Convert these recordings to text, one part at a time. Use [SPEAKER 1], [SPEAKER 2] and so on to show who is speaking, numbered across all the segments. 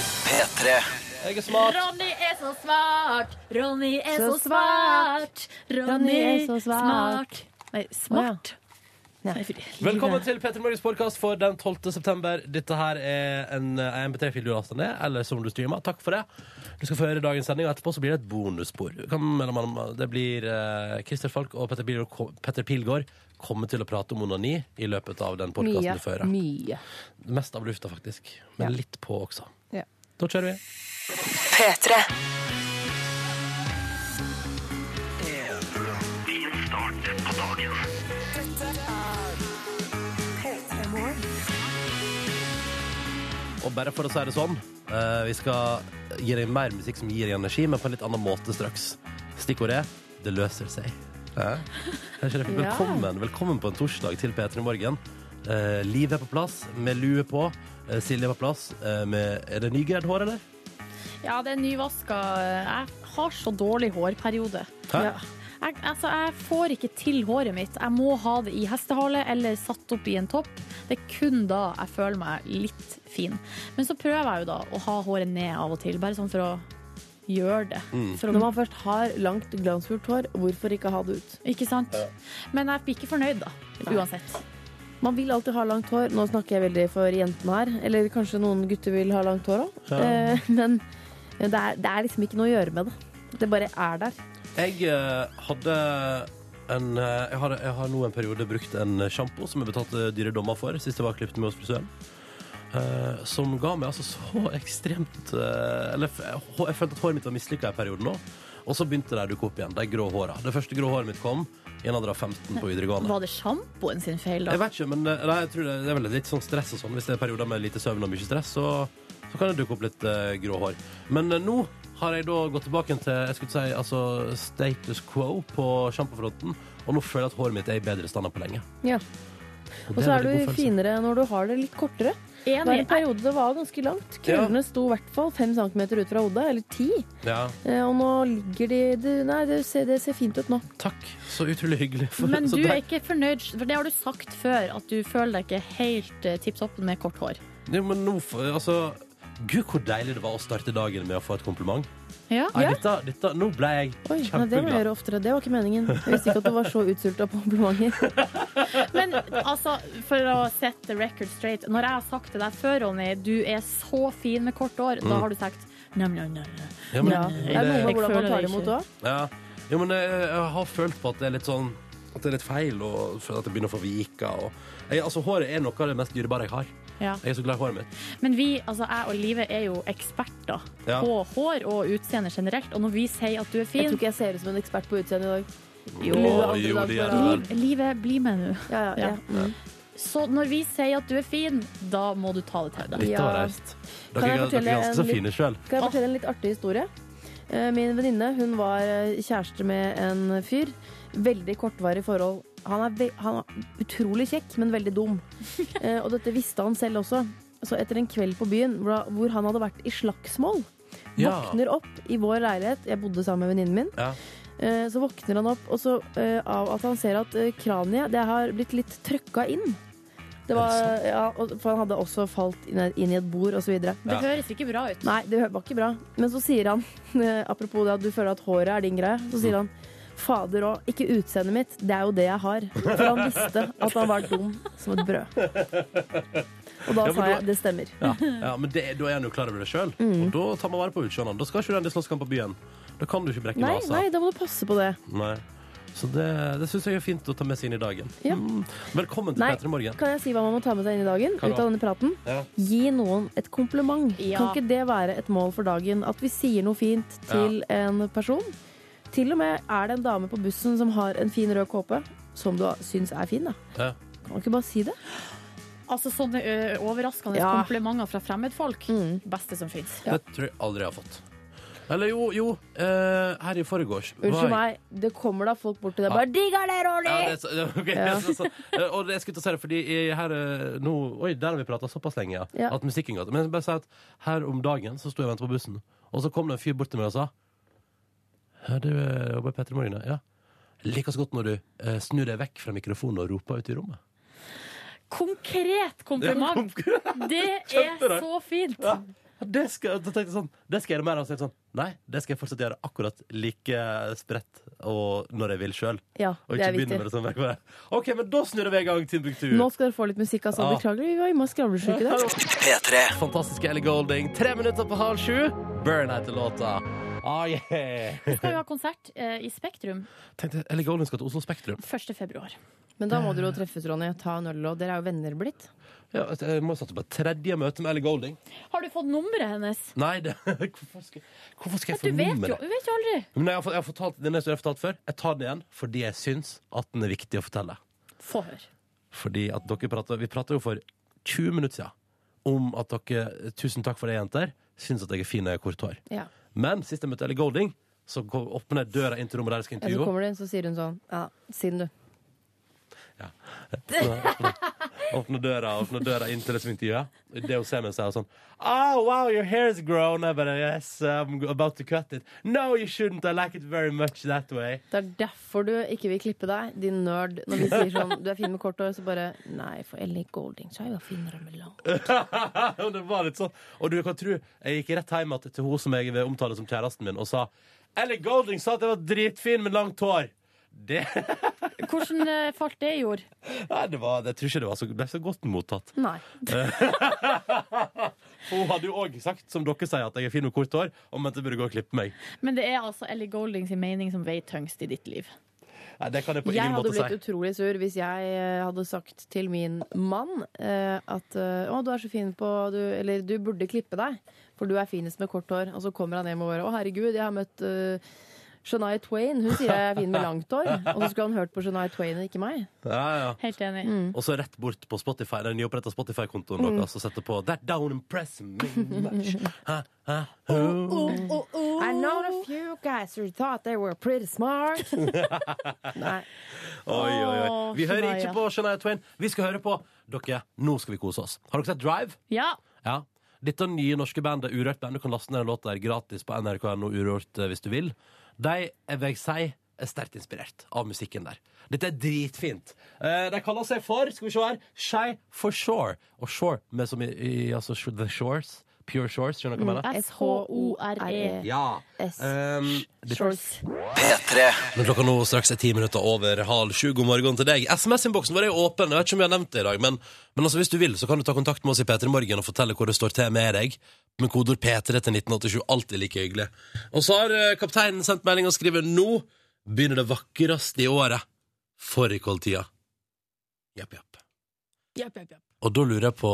[SPEAKER 1] P3.
[SPEAKER 2] Jeg er smart.
[SPEAKER 3] Ronny er så smart, Ronny er så,
[SPEAKER 4] Så
[SPEAKER 3] smart. Ronny er så smart. Nei, smart.
[SPEAKER 4] Nei.
[SPEAKER 3] Nei, fy-
[SPEAKER 2] Velkommen til Petter Morgens podkast for den 12. september. Dette her er en eh, MP3-fil du laster ned, eller som du streamer. Takk for det. Du skal få høre dagens sending, og etterpå så blir det et bonusspor. Du Kan, mellom, annet- det blir eh, Christer Falk og Petter Pilgaard, Petter Pilgaard kommer til å prate om onani i løpet av den
[SPEAKER 4] Mye.
[SPEAKER 2] podkasten du får høre.
[SPEAKER 4] Mye.
[SPEAKER 2] Mest av lufta, faktisk. Men
[SPEAKER 4] Ja.
[SPEAKER 2] litt på også.
[SPEAKER 4] Ja.
[SPEAKER 2] Da kjører vi.
[SPEAKER 5] P3.
[SPEAKER 2] Og bare for å si det sånn, eh, vi skal gi deg mer musikk som gir deg energi, men på en litt annen måte straks. Stikkordet er 'det løser seg'. Eh? Er ikke det fint?
[SPEAKER 4] Ja.
[SPEAKER 2] Velkommen, velkommen på en torsdag til P3 Morgen. Eh, Liv er på plass, med lue på. Eh, Silje er på plass. eh, med, er det nygreid hår, eller?
[SPEAKER 3] Ja, det er nyvaska. Jeg har så dårlig hårperiode.
[SPEAKER 2] Hæ?
[SPEAKER 3] Ja. Jeg, altså, jeg får ikke til håret mitt. Jeg må ha det i hestehale eller satt opp i en topp. Det er kun da jeg føler meg litt fin. Men så prøver jeg jo da å ha håret ned av og til, bare sånn for å gjøre det. For å,
[SPEAKER 4] Når man først har langt, glansfullt hår, hvorfor ikke ha det ut?
[SPEAKER 3] ikke sant? Men jeg blir ikke fornøyd, da. Uansett.
[SPEAKER 4] Man vil alltid ha langt hår. Nå snakker jeg veldig for jentene her. Eller kanskje noen gutter vil ha langt hår òg. Eh, men det er, det er liksom ikke noe å gjøre med det. Det bare er der.
[SPEAKER 2] Jeg eh, hadde en eh, jeg, har, jeg har nå en periode brukt en sjampo som jeg betalte dyre dommer for sist jeg var klippet med hos frisøren. eh, som ga meg altså så ekstremt eh, Eller f- jeg, hå- jeg følte at håret mitt var mislykka en periode nå. Og så begynte de å dukke opp igjen, de grå håra. Det første grå håret mitt kom i en alder av 15 på videregående.
[SPEAKER 3] Var det sjampoen sin feil, da?
[SPEAKER 2] Jeg vet ikke, men eh, nei, jeg tror det, det er vel litt sånn stress og sånn. Hvis det er perioder med lite søvn og mye stress, så, så kan det dukke opp litt eh, grå hår. Men eh, nå har jeg da gått tilbake til jeg skulle si, altså, status quo på sjampofronten, og nå føler jeg at håret mitt er i bedre stand enn på lenge.
[SPEAKER 4] Ja.
[SPEAKER 2] Og
[SPEAKER 4] Og
[SPEAKER 2] det
[SPEAKER 4] så
[SPEAKER 2] en
[SPEAKER 4] er
[SPEAKER 2] veldig
[SPEAKER 4] du
[SPEAKER 2] god følelse.
[SPEAKER 4] finere når du har det litt kortere. Det var
[SPEAKER 3] Enig.
[SPEAKER 4] en periode det var ganske langt. Krøllene sto i hvert fall fem centimeter ut fra hodet. Eller ti.
[SPEAKER 2] Ja,
[SPEAKER 4] Eh, og nå ligger de det, Nei, det ser, det ser fint ut nå.
[SPEAKER 2] takk. Så utrolig hyggelig. For,
[SPEAKER 3] Men
[SPEAKER 2] så
[SPEAKER 3] du
[SPEAKER 2] der-
[SPEAKER 3] er ikke fornøyd, for det har du sagt før, at du føler deg ikke helt eh, tipp topp med kort hår.
[SPEAKER 2] Jo, men nå, får- altså... Gud, hvor deilig det var å starte dagen med å få et kompliment.
[SPEAKER 3] Ja.
[SPEAKER 2] Nei, dette, dette, nå ble jeg
[SPEAKER 4] Oi, nei, det må jeg
[SPEAKER 2] kjempeglad.
[SPEAKER 4] gjøre oftere. Det var ikke meningen. Jeg visste ikke at du var så utsulta på komplimenter.
[SPEAKER 3] Men altså, for å sette the record straight, når jeg har sagt til deg før, Ronny, du er så fin med kort hår,
[SPEAKER 2] Mm.
[SPEAKER 3] da har du sagt nam, nam, nam. nam.
[SPEAKER 2] Ja, men-
[SPEAKER 4] Ja. Det er noe med hvordan man tar imot òg.
[SPEAKER 2] Ja. Jo, men jeg, jeg har følt på at det er litt sånn At det er litt feil, og føler at det begynner å få vika. Og, jeg, altså, håret er noe av det mest dyrebare jeg har.
[SPEAKER 3] Ja.
[SPEAKER 2] Jeg er så glad i håret mitt.
[SPEAKER 3] Men vi, altså jeg og Live, er jo eksperter
[SPEAKER 2] Ja.
[SPEAKER 3] på hår og utseende generelt, og når vi sier at du er
[SPEAKER 4] Jeg tror
[SPEAKER 3] fin
[SPEAKER 4] ikke jeg ser ut som en ekspert på utseendet i dag.
[SPEAKER 3] Jo.
[SPEAKER 4] Lue andre
[SPEAKER 2] jo,
[SPEAKER 4] dag
[SPEAKER 2] det
[SPEAKER 4] på
[SPEAKER 2] gjør
[SPEAKER 4] rad.
[SPEAKER 2] det.
[SPEAKER 3] Liv, Live, bli med nå.
[SPEAKER 4] Ja, ja, ja. Mm.
[SPEAKER 3] Så når vi sier at du er fin, da må du ta det til deg.
[SPEAKER 2] Dette
[SPEAKER 4] Ja.
[SPEAKER 2] var reist.
[SPEAKER 4] Kan
[SPEAKER 2] Dere,
[SPEAKER 4] jeg
[SPEAKER 2] er- dere er
[SPEAKER 4] fortelle
[SPEAKER 2] ganske så
[SPEAKER 4] en litt-
[SPEAKER 2] fine sjøl.
[SPEAKER 4] Skal jeg fortelle en litt artig historie? Eh, Min venninne hun var eh, kjæreste med en fyr. Veldig kortvarig forhold. Han er, ve han er utrolig kjekk, men veldig dum. Eh, Og dette visste han selv også. Så etter en kveld på byen hvor hvor han hadde vært i slagsmål,
[SPEAKER 2] Ja.
[SPEAKER 4] våkner opp i vår leilighet Jeg bodde sammen med venninnen min.
[SPEAKER 2] Ja.
[SPEAKER 4] Eh, Så våkner han opp og så, eh, av at han ser at eh, kraniet det har blitt litt trøkka inn. Det var, ja, og- for han hadde også falt inn inn i et bord osv.
[SPEAKER 3] Det
[SPEAKER 2] Ja.
[SPEAKER 3] høres ikke bra ut.
[SPEAKER 4] Nei, det var ikke bra. Men så sier han, eh, apropos det at du føler at håret er din greie, så
[SPEAKER 2] Mm.
[SPEAKER 4] sier han Fader òg, ikke utseendet mitt, det er jo det jeg har. For han visste at han var dum som et brød. Og da
[SPEAKER 2] Ja, men
[SPEAKER 4] sa
[SPEAKER 2] da-
[SPEAKER 4] jeg det stemmer.
[SPEAKER 2] Ja. ja, men det, da er han jo klar over det sjøl.
[SPEAKER 4] Mm.
[SPEAKER 2] Og da tar man vare på utseendet. Da skal ikke du i slåsskamp på byen. Da kan du ikke brekke
[SPEAKER 4] Nei,
[SPEAKER 2] nesa.
[SPEAKER 4] nei, da må du passe på det.
[SPEAKER 2] Nei. Så det, det syns jeg er fint å ta med seg inn i dagen.
[SPEAKER 4] Ja.
[SPEAKER 2] Mm. Velkommen til
[SPEAKER 4] Nei.
[SPEAKER 2] P3 Morgen.
[SPEAKER 4] Kan jeg si hva man må ta med seg inn i dagen?
[SPEAKER 2] Hva da?
[SPEAKER 4] Ut av denne praten?
[SPEAKER 2] Ja.
[SPEAKER 4] Gi noen et kompliment.
[SPEAKER 3] Ja.
[SPEAKER 4] Kan ikke det være et mål for dagen? At vi sier noe fint til en person? Til og med er det en dame på bussen som har en fin rød kåpe, som du syns er fin, da.
[SPEAKER 2] Ja.
[SPEAKER 4] Kan man ikke bare si det?
[SPEAKER 3] Altså sånne ø, overraskende
[SPEAKER 4] Ja. Mm.
[SPEAKER 3] komplimenter fra fremmedfolk. Beste som fins.
[SPEAKER 2] Det tror jeg aldri jeg har fått. Eller jo, jo. eh, her i forgårs var jeg-
[SPEAKER 4] Unnskyld meg, det kommer da folk bort til deg bare 'digger det, Ronny'!
[SPEAKER 2] Ja, det er så, ja, ok, så, så, eh, og det jeg skulle til å si det, fordi i- her eh, nå, Oi, der har vi prata såpass lenge, ja.
[SPEAKER 4] Ja.
[SPEAKER 2] At musikken går. Men jeg vil bare si at her om dagen så sto jeg og venta på bussen, og så kom det en fyr bort til meg og sa Ja, du eh, jobber i P3 Morgen, ja? Jeg liker så godt når du eh, snur deg vekk fra mikrofonen og roper ut i rommet.
[SPEAKER 3] Konkret kompliment!
[SPEAKER 2] Ja,
[SPEAKER 3] Det er så fint.
[SPEAKER 2] det skal, da tenkte jeg sånn, det skal jeg gjøre mer av. Så jeg sånn, nei, det skal jeg fortsatt gjøre akkurat like spredt og når jeg vil sjøl.
[SPEAKER 6] Ja,
[SPEAKER 2] Og
[SPEAKER 6] det
[SPEAKER 2] ikke
[SPEAKER 6] er
[SPEAKER 2] begynne
[SPEAKER 6] viktig.
[SPEAKER 2] med det sånn vekk med det. OK, men da snurrer vi i gang Timbuktu.
[SPEAKER 6] Nå skal dere få litt musikk, altså.
[SPEAKER 2] Ja.
[SPEAKER 6] Beklager, vi var innmari skravlesjuke der.
[SPEAKER 2] Fantastiske Ellie Golding. Tre minutter på halv sju. Burn heter låta. Ah, yeah.
[SPEAKER 3] Vi skal jo ha konsert eh, i Spektrum
[SPEAKER 2] Tenkte Ellie Golding skal til Oslo Spektrum.
[SPEAKER 3] 1. februar.
[SPEAKER 6] Men da må dere jo treffes, Ronny. Ta en øl, og dere er jo venner blitt.
[SPEAKER 2] Ja, jeg må satse på et tredje møte med Ellie Golding.
[SPEAKER 3] Har du fått nummeret hennes?
[SPEAKER 2] Nei, det, hvorfor, skal, hvorfor skal jeg
[SPEAKER 3] Du
[SPEAKER 2] få
[SPEAKER 3] vet jo,
[SPEAKER 2] nummeret?
[SPEAKER 3] du vet jo aldri.
[SPEAKER 2] Men jeg har, fått- jeg har fortalt, den jeg har fortalt før. Jeg tar den igjen fordi jeg syns at den er viktig å fortelle.
[SPEAKER 3] Få høre.
[SPEAKER 2] Fordi at dere prater, Vi prata jo for 20 minutter siden om at dere 'Tusen takk for det, jenter'. Syns at jeg er fin når jeg har kort hår.
[SPEAKER 6] Ja.
[SPEAKER 2] Men sist jeg møtte Ellie Golding, så kom- åpner jeg døra inn til rommet der jeg skal
[SPEAKER 6] Ja, så
[SPEAKER 2] intervjue.
[SPEAKER 6] kommer de inn, så sier hun sånn Ja, siden du.
[SPEAKER 2] Åpner døra, åpner døra inn til det som intervjuet. Og Det hun ser meg, så er hun sånn Oh, wow, your hair is grown. Jeg bare, yes, I'm about to cut it. No, you shouldn't. I like it very much that way.
[SPEAKER 6] Det er derfor du ikke vil klippe deg, din nerd. Når vi sier sånn, du er fin med kort hår, så bare Nei, for Ellie Golding så er jo finere med lang.
[SPEAKER 2] Og det var litt sånn. Og du kan tro, jeg gikk rett hjem til hun som jeg vil omtale som kjæresten min, og sa Ellie Golding sa at jeg var dritfin med langt hår. Det,
[SPEAKER 3] Hvordan eh, falt det i jord?
[SPEAKER 2] Nei, det var, jeg tror ikke det var så, ble så godt mottatt.
[SPEAKER 6] Nei.
[SPEAKER 2] For hun hadde jo òg sagt, som dere sier, at jeg er fin med kort hår, og mente jeg burde gå og klippe meg.
[SPEAKER 3] Men det er altså Ellie Golding sin mening som veier tyngst i ditt liv.
[SPEAKER 2] Nei, det kan jeg på
[SPEAKER 6] Jeg
[SPEAKER 2] ingen
[SPEAKER 6] hadde
[SPEAKER 2] måte
[SPEAKER 6] blitt
[SPEAKER 2] si.
[SPEAKER 6] utrolig sur hvis jeg eh, hadde sagt til min mann eh, at eh, Å, du er så fin på du, Eller du burde klippe deg, for du er finest med kort hår. Og så kommer han hjem og bare Å, herregud, jeg har møtt eh, Shania Twain. Hun sier jeg er fin med langt hår. Og så skulle han hørt på Shania Twain og ikke meg.
[SPEAKER 2] Ja, ja.
[SPEAKER 3] Helt enig.
[SPEAKER 4] Mm.
[SPEAKER 6] Mm.
[SPEAKER 2] Og så rett bort på Spotify, den nyoppretta Spotify-kontoen deres og sette på That don't impress me much. Ha, ha, ho.
[SPEAKER 6] I know a few guys who thought they were pretty smart. Nei.
[SPEAKER 2] Oi, oi, oi. Vi
[SPEAKER 3] Åh,
[SPEAKER 2] hører
[SPEAKER 3] Shania.
[SPEAKER 2] ikke på Shania Twain. Vi skal høre på Dere, nå skal vi kose oss. Har dere sett Drive?
[SPEAKER 3] Ja.
[SPEAKER 2] Ja. Dette nye norske bandet Urørt Band. Du kan laste ned en låt der gratis på nrk.no Urørt eh, hvis du vil. De jeg vil jeg si er sterkt inspirert av musikken der. Dette er dritfint. Eh, De kaller seg for skal vi se her, Shy for Shore. Og Shore med som i, i altså, sh- The Shores. Pure Shores, skjønner du
[SPEAKER 3] Mm.
[SPEAKER 2] hva jeg mener? E
[SPEAKER 4] E.
[SPEAKER 3] S-H-O-R-E.
[SPEAKER 2] Ja.
[SPEAKER 6] E S.
[SPEAKER 2] Um, det-
[SPEAKER 6] Shorts.
[SPEAKER 2] Men klokka nå straks er ti minutter over halv sju. God morgen til deg. SMS-innboksen vår er jo åpen. Jeg vet ikke om vi har nevnt det i dag, men, men altså, hvis du vil, så kan du ta kontakt med oss i P3 Morgen og fortelle hvor det står til med deg. Med kodeord P3 til 1987. Alltid like hyggelig. Og så har eh, kapteinen sendt melding og skriver nå begynner det vakreste i året. Fårikåltida. Japp, japp. Og da lurer jeg på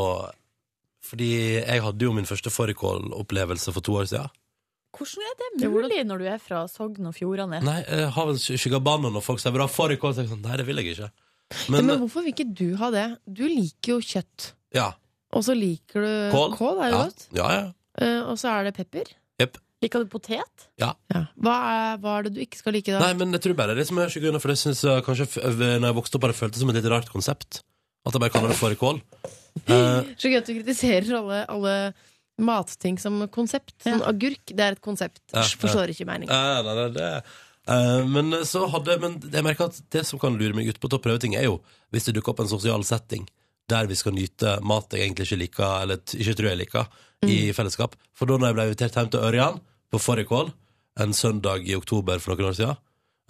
[SPEAKER 2] Fordi jeg hadde jo min første fårikålopplevelse for to år siden.
[SPEAKER 4] Hvordan er det
[SPEAKER 3] Det er
[SPEAKER 4] mulig?
[SPEAKER 3] mulig når du er fra Sogn og Fjordane.
[SPEAKER 2] Nei, eh, jeg har vel skygga banen når folk sier bra fårikål. Så er jeg sånn, Nei, det vil jeg ikke.
[SPEAKER 4] Men,
[SPEAKER 2] Men, eh,
[SPEAKER 4] hvorfor vil ikke du ha det? Du liker jo kjøtt.
[SPEAKER 2] ja.
[SPEAKER 4] Og så liker du
[SPEAKER 2] Kål.
[SPEAKER 4] er jo
[SPEAKER 2] Ja.
[SPEAKER 4] godt.
[SPEAKER 2] Ja, ja.
[SPEAKER 4] Eh, og så er det pepper.
[SPEAKER 3] Liker du potet?
[SPEAKER 4] Hva, er, hva er det du ikke skal like da?
[SPEAKER 2] Nei, men jeg tror bare det som er skyggen, for det synes jeg kanskje f- v- Når jeg vokste opp, har det føltes som et litt rart konsept. At jeg bare kaller det fårikål. Eh,
[SPEAKER 4] Så gøy at du kritiserer alle, alle matting som konsept. Sånn agurk, det er et konsept.
[SPEAKER 2] Ja,
[SPEAKER 4] Forstår ikke meningen.
[SPEAKER 2] eh, nei, nei, det eh, men så hadde Men jeg merker at det som kan lure meg ut på til å prøve ting, er jo hvis det dukker opp en sosial setting der vi skal nyte mat jeg egentlig ikke liker, eller t- ikke tror jeg liker, i fellesskap. For da når jeg ble invitert hjem til Ørjan på fårikål en søndag i oktober for noen år siden,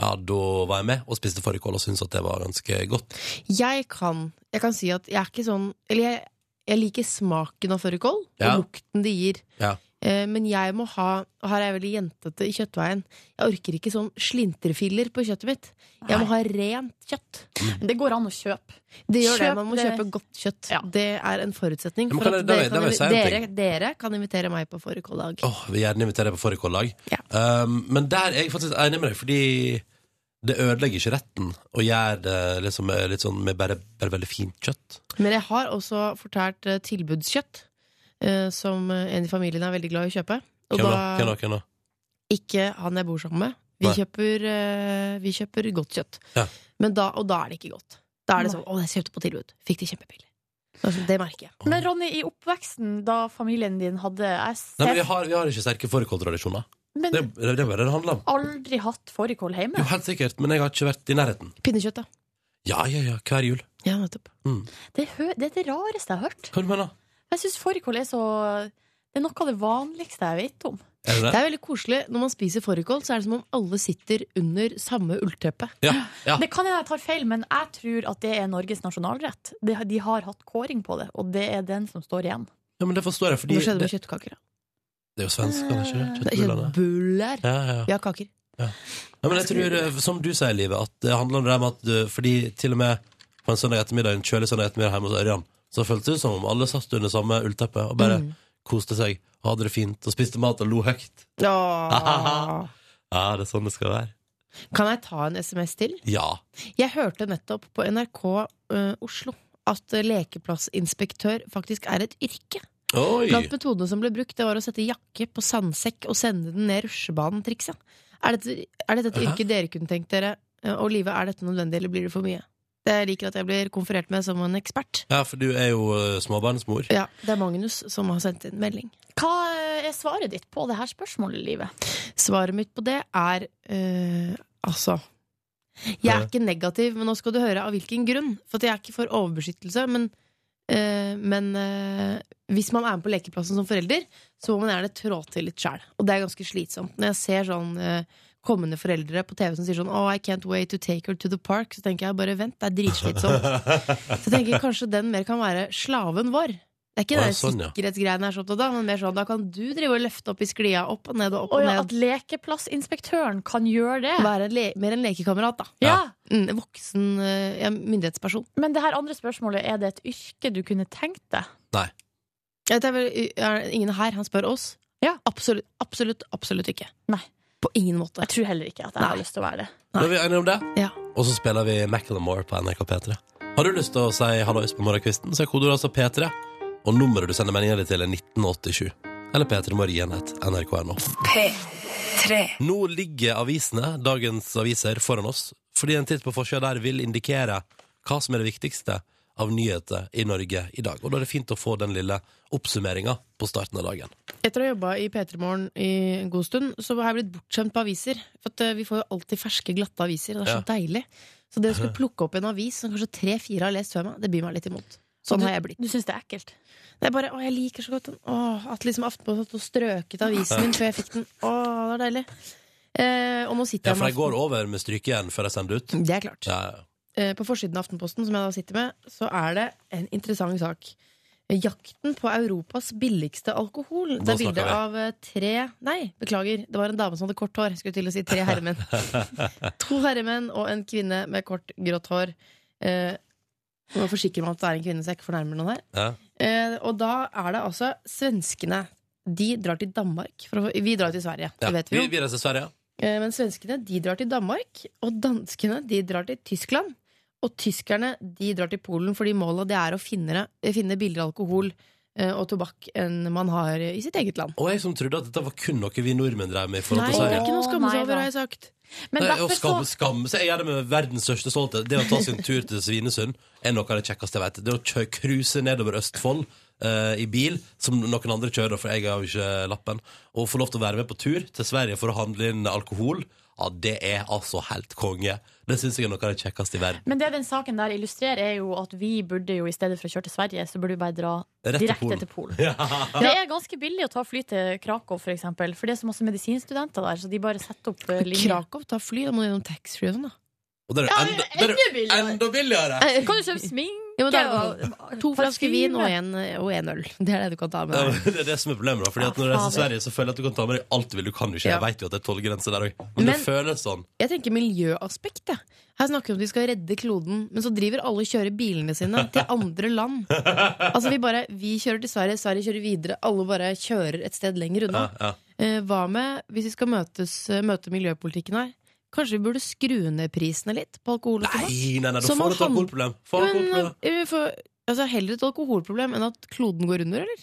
[SPEAKER 2] ja, da var jeg med og spiste fårikål og syntes at det var ganske godt.
[SPEAKER 4] Jeg kan, jeg kan si at jeg er ikke sånn Eller jeg, jeg liker smaken av fårikål
[SPEAKER 2] Ja.
[SPEAKER 4] og lukten det gir.
[SPEAKER 2] Ja.
[SPEAKER 4] Eh, Men jeg må ha Og her er jeg veldig jentete i kjøttveien. Jeg orker ikke sånn slintrefiller på kjøttet mitt. Jeg må ha rent kjøtt.
[SPEAKER 3] Men det går an å kjøpe.
[SPEAKER 4] Det gjør det,
[SPEAKER 3] Kjøp
[SPEAKER 4] Man må
[SPEAKER 3] det.
[SPEAKER 4] kjøpe godt kjøtt.
[SPEAKER 3] Ja.
[SPEAKER 4] Det er en forutsetning.
[SPEAKER 2] Men
[SPEAKER 4] For
[SPEAKER 2] kan jeg-
[SPEAKER 4] at
[SPEAKER 2] da
[SPEAKER 4] dere,
[SPEAKER 2] vil- da
[SPEAKER 4] kan,
[SPEAKER 2] vil jeg si en
[SPEAKER 4] invi- dere, dere kan invitere meg på fårikåldag.
[SPEAKER 2] Åh, vi gjerne inviterer på fårikållag.
[SPEAKER 4] Ja.
[SPEAKER 2] Um, men der er jeg faktisk enig med deg, fordi det ødelegger ikke retten å gjøre det liksom, med- litt sånn med bare, bare veldig fint kjøtt.
[SPEAKER 4] Men jeg har også fortært eh, tilbudskjøtt, eh, som eh, en i familien er veldig glad i å kjøpe. Og
[SPEAKER 2] Hvem da? Hvem da?
[SPEAKER 4] da
[SPEAKER 2] Hvem da?
[SPEAKER 4] ikke han jeg bor sammen med. Vi
[SPEAKER 2] Nei.
[SPEAKER 4] kjøper, eh, vi kjøper godt kjøtt.
[SPEAKER 2] Ja.
[SPEAKER 4] Men da, og da er det ikke godt. Da er det
[SPEAKER 3] Nei.
[SPEAKER 4] sånn 'Å, jeg kjøpte på tilbud. Fikk det kjempebillig'. Altså, Det merker jeg.
[SPEAKER 3] Men Ronny, i oppveksten, da familien din hadde jeg
[SPEAKER 2] Nei, men vi
[SPEAKER 3] ser,
[SPEAKER 2] har, vi har ikke sterke fårikåltradisjoner. Det,
[SPEAKER 3] men
[SPEAKER 2] det, det er bare det det handler om.
[SPEAKER 3] aldri hatt fårikål hjemme.
[SPEAKER 2] Jo, helt sikkert, men jeg har ikke vært i nærheten.
[SPEAKER 4] Pinnekjøtt, da.
[SPEAKER 2] Ja, ja, ja, hver jul.
[SPEAKER 4] Ja, nettopp.
[SPEAKER 3] Det, hø- det er det rareste jeg har hørt.
[SPEAKER 2] Hva du mener du?
[SPEAKER 3] Jeg syns fårikål er så Det er noe av det vanligste jeg vet om.
[SPEAKER 2] Er det
[SPEAKER 4] Det
[SPEAKER 2] det?
[SPEAKER 4] er veldig koselig. Når man spiser fårikål, så er det som om alle sitter under samme ullteppe.
[SPEAKER 2] Ja. ja.
[SPEAKER 3] Det kan hende jeg tar feil, men jeg tror at det er Norges nasjonalrett. De, de har hatt kåring på det, og det er den som står igjen.
[SPEAKER 2] ja men det forstår jeg, fordi
[SPEAKER 4] Hva skjedde
[SPEAKER 2] det,
[SPEAKER 4] med kjøttkaker? da?
[SPEAKER 2] det er jo svenskene, ikke det?
[SPEAKER 4] Det er
[SPEAKER 2] Kjøttbullene.
[SPEAKER 4] Kjøttbuller!
[SPEAKER 2] Ja, ja.
[SPEAKER 4] Vi har kaker.
[SPEAKER 2] Nei, men jeg tror, eh, som du sier, Livet, at det handler om det der med at eh, Fordi til og med på en søndag ettermiddag, en kjølig søndag ettermiddag hjemme hos Ørjan, så føltes det som om alle satt under samme ullteppe og bare
[SPEAKER 4] Mm.
[SPEAKER 2] koste seg, hadde det fint og spiste mat og lo høyt.
[SPEAKER 4] Åh.
[SPEAKER 2] Ja, det er sånn det skal være.
[SPEAKER 4] Kan jeg ta en SMS til?
[SPEAKER 2] Ja.
[SPEAKER 4] Jeg hørte nettopp på NRK eh, Oslo at lekeplassinspektør faktisk er et yrke.
[SPEAKER 2] Oi!
[SPEAKER 4] Blant metodene som ble brukt, det var å sette jakke på sandsekk og sende den ned rusjebanen-trikset. Er, dette- er dette et
[SPEAKER 2] Hæ?
[SPEAKER 4] yrke dere kunne tenkt dere? Eh, Og livet, er dette nødvendig, eller blir det for mye? Jeg liker at jeg blir konferert med som en ekspert.
[SPEAKER 2] Ja, for du er jo eh, småbarnsmor.
[SPEAKER 4] Ja, Det er Magnus som har sendt inn melding.
[SPEAKER 3] Hva eh, er svaret ditt på det her spørsmålet, Livet?
[SPEAKER 4] Svaret mitt på det er eh, altså Jeg
[SPEAKER 2] Ja.
[SPEAKER 4] er ikke negativ, men nå skal du høre av hvilken grunn. For at jeg er ikke for overbeskyttelse, men, eh, men eh, hvis man er med på lekeplassen som forelder, så må man gjerne trå til litt sjæl. Og det er ganske slitsomt. Når jeg ser sånn eh, kommende foreldre på TV som sier sånn Oh, I can't wait to take her to the park, så tenker jeg bare vent, det er dritslitsomt. Så tenker jeg kanskje den mer kan være slaven vår. Det er ikke
[SPEAKER 2] Å,
[SPEAKER 4] den
[SPEAKER 2] sånn, ja.
[SPEAKER 4] sikkerhetsgreien jeg er så opptatt av, men mer sånn da kan du drive og løfte opp i sklia, opp og ned og opp
[SPEAKER 3] Og
[SPEAKER 4] og
[SPEAKER 3] ja,
[SPEAKER 4] ned.
[SPEAKER 3] at lekeplassinspektøren kan gjøre det.
[SPEAKER 4] Være en le mer en lekekamerat, da.
[SPEAKER 3] Ja,
[SPEAKER 4] Mm, en voksen eh, ja, myndighetsperson.
[SPEAKER 3] Men det her andre spørsmålet, er det et yrke du kunne tenkt deg?
[SPEAKER 4] Jeg vet, jeg vel, eh, er det ingen her, han spør oss.
[SPEAKER 3] Ja.
[SPEAKER 4] Absolutt, absolutt, absolutt ikke.
[SPEAKER 3] Nei.
[SPEAKER 4] På ingen måte.
[SPEAKER 3] Jeg tror heller ikke at jeg har
[SPEAKER 4] Nei.
[SPEAKER 3] lyst til å være det.
[SPEAKER 2] Da er vi enige om det.
[SPEAKER 4] Ja.
[SPEAKER 2] Og så spiller vi Macklemore på NRK P3. Har du lyst til å si hallois på morgenkvisten, så er kodeordet altså P3. Og nummeret du sender meldingen din til, er 1987. Eller P3 Morgenhet, nrk.no. Nå ligger avisene, dagens aviser, foran oss, fordi en titt på forsida der vil indikere hva som er det viktigste av nyheter i Norge i dag. Og da er det fint å få den lille oppsummeringa på starten av dagen.
[SPEAKER 4] Etter å ha jobba i P3 Morgen i en god stund, så har jeg blitt bortskjemt på aviser. For at eh, vi får jo alltid ferske, glatte aviser, og det er så deilig. Så det å skulle plukke opp en avis som kanskje tre-fire har lest før meg, det byr meg litt imot. Sånn har jeg blitt.
[SPEAKER 3] Du syns det er ekkelt?
[SPEAKER 4] Det er bare, å, jeg liker så godt den. Åh, at liksom Aftenposten og strøket avisen min før jeg fikk den. Åh, det er deilig. Eh, og nå sitter
[SPEAKER 2] Ja,
[SPEAKER 4] jeg
[SPEAKER 2] for
[SPEAKER 4] med
[SPEAKER 2] de går over med strykejern før de sender ut.
[SPEAKER 4] Det er klart.
[SPEAKER 2] Ja,
[SPEAKER 4] Eh, På forsiden av Aftenposten, som jeg da sitter med, så er det en interessant sak. Eh, Jakten på Europas billigste alkohol.
[SPEAKER 2] Nå
[SPEAKER 4] Det er
[SPEAKER 2] snakker
[SPEAKER 4] bilde
[SPEAKER 2] vi.
[SPEAKER 4] av eh, tre Nei, beklager. Det var en dame som hadde kort hår. Skulle til å si tre herremenn. to herremenn og en kvinne med kort, grått hår. Eh, jeg må forsikre meg om at det er en kvinne, så jeg ikke fornærmer noen her.
[SPEAKER 2] ja.
[SPEAKER 4] Eh, og da er det altså svenskene. De drar til Danmark. For å, vi drar til Sverige,
[SPEAKER 2] Ja.
[SPEAKER 4] det vet vi jo.
[SPEAKER 2] Vi, vi reiser til Sverige.
[SPEAKER 4] Eh, Men svenskene de drar til Danmark, og danskene de drar til Tyskland. Og tyskerne de drar til Polen fordi målet det er å finne, eh, finne billigere alkohol eh, og tobakk enn man har i sitt eget land.
[SPEAKER 2] Og jeg som trodde at dette var kun noe vi nordmenn drev med i forhold
[SPEAKER 4] Nei,
[SPEAKER 2] til
[SPEAKER 4] det er
[SPEAKER 2] Sverige.
[SPEAKER 4] ikke noe å skamme
[SPEAKER 3] Å, nei
[SPEAKER 4] seg over,
[SPEAKER 3] da.
[SPEAKER 4] har jeg sagt.
[SPEAKER 3] Men
[SPEAKER 2] Nei, å
[SPEAKER 3] derfor så
[SPEAKER 2] skamme, skamme seg. Jeg gjør det med verdens største stolthet. Det å ta sin tur til Svinesund er noe av det kjekkeste jeg vet. Det å kjø- cruise nedover Østfold eh, i bil, som noen andre kjører, for jeg har jo ikke lappen, og få lov til å være med på tur til Sverige for å handle inn alkohol, ja, det er altså helt konge. Det syns jeg er noe av det kjekkeste i verden.
[SPEAKER 3] Men det den saken der illustrerer, er jo at vi burde jo i stedet for å kjøre til Sverige, så burde vi bare dra
[SPEAKER 2] Rett til
[SPEAKER 3] direkte
[SPEAKER 2] Polen.
[SPEAKER 3] til Polen. Det er ganske billig å ta fly til Krakow, for eksempel. For det er så masse medisinstudenter der, så de bare setter opp eh, linjer.
[SPEAKER 4] Krakow tar fly, da må du gjennom taxfree og sånn, da.
[SPEAKER 2] Og det er jo
[SPEAKER 3] Ja,
[SPEAKER 2] enda, det er jo
[SPEAKER 3] enda billigere.
[SPEAKER 2] enda billigere!
[SPEAKER 3] Kan du kjøpe sminke
[SPEAKER 4] Ja, men da-
[SPEAKER 3] og
[SPEAKER 4] To flasker vin og
[SPEAKER 3] parfyme?
[SPEAKER 4] en, og en øl. Det er det du kan ta med
[SPEAKER 2] Ja,
[SPEAKER 4] deg.
[SPEAKER 2] men Det er det som er problemet. da Fordi at Når du reiser til Sverige, så føler jeg at du kan ta med deg alt du vil. Du kan jo ikke, jeg
[SPEAKER 4] Ja.
[SPEAKER 2] vet jo at det er tollgrense der òg, men det
[SPEAKER 4] Men-
[SPEAKER 2] føles sånn.
[SPEAKER 4] Jeg tenker miljøaspekt, jeg. Her snakker vi om at vi skal redde kloden, men så driver alle og kjører bilene sine til andre land. Altså Vi bare, vi kjører til Sverige, Sverige kjører videre, alle bare kjører et sted lenger unna.
[SPEAKER 2] Ja, ja.
[SPEAKER 4] Eh, hva med, hvis vi skal møtes, eh, møte miljøpolitikken her, kanskje vi burde skru ned prisene litt på alkohol og tobakk?
[SPEAKER 2] Nei, nei, nei, da
[SPEAKER 4] Så
[SPEAKER 2] får
[SPEAKER 4] man
[SPEAKER 2] du et
[SPEAKER 4] hand-
[SPEAKER 2] alkoholproblem. Får du et
[SPEAKER 4] Men,
[SPEAKER 2] alkoholproblem.
[SPEAKER 4] eh, vi får- Altså, heller et alkoholproblem enn at kloden går under, eller?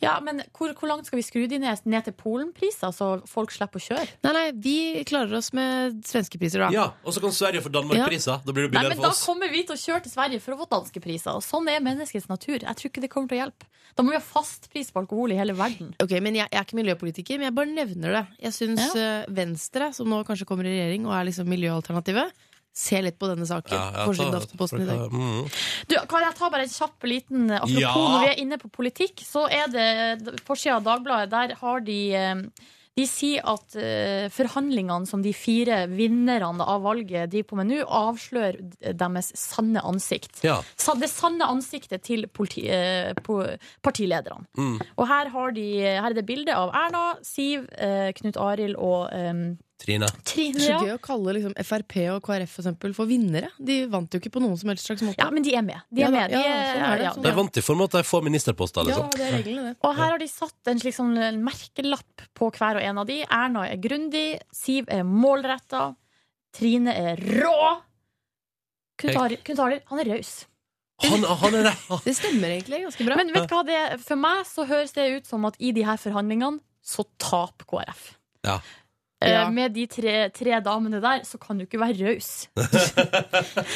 [SPEAKER 3] Ja, men hvor, hvor langt skal vi skru de ned? Ned til Polen-priser, så folk slipper å kjøre?
[SPEAKER 4] Nei, nei, vi klarer oss med svenske priser, da.
[SPEAKER 2] Ja, og så kan Sverige få Danmark-priser. Da blir det
[SPEAKER 3] Nei,
[SPEAKER 2] billigere
[SPEAKER 3] men
[SPEAKER 2] for
[SPEAKER 3] Da
[SPEAKER 2] oss.
[SPEAKER 3] kommer vi til å kjøre til Sverige for å få danske priser. Og sånn er menneskets natur. Jeg tror ikke det kommer til å hjelpe. Da må vi ha fast pris på alkohol i hele verden.
[SPEAKER 4] Ok, men jeg, jeg er ikke miljøpolitiker, men jeg eh, bare nevner det. Jeg syns Venstre, som nå kanskje kommer i regjering og er liksom miljøalternativet, se litt på denne saken.
[SPEAKER 2] Ja, ja,
[SPEAKER 4] Forsiden
[SPEAKER 2] ta-
[SPEAKER 4] av Aftenposten i dag.
[SPEAKER 2] Mm.
[SPEAKER 3] Du, Kan jeg ta bare en kjapp liten Apropos
[SPEAKER 2] Ja.
[SPEAKER 3] når vi er inne på politikk, så er det forsida av Dagbladet. Der har de eh, De sier at eh, forhandlingene som de fire vinnerne av valget driver på med nå, avslører deres sanne ansikt.
[SPEAKER 2] Ja.
[SPEAKER 3] Sa- Det sanne ansiktet til politi, eh, po- partilederne.
[SPEAKER 2] Mm.
[SPEAKER 3] Og her, har de, her er det bilde av Erna, Siv, eh, Knut Arild og eh,
[SPEAKER 2] Trine.
[SPEAKER 4] Det er
[SPEAKER 3] Trine.
[SPEAKER 4] så
[SPEAKER 3] Ja.
[SPEAKER 4] gøy å kalle liksom, Frp og KrF for, eksempel, for vinnere. De vant jo ikke på noen som helst slags måte.
[SPEAKER 3] ja, men de er med. De
[SPEAKER 4] Ja
[SPEAKER 3] er
[SPEAKER 4] da,
[SPEAKER 3] med. De
[SPEAKER 4] ja,
[SPEAKER 3] er,
[SPEAKER 4] sånn er det,
[SPEAKER 3] ja,
[SPEAKER 4] sånn
[SPEAKER 2] De vant i form av at de får ministerposter, liksom.
[SPEAKER 4] det er reglene, det.
[SPEAKER 3] Og her har de satt en slik sånn merkelapp på hver og en av de. Erna er grundig, Siv er målretta, Trine er rå. Knut
[SPEAKER 2] Jeg-
[SPEAKER 3] Arild- Knut Arild, han er raus.
[SPEAKER 2] Han, han er der!
[SPEAKER 4] Det stemmer egentlig ganske bra.
[SPEAKER 3] Men vet du hva det er? for meg så høres det ut som at i de her forhandlingene så taper KrF.
[SPEAKER 2] Ja.
[SPEAKER 3] Eh,
[SPEAKER 4] Ja.
[SPEAKER 3] Med de tre, tre damene der, så kan du ikke være raus.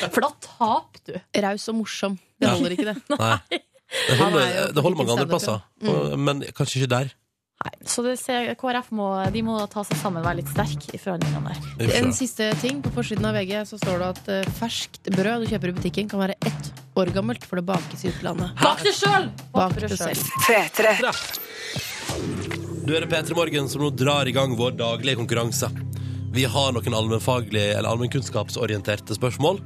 [SPEAKER 3] For da taper du.
[SPEAKER 4] Raus og morsom. Det
[SPEAKER 2] Ja.
[SPEAKER 4] holder ikke, det.
[SPEAKER 2] Nei. Det
[SPEAKER 4] Han er
[SPEAKER 2] holder,
[SPEAKER 4] jo Mm.
[SPEAKER 2] det holder mange andre
[SPEAKER 4] politikken
[SPEAKER 2] plasser, men kanskje ikke der.
[SPEAKER 3] Nei, så det ser, KrF må, de må ta seg sammen, være litt sterk i forhandlingene der.
[SPEAKER 2] Vi får
[SPEAKER 4] En
[SPEAKER 2] se.
[SPEAKER 4] siste ting. På forsiden av VG så står det at eh, ferskt brød du kjøper i butikken, kan være ett år gammelt, for det bakes i utlandet.
[SPEAKER 3] Bak det sjøl!
[SPEAKER 4] Bak det selv.
[SPEAKER 2] Du er det P3 Morgen som nå drar i gang vår daglige konkurranse. Vi har noen allmennfaglige eller allmennkunnskapsorienterte spørsmål.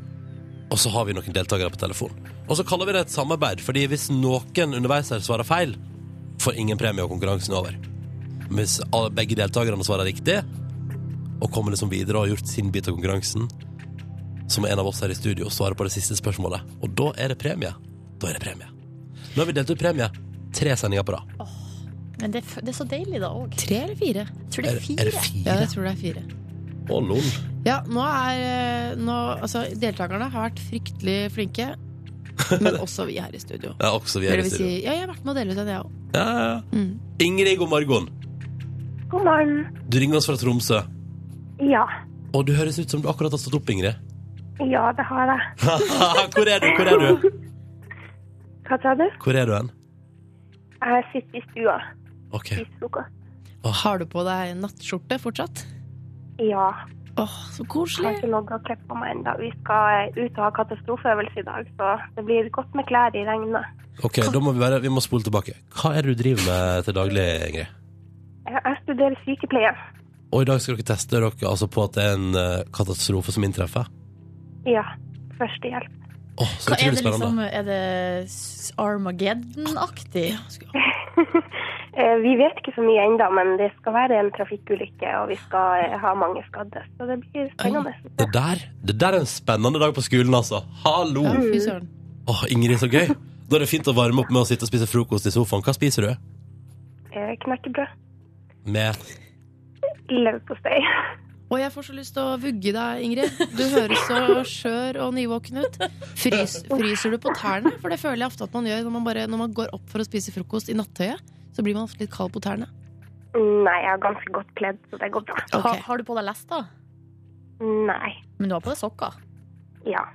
[SPEAKER 2] Og så har vi noen deltakere på telefon. Og så kaller vi det et samarbeid, fordi hvis noen underveis her svarer feil, får ingen premie og konkurransen er over. Men Hvis alle- begge deltakerne svarer riktig, og kommer liksom videre og har gjort sin bit av konkurransen, så må en av oss her i studio svare på det siste spørsmålet. Og da er det premie. Da er det premie. Nå har vi delt ut premie tre sendinger på rad.
[SPEAKER 3] Men det, er f- det er så deilig da òg.
[SPEAKER 4] Tre eller fire?
[SPEAKER 3] Jeg tror det er
[SPEAKER 2] Er
[SPEAKER 3] fire.
[SPEAKER 2] det Eh, fire?
[SPEAKER 4] Ja, jeg tror det er fire.
[SPEAKER 2] Å, lol.
[SPEAKER 4] Ja, nå er eh, nå, altså, Deltakerne har vært fryktelig flinke, men også vi her i studio.
[SPEAKER 2] Ja, også vi er
[SPEAKER 4] Eller
[SPEAKER 2] i
[SPEAKER 4] vil si,
[SPEAKER 2] studio.
[SPEAKER 4] ja, jeg har vært med å dele ut en, jeg òg.
[SPEAKER 2] Ja, ja, ja.
[SPEAKER 4] Mm.
[SPEAKER 2] Ingrid, god morgen.
[SPEAKER 7] God morgen.
[SPEAKER 2] Du ringer oss fra Tromsø.
[SPEAKER 7] Ja.
[SPEAKER 2] Og du høres ut som du akkurat har stått opp, Ingrid.
[SPEAKER 7] Ja, det har jeg.
[SPEAKER 2] Hvor er du? Hvor er du?
[SPEAKER 7] Hva sa du?
[SPEAKER 2] Hvor er du hen?
[SPEAKER 7] Jeg sitter i stua.
[SPEAKER 2] OK.
[SPEAKER 7] Spiser frokost.
[SPEAKER 4] Har du på deg nattskjorte fortsatt?
[SPEAKER 7] Ja.
[SPEAKER 4] Åh, så
[SPEAKER 7] Jeg har
[SPEAKER 4] koselig!
[SPEAKER 7] ikke logget og klippet på meg ennå. Vi skal eh, ut og ha katastrofeøvelse i dag, så det blir godt med klær i regnet.
[SPEAKER 2] Ok, Da må vi, bare, vi må spole tilbake. Hva er det du driver med til daglig, Ingrid?
[SPEAKER 7] Jeg jeg studerer sykepleie.
[SPEAKER 2] Og i dag skal dere teste dere altså på at det er en eh, katastrofe som inntreffer?
[SPEAKER 7] Ja. Førstehjelp.
[SPEAKER 2] Åh, så
[SPEAKER 3] Hva er
[SPEAKER 2] utrolig
[SPEAKER 3] det
[SPEAKER 2] spennende.
[SPEAKER 3] liksom Er det s- Armageddon-aktig?
[SPEAKER 7] Eh, Vi vet ikke så mye ennå, men det skal være en trafikkulykke, og vi skal eh, ha mange skadde. Så det blir spennende.
[SPEAKER 2] Det der, det der er en spennende dag på skolen, altså. Hallo!
[SPEAKER 4] Ja, fy søren.
[SPEAKER 2] Åh, Ingrid, så gøy. Da er det fint å varme opp med å sitte og spise frokost i sofaen. Hva spiser du?
[SPEAKER 7] Eh, Knekkebrød.
[SPEAKER 2] Med
[SPEAKER 7] Leverpostei.
[SPEAKER 4] Og jeg får så lyst til å vugge deg, Ingrid. Du høres så skjør og nyvåken ut. Frys, fryser du på tærne? For det føler jeg ofte at man gjør når man, bare, når man går opp for å spise frokost i nattøyet. Så blir man ofte litt kald på tærne.
[SPEAKER 7] Nei, jeg er ganske godt kledd, så det går bra.
[SPEAKER 4] Ok.
[SPEAKER 3] Ha, har du på deg lester?
[SPEAKER 7] Nei.
[SPEAKER 3] Men du har på deg sokker.
[SPEAKER 7] Ja.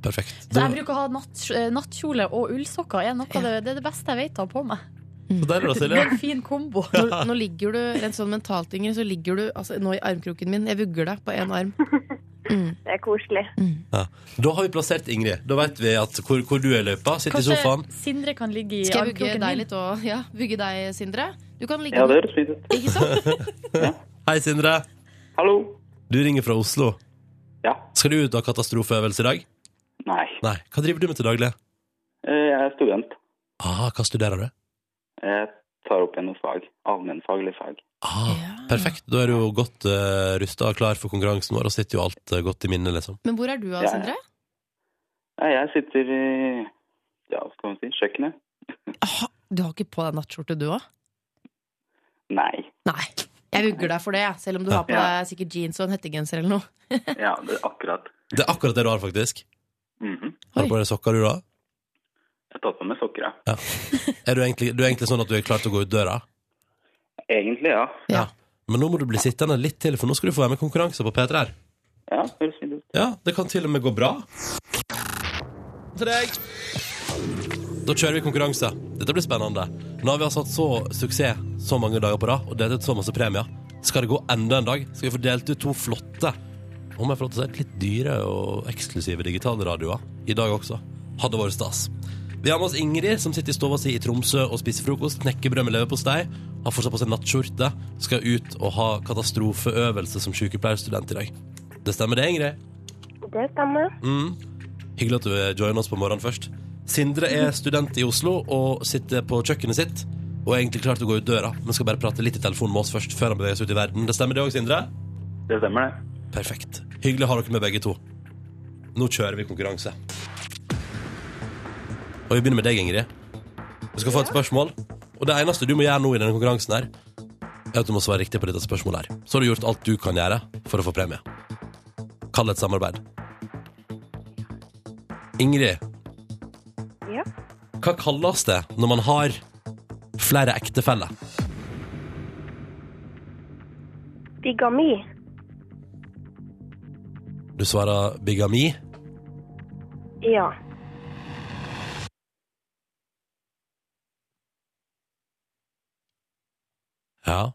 [SPEAKER 2] Perfekt.
[SPEAKER 3] Så jeg
[SPEAKER 2] Da-
[SPEAKER 3] bruker å ha natt, eh, nattkjole og ullsokker. Er noe, av det, det er det beste jeg vet å ha på meg.
[SPEAKER 2] Så der er det,
[SPEAKER 3] Det
[SPEAKER 2] Silje.
[SPEAKER 3] er en fin kombo.
[SPEAKER 4] Nå, nå ligger du rent sånn mentalt, Ingrid, så ligger du altså, nå i armkroken min. Jeg vugger deg på én arm. Mm.
[SPEAKER 7] Det er koselig.
[SPEAKER 2] Da har vi plassert Ingrid. Da vet vi at hvor, hvor du er i løypa. Sitt i sofaen.
[SPEAKER 3] Kanskje Sindre kan ligge i
[SPEAKER 4] Skal jeg vugge
[SPEAKER 3] armkroken
[SPEAKER 4] deg
[SPEAKER 3] min?
[SPEAKER 4] litt òg? Ja, vugge deg, Sindre? Du kan ligge
[SPEAKER 8] Ja, det høres fint ut.
[SPEAKER 4] Ikke sant?
[SPEAKER 2] Hei, Sindre.
[SPEAKER 8] Hallo.
[SPEAKER 2] Du ringer fra Oslo.
[SPEAKER 8] Ja.
[SPEAKER 2] Skal du ut og ha katastrofeøvelse i dag?
[SPEAKER 8] Nei,
[SPEAKER 2] Nei. Hva driver du med til daglig?
[SPEAKER 8] Eh, jeg er student.
[SPEAKER 2] Ah, hva studerer du?
[SPEAKER 8] Jeg tar opp igjen noe fag. Allmennfaglig fag.
[SPEAKER 2] Ah,
[SPEAKER 4] Ja.
[SPEAKER 2] Perfekt. Da er du jo godt uh, rusta og klar for konkurransen vår, og sitter jo alt eh, godt i minnet, liksom.
[SPEAKER 4] Men hvor er du av,
[SPEAKER 8] Ja, ja.
[SPEAKER 4] Sindre?
[SPEAKER 8] Nei, Jeg sitter i ja, hva skal man si, kjøkkenet.
[SPEAKER 4] Ah, Du har ikke på deg nattskjorte, du òg?
[SPEAKER 8] Nei.
[SPEAKER 4] Nei. Jeg vugger deg for det, jeg, selv om du har på
[SPEAKER 8] Ja.
[SPEAKER 4] deg sikkert jeans og en hettegenser eller noe.
[SPEAKER 8] Ja, det er akkurat.
[SPEAKER 2] Det er akkurat det du har, faktisk.
[SPEAKER 8] Mhm.
[SPEAKER 2] Har
[SPEAKER 4] Oi.
[SPEAKER 2] du på deg sokker, du, da?
[SPEAKER 8] Jeg har tatt på meg sokker, ja.
[SPEAKER 2] Er du egentlig, du er egentlig sånn at du er klar til å gå ut døra?
[SPEAKER 8] Egentlig, ja.
[SPEAKER 4] Ja.
[SPEAKER 2] Men nå må du bli sittende litt til, for nå skal du få være med i konkurranse på P3 her.
[SPEAKER 8] Ja, det høres fint ut.
[SPEAKER 2] Ja, det kan til og med gå bra. Til deg. Da kjører vi konkurranse. Dette blir spennende. Nå har vi altså hatt så suksess så mange dager på rad og delt ut så masse premier. Skal det gå enda en dag, skal vi få delt ut to flotte om jeg får lov til å si, litt dyre og eksklusive digitale radioer i dag også. Hadde vært stas. Vi har med oss Ingrid, som sitter i stova si i Tromsø og spiser frokost, knekker brød med leverpostei, har fortsatt på seg nattskjorte, skal ut og ha katastrofeøvelse som sykepleierstudent i dag. Det stemmer det, Ingrid?
[SPEAKER 7] Det stemmer.
[SPEAKER 2] Mm. Hyggelig at du eh, joiner oss på morgenen først. Sindre er student i Oslo og sitter på kjøkkenet sitt. Og er egentlig klar til å gå ut døra, men skal bare prate litt i telefonen med oss først. før han beveger seg ut i verden. Det stemmer det òg, Sindre?
[SPEAKER 8] Det stemmer, det.
[SPEAKER 2] Perfekt. Hyggelig å ha dere med begge to. Nå kjører vi konkurranse. Og vi begynner med deg, Ingrid. Du skal få et spørsmål. Og det eneste du må gjøre nå i denne konkurransen, her, er at du må svare riktig på dette spørsmålet. her. Så har du gjort alt du kan gjøre for å få premie. Kall det et samarbeid. Ingrid,
[SPEAKER 7] Ja.
[SPEAKER 2] hva kalles det når man har flere ektefeller?
[SPEAKER 7] Bigami.
[SPEAKER 2] Du svarer bigami.
[SPEAKER 7] Ja.
[SPEAKER 2] Ja.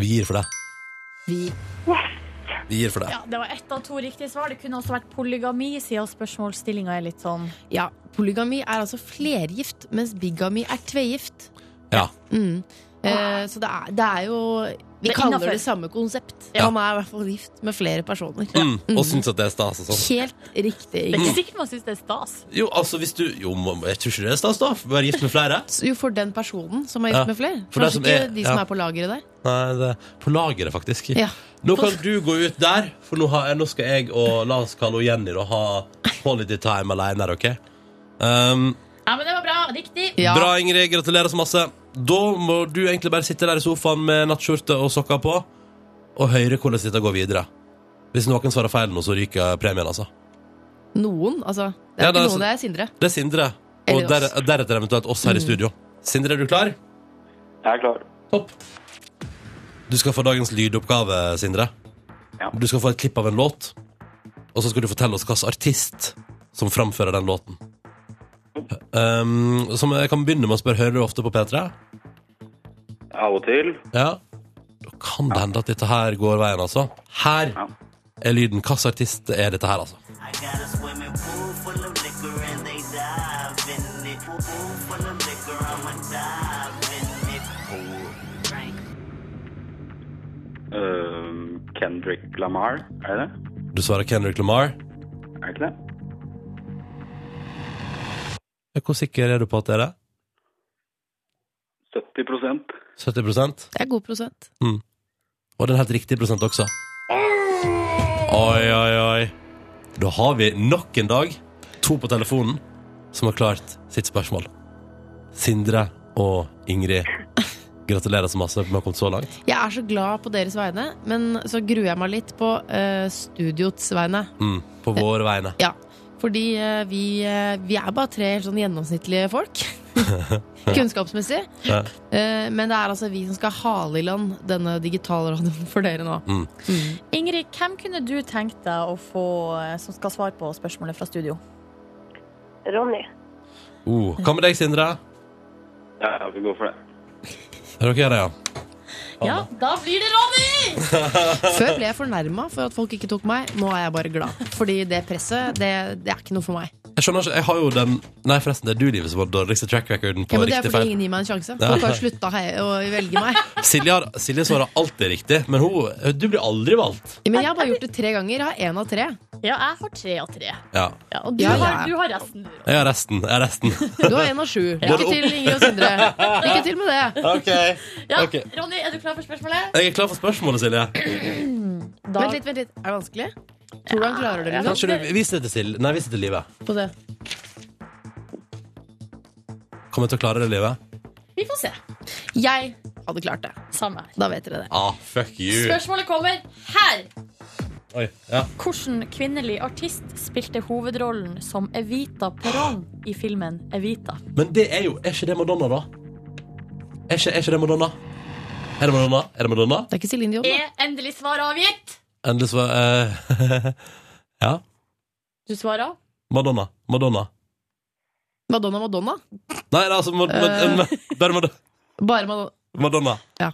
[SPEAKER 2] Vi gir for det. Vi gir for det.
[SPEAKER 3] Ja, det var ett av to riktige svar. Det kunne også vært polygami, siden spørsmålsstillinga er litt sånn
[SPEAKER 4] Ja, polygami er altså flergift, mens bigami er tvegift.
[SPEAKER 2] Ja.
[SPEAKER 4] Mm. Eh, så det er, det er jo Vi
[SPEAKER 3] Det er
[SPEAKER 4] kaller
[SPEAKER 3] innenfor.
[SPEAKER 4] det samme konsept.
[SPEAKER 2] Ja.
[SPEAKER 4] Man er i hvert fall gift med flere personer.
[SPEAKER 2] Mm, og syns at det er stas og sånn.
[SPEAKER 4] Helt riktig.
[SPEAKER 3] Det
[SPEAKER 2] Mm.
[SPEAKER 3] er
[SPEAKER 4] Ingrid.
[SPEAKER 3] ikke sikkert man syns det er stas.
[SPEAKER 2] Jo, altså hvis du Jo, må- jeg tror ikke det er stas, da. Være gift med flere.
[SPEAKER 4] Jo, for den personen som er gift
[SPEAKER 2] Ja.
[SPEAKER 4] med flere.
[SPEAKER 2] For det
[SPEAKER 4] Kanskje
[SPEAKER 2] som
[SPEAKER 4] ikke
[SPEAKER 2] er-
[SPEAKER 4] de som
[SPEAKER 2] ja.
[SPEAKER 4] er på lageret der.
[SPEAKER 2] Nei, det er på lageret, faktisk.
[SPEAKER 4] Ja.
[SPEAKER 2] Nå kan du gå ut der, for nå, har, jeg- nå skal jeg og la oss kalle henne Jenny og ha quality time alene her, OK? Um,
[SPEAKER 3] Ja, men det var bra. Riktig.
[SPEAKER 4] Ja.
[SPEAKER 2] Bra, Ingrid. Gratulerer så masse. Da må du egentlig bare sitte der i sofaen med nattskjorte og sokker på og høre hvordan dette går videre. Hvis noen svarer feil nå, så ryker premien, altså.
[SPEAKER 4] Noen, altså. Det er
[SPEAKER 2] Ja, det er
[SPEAKER 4] ikke
[SPEAKER 2] så-
[SPEAKER 4] noen, det er Sindre.
[SPEAKER 2] Det er Sindre, og
[SPEAKER 4] Eller
[SPEAKER 2] der,
[SPEAKER 4] oss.
[SPEAKER 2] deretter eventuelt oss her i studio. Sindre, er du klar?
[SPEAKER 8] Jeg er klar.
[SPEAKER 2] Topp. Du skal få dagens lydoppgave, Sindre.
[SPEAKER 8] Ja.
[SPEAKER 2] Du skal få et klipp av en låt, og så skal du fortelle oss hvilken artist som framfører den låten. Um, som jeg kan begynne med å spørre, hører du ofte på P3?
[SPEAKER 8] Av og til.
[SPEAKER 2] Ja. Da kan det hende at dette her går veien, altså. Her
[SPEAKER 8] Ja.
[SPEAKER 2] er lyden. Hvilken artist er dette her, altså?
[SPEAKER 9] I got a swimming pool full of liquor and they dive in it. Pool, pool full of liquor, I'ma dive in it.
[SPEAKER 8] Øhm, eh, Kendrick Lamar, er det det?
[SPEAKER 2] Du svarer Kendrick Lamar.
[SPEAKER 8] Er det ikke det?
[SPEAKER 2] Ja, Hvor sikker er du på at det er det?
[SPEAKER 8] 70
[SPEAKER 2] 70
[SPEAKER 4] Det er god prosent.
[SPEAKER 2] Og den helt riktige prosent også. Oi, oi, oi. Da har vi nok en dag to på telefonen som har klart sitt spørsmål. Sindre og Ingrid. Gratulerer så masse med å ha kommet så langt.
[SPEAKER 4] Jeg er så glad på deres vegne, men så gruer jeg meg litt på eh, studiots vegne.
[SPEAKER 2] Mm, på våre vegne.
[SPEAKER 4] Ja, fordi eh, vi, eh, vi er bare tre helt sånn gjennomsnittlige folk. Kunnskapsmessig.
[SPEAKER 2] Ja.
[SPEAKER 4] Eh, Men det er altså vi som skal hale i land denne digitalradioen for dere nå.
[SPEAKER 2] Mm.
[SPEAKER 3] Ingrid, hvem kunne du tenkt deg å få eh, som skal svare på spørsmålet fra studio?
[SPEAKER 7] Ronny.
[SPEAKER 2] Uh, hva med deg, Sindre?
[SPEAKER 8] Ja, ja, vi går for det.
[SPEAKER 2] Er dere her, ja?
[SPEAKER 3] Ja, da blir det Ronny!
[SPEAKER 4] Før ble jeg fornærma for at folk ikke tok meg. Nå er jeg bare glad. Fordi det presset, det, det er ikke noe for meg.
[SPEAKER 2] Jeg skjønner ikke, jeg har jo den Nei, forresten, det er du, Livet, som har den dårligste track recorden på
[SPEAKER 4] Ja, men det er
[SPEAKER 2] riktig
[SPEAKER 4] fordi
[SPEAKER 2] feil.
[SPEAKER 4] ingen gir meg en sjanse.
[SPEAKER 2] Ja.
[SPEAKER 4] Folk har slutta å velge meg.
[SPEAKER 2] Silje, har, Silje svarer alltid riktig, men hun, du blir aldri valgt.
[SPEAKER 4] Men jeg har bare gjort det tre ganger. Jeg har én av tre.
[SPEAKER 3] Ja, jeg har tre av tre.
[SPEAKER 2] Ja.
[SPEAKER 3] Ja, og du,
[SPEAKER 4] Ja, ja.
[SPEAKER 3] Har, du har resten. du, Ronny.
[SPEAKER 2] Jeg har resten. Jeg har resten.
[SPEAKER 4] Du har én av sju. Lykke til, Ingrid og Sindre. Lykke til med det.
[SPEAKER 2] OK.
[SPEAKER 3] Ja,
[SPEAKER 2] Ok.
[SPEAKER 3] Ronny, er du klar for spørsmålet?
[SPEAKER 2] Jeg er klar for spørsmålet, Silje.
[SPEAKER 3] Da,
[SPEAKER 4] Vent litt, vent litt. Er det vanskelig? Tror du han klarer det? Liksom?
[SPEAKER 2] Kanskje du Vis det til Silje. Nei, vis det til livet.
[SPEAKER 4] På det.
[SPEAKER 2] Kommer jeg til å klare det, livet?
[SPEAKER 3] Vi får se.
[SPEAKER 4] Jeg hadde klart det.
[SPEAKER 3] Samme her.
[SPEAKER 4] Da vet dere det.
[SPEAKER 2] Ah, fuck you.
[SPEAKER 3] Spørsmålet kommer her.
[SPEAKER 2] Oi, ja.
[SPEAKER 3] Hvilken kvinnelig artist spilte hovedrollen som Evita Perón i filmen Evita?
[SPEAKER 2] Men det er jo Er ikke det Madonna, da? Er ikke, er ikke det Madonna? Er det Madonna? Er det Madonna?
[SPEAKER 4] Det er ikke Celine Dion. da.
[SPEAKER 3] Er endelig svar avgitt?
[SPEAKER 2] Endelig svar eh, Ja.
[SPEAKER 3] Du svarer?
[SPEAKER 2] Madonna. Madonna.
[SPEAKER 4] Madonna, Madonna. Eh.
[SPEAKER 2] Nei, altså Mad- Mad- Bare Madonna.
[SPEAKER 4] Bare Madonna.
[SPEAKER 2] Madonna.
[SPEAKER 4] Ja.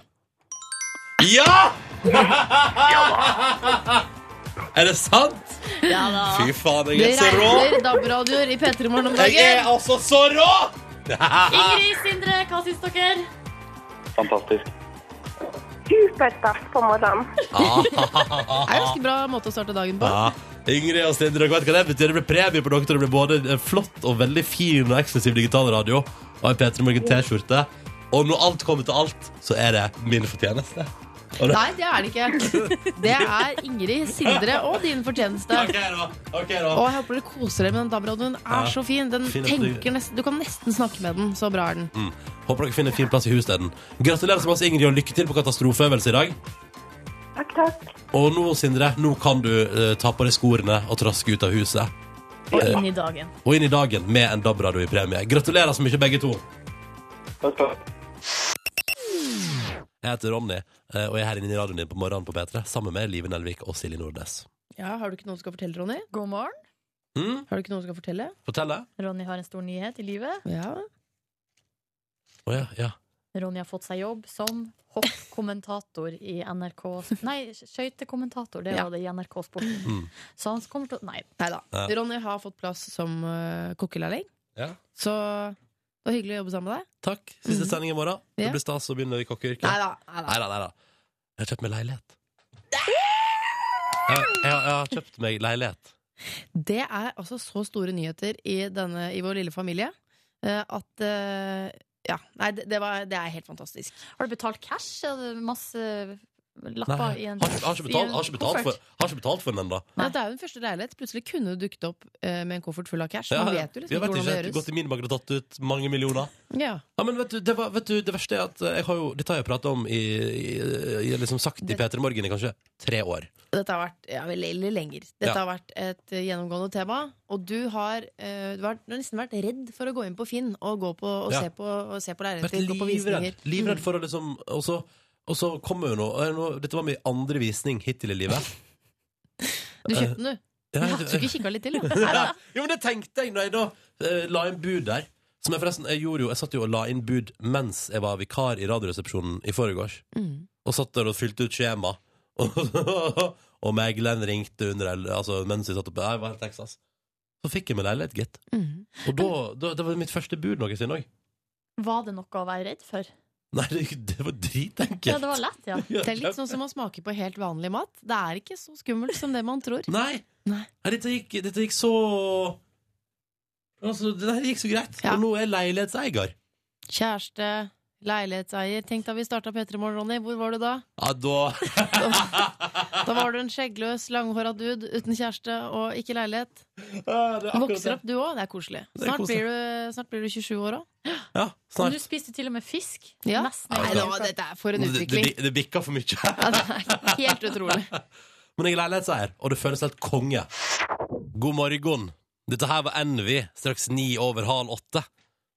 [SPEAKER 2] Ja! er det sant?
[SPEAKER 3] Ja da.
[SPEAKER 2] Fy faen,
[SPEAKER 4] Det
[SPEAKER 2] jeg er så rå!
[SPEAKER 4] regner DAB-radioer i P3 Morgen om
[SPEAKER 2] Jeg er
[SPEAKER 4] dagen.
[SPEAKER 2] altså så rå!
[SPEAKER 3] Ingrid, Sindre, hva syns dere?
[SPEAKER 8] Fantastisk.
[SPEAKER 7] Superstart på morgenen.
[SPEAKER 4] Det er en ganske bra måte å starte dagen på.
[SPEAKER 2] Ja. Ingrid og Sindre, dere vet hva det betyr. Det blir premie på dere. Det blir både en flott og veldig fin og eksklusiv digital radio og en P3 Morgen T-skjorte. Og når alt kommer til alt, så er det min fortjeneste. Og det-
[SPEAKER 4] Nei, det er det ikke. Det er Ingrid, Sindre og din fortjeneste.
[SPEAKER 2] Ok, da. ok da.
[SPEAKER 4] Og jeg håper dere koser dere med den DAB-radioen. Den
[SPEAKER 2] Ja.
[SPEAKER 4] er så fin. Den
[SPEAKER 2] Fin Mm. at du-
[SPEAKER 4] tenker nesten, Du kan nesten snakke med den. Så bra er den.
[SPEAKER 2] Håper dere finner en fin plass i hussteden. Gratulerer så masse, Ingrid, og lykke til på katastrofeøvelse i dag.
[SPEAKER 7] Takk, takk.
[SPEAKER 2] Og nå, Sindre, nå kan du eh, ta på deg skorene og traske ut av huset.
[SPEAKER 3] Og inn i dagen.
[SPEAKER 2] Og inn i dagen med en DAB-radio i premie. Gratulerer så mye, begge to.
[SPEAKER 8] Takk, takk.
[SPEAKER 2] Jeg heter Ronny, eh, og jeg er her inne i radioen din på morgenen på P3 sammen med Live Nelvik og Silje Nordnes.
[SPEAKER 4] Ja, Har du ikke noe du skal fortelle, Ronny?
[SPEAKER 3] God morgen.
[SPEAKER 2] Mm?
[SPEAKER 4] Har du ikke noe du skal fortelle?
[SPEAKER 2] Fortell det.
[SPEAKER 3] Ronny har en stor nyhet i livet.
[SPEAKER 4] Ja.
[SPEAKER 2] Å ja, ja.
[SPEAKER 3] Ronny har fått seg jobb som hoppkommentator i NRK Nei, skøytekommentator. Det
[SPEAKER 4] Ja.
[SPEAKER 3] var det i NRK Sporten.
[SPEAKER 2] Mm.
[SPEAKER 3] Så han kommer til å Nei.
[SPEAKER 4] Nei da.
[SPEAKER 2] Ja.
[SPEAKER 4] Ronny har fått plass som uh, kokkelærling.
[SPEAKER 2] ja.
[SPEAKER 4] Så det var hyggelig å jobbe sammen med deg.
[SPEAKER 2] Takk. Siste sending i morgen. Det
[SPEAKER 4] Mm. Ja.
[SPEAKER 2] blir stas å begynne i kokkeyrket.
[SPEAKER 4] Nei da. Nei da.
[SPEAKER 2] Nei da, nei da. Jeg har kjøpt meg leilighet. Jeg, jeg, har- jeg har kjøpt meg leilighet.
[SPEAKER 4] Det er altså så store nyheter i, denne, i vår lille familie eh, at eh, Ja. Nei, det, det, var, det er helt fantastisk.
[SPEAKER 3] Har du betalt cash? Er det Masse
[SPEAKER 2] Nei,
[SPEAKER 3] lapper i
[SPEAKER 2] jeg
[SPEAKER 3] en
[SPEAKER 2] har, ikke- jeg har ikke betalt, jeg har ikke betalt, for- jeg har ikke betalt for den ennå.
[SPEAKER 4] Ja, det er jo den første leilighet. Plutselig kunne du dukket opp eh, med en koffert full av cash. Man
[SPEAKER 2] jeg
[SPEAKER 4] vet jo liksom ikke hvordan det
[SPEAKER 2] jeg har
[SPEAKER 4] gjøres.
[SPEAKER 2] gått i min bank og tatt ut mange millioner.
[SPEAKER 4] Ja.
[SPEAKER 2] Ja, men vet du, det, var, vet du, det verste er at jeg har jo, dette har jeg prata om i, i, i liksom sagt i
[SPEAKER 4] Det-
[SPEAKER 2] P3 Morgen i kanskje tre år.
[SPEAKER 4] Dette har vært ja, vel, eller lenger. Dette
[SPEAKER 2] Ja.
[SPEAKER 4] har vært et eh, gjennomgående tema. Og du har, eh, du har du har nesten vært redd for å gå inn på Finn og, gå på, og
[SPEAKER 2] Ja.
[SPEAKER 4] se på, og se på
[SPEAKER 2] Vært
[SPEAKER 4] leiligheter. Gå på visninger.
[SPEAKER 2] livredd,
[SPEAKER 4] Mm.
[SPEAKER 2] livredd for å liksom Og så, og så kommer jo nå, og jeg- nå Dette var min andre visning hittil i livet. Eh,
[SPEAKER 4] Du kjøpte den, du.
[SPEAKER 2] Ja,
[SPEAKER 4] Ja,
[SPEAKER 2] jeg-
[SPEAKER 4] du ikke kikka litt til, da. Nei, da.
[SPEAKER 2] Jo, men det tenkte jeg når jeg da eh, la inn bud der. Som jeg forresten, jeg gjorde jo, jeg satt jo og la inn bud mens jeg var vikar i Radioresepsjonen i forgårs.
[SPEAKER 4] Mm.
[SPEAKER 2] Og satt der og fylte ut skjema. og megleren ringte under altså, mens vi satt oppe. Jeg var helt Texas. Så fikk jeg meg leilighet, gitt.
[SPEAKER 4] Mm.
[SPEAKER 2] Og da, da, det var mitt første bud noensinne òg.
[SPEAKER 3] Var det noe å være redd for?
[SPEAKER 2] Nei, det, det var dritenkelt.
[SPEAKER 3] Ja, det var lett, ja.
[SPEAKER 4] Det er litt sånn som å smake på helt vanlig mat. Det er ikke så skummelt som det man tror.
[SPEAKER 2] Nei!
[SPEAKER 4] sånn- Nei.
[SPEAKER 2] Nei, Dette, gikk, dette gikk så Altså, det her gikk så greit.
[SPEAKER 4] Ja.
[SPEAKER 2] Og nå er jeg leilighetseier.
[SPEAKER 4] Kjæreste, leilighetseier. Tenk da vi starta P3 Morgen, Ronny. Hvor var du da?
[SPEAKER 2] Ja, da
[SPEAKER 4] Da var du en skjeggløs, langhåra dude uten kjæreste og ikke leilighet.
[SPEAKER 2] Ja, det er
[SPEAKER 4] Du
[SPEAKER 2] akkurat
[SPEAKER 4] vokser
[SPEAKER 2] det.
[SPEAKER 4] opp, du òg. Det er koselig.
[SPEAKER 2] Det er
[SPEAKER 4] Snart
[SPEAKER 2] koselig.
[SPEAKER 4] blir du, snart blir du 27 år òg.
[SPEAKER 2] Ja,
[SPEAKER 3] Og
[SPEAKER 2] snart.
[SPEAKER 3] du spiste til og med fisk.
[SPEAKER 4] Ja.
[SPEAKER 3] Nesten.
[SPEAKER 2] Nei,
[SPEAKER 4] Nei,
[SPEAKER 2] da
[SPEAKER 4] da,
[SPEAKER 2] var
[SPEAKER 4] dette er for en
[SPEAKER 2] Det, det,
[SPEAKER 4] utvikling.
[SPEAKER 2] det bikka for mye.
[SPEAKER 4] Ja, det er helt utrolig.
[SPEAKER 2] Men jeg er leilighetseier, og det føles helt konge. God morgen. Dette her var Envy, straks ni over halv åtte.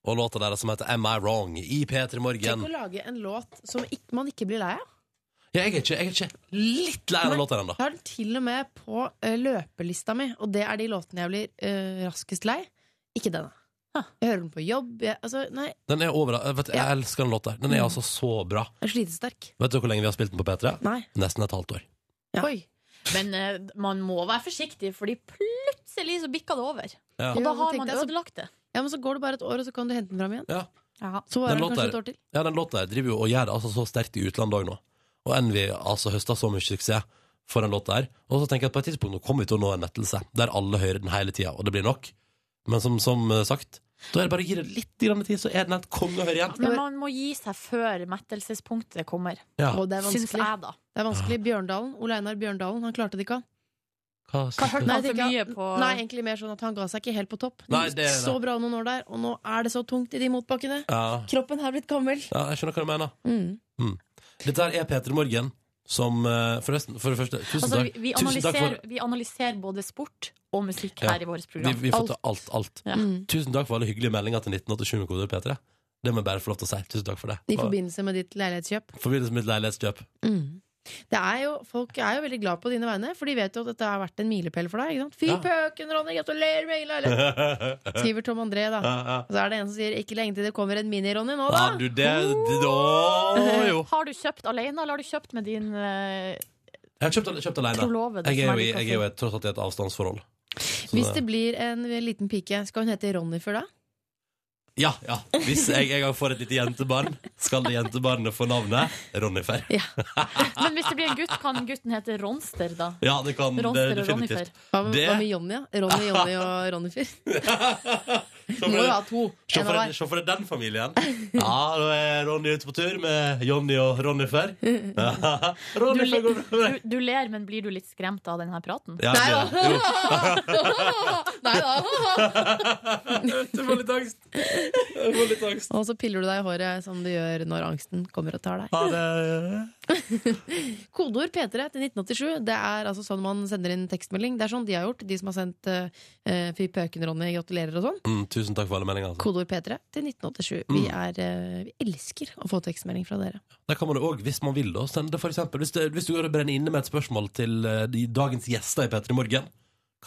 [SPEAKER 2] Og låta deres som heter Am I Wrong i P3 Morgen.
[SPEAKER 4] Tenk å lage en låt som ikke, man ikke blir lei av.
[SPEAKER 2] Ja, jeg, er ikke, jeg er ikke litt lei av den låta ennå.
[SPEAKER 4] Jeg har den til og med på eh, løpelista mi, og det er de låtene jeg blir eh, raskest lei. Ikke denne. Jeg hører den på jobb. Jeg, altså, nei,
[SPEAKER 2] Den er over, jeg, vet, jeg elsker den låta. her.
[SPEAKER 3] Mm.
[SPEAKER 2] Den er altså så bra.
[SPEAKER 4] jeg er slitesterk.
[SPEAKER 2] Vet du hvor lenge vi har spilt den på P3?
[SPEAKER 4] Nei.
[SPEAKER 2] Nesten et halvt år.
[SPEAKER 4] Ja.
[SPEAKER 3] Oi. Men eh, man må være forsiktig, fordi plutselig så bikka det over.
[SPEAKER 2] Ja.
[SPEAKER 3] Og da
[SPEAKER 4] Jo, men
[SPEAKER 3] har
[SPEAKER 4] tenk
[SPEAKER 3] man
[SPEAKER 4] deg så-
[SPEAKER 3] ødelagt det.
[SPEAKER 4] altså, Ja, men så går det bare et år, og så kan du hente den fram igjen.
[SPEAKER 2] Ja.
[SPEAKER 4] Så varer
[SPEAKER 2] Den
[SPEAKER 4] den
[SPEAKER 2] låta
[SPEAKER 4] kanskje
[SPEAKER 2] er-
[SPEAKER 4] et år til.
[SPEAKER 2] Ja, den låta her driver jo og gjør det altså, så sterkt i utlandet òg nå. Og Envy altså, høsta så mye suksess for den låta her. Og så tenker jeg at på et tidspunkt nå kommer vi til å nå en lettelse der alle hører den hele tida, og det blir nok. Men som, som eh, sagt, da er det bare å gi det litt grann tid, så er den et konge å høre igjen.
[SPEAKER 3] Men man må gi seg før mettelsespunktet kommer.
[SPEAKER 2] Ja.
[SPEAKER 4] Og det er
[SPEAKER 3] Syns
[SPEAKER 4] vanskelig.
[SPEAKER 3] jeg, da.
[SPEAKER 4] Det er vanskelig. Bjørndalen. Ole Einar Bjørndalen. Han klarte det ikke, han.
[SPEAKER 2] Hva,
[SPEAKER 3] Hva hørte
[SPEAKER 4] Nei,
[SPEAKER 3] man for mye
[SPEAKER 4] tenker
[SPEAKER 3] på
[SPEAKER 4] Nei, egentlig mer sånn at han ga seg ikke helt på topp. Det
[SPEAKER 2] Nei,
[SPEAKER 4] gikk
[SPEAKER 2] det er det.
[SPEAKER 4] så bra noen år der, og nå er det så tungt i de motbakkene.
[SPEAKER 2] ja.
[SPEAKER 4] Kroppen har blitt gammel.
[SPEAKER 2] ja, jeg skjønner hva du mener.
[SPEAKER 3] Mm.
[SPEAKER 2] Dette her er Peter Morgen, som eh, Forresten, for det første, tusen
[SPEAKER 3] altså,
[SPEAKER 2] takk.
[SPEAKER 3] vi, vi,
[SPEAKER 2] Tusen takk
[SPEAKER 3] analyserer,
[SPEAKER 2] for
[SPEAKER 3] vi analyserer både sport og musikk
[SPEAKER 2] Ja.
[SPEAKER 3] her i vårt
[SPEAKER 2] vi,
[SPEAKER 3] program.
[SPEAKER 2] vi får
[SPEAKER 3] Alt.
[SPEAKER 2] til alt, alt.
[SPEAKER 3] Ja.
[SPEAKER 2] Tusen takk for alle hyggelige meldinger til 1987 med koder P3. Det må jeg bare få lov til å si. Tusen takk for det.
[SPEAKER 4] I
[SPEAKER 2] Bare-
[SPEAKER 4] forbindelse med ditt leilighetskjøp.
[SPEAKER 2] I forbindelse med mitt leilighetskjøp.
[SPEAKER 4] Mm. Det er jo, folk er jo veldig glad på dine vegne, for de vet jo at dette har vært en milepæl for deg. Ikke sant? Fy
[SPEAKER 2] Ja.
[SPEAKER 4] pøken, Ronny! Gratulerer med egen leilighet! Skriver Tom André, da.
[SPEAKER 2] Ja, ja.
[SPEAKER 4] Og så er det en som sier 'ikke lenge til det kommer en mini-Ronny' nå, da.
[SPEAKER 2] Ja, du, det, det Å, jo.
[SPEAKER 3] Eh, Har du kjøpt alene, eller har du kjøpt med din eh,
[SPEAKER 2] Jeg har kjøpt, kjøpt alene.
[SPEAKER 3] trolovede?
[SPEAKER 2] Jeg er
[SPEAKER 3] som
[SPEAKER 2] jo, i-
[SPEAKER 3] liker
[SPEAKER 2] jeg er jo i et- tross alt i et avstandsforhold. Så
[SPEAKER 4] Hvis det blir en liten pike, skal hun hete Ronny før da?
[SPEAKER 2] Ja, ja. Hvis jeg en gang får et lite jentebarn, skal det jentebarnet få navnet Ronnifer.
[SPEAKER 3] fin. Men hvis det blir en gutt, kan gutten hete Ronster, da?
[SPEAKER 2] Ja, det kan det,
[SPEAKER 3] Ronster og Ronnifer.
[SPEAKER 2] definitivt.
[SPEAKER 4] Hva med,
[SPEAKER 2] Det-
[SPEAKER 4] hva med Jonny? Ja? Ronny, Jonny og Ronnifer.
[SPEAKER 2] Se
[SPEAKER 4] Du må jo ha
[SPEAKER 2] for
[SPEAKER 4] to.
[SPEAKER 2] se
[SPEAKER 4] En av
[SPEAKER 2] for deg
[SPEAKER 4] hver.
[SPEAKER 2] se for deg den familien. Ja, da er Ronny ute på tur med Jonny og Ronnifer. Ja,
[SPEAKER 3] Du,
[SPEAKER 2] Ronnifer går
[SPEAKER 3] le-
[SPEAKER 2] bra.
[SPEAKER 3] du, du ler, men blir du litt skremt av denne praten?
[SPEAKER 2] Ja,
[SPEAKER 4] Nei
[SPEAKER 2] det, jo,
[SPEAKER 4] Nei da!
[SPEAKER 2] det var litt angst. Det var litt angst.
[SPEAKER 4] Og så piller du deg i håret som du gjør når angsten kommer og tar deg.
[SPEAKER 2] Ha det.
[SPEAKER 4] Kodeord P3 til 1987. Det er altså sånn man sender inn tekstmelding. Det er sånn de har gjort, de som har sendt eh, eh, Fy pøken, Ronny, gratulerer og sånn.
[SPEAKER 2] Mm, tusen takk for alle meldinger. Altså.
[SPEAKER 4] Kodeord P3 til 1987. Vi, er, eh, vi elsker å få tekstmelding fra dere.
[SPEAKER 2] Der kan man jo også, hvis man vil, da, sende det for eksempel. Hvis, det, hvis du går og brenner inne med et spørsmål til eh, de dagens gjester i P3 Morgen,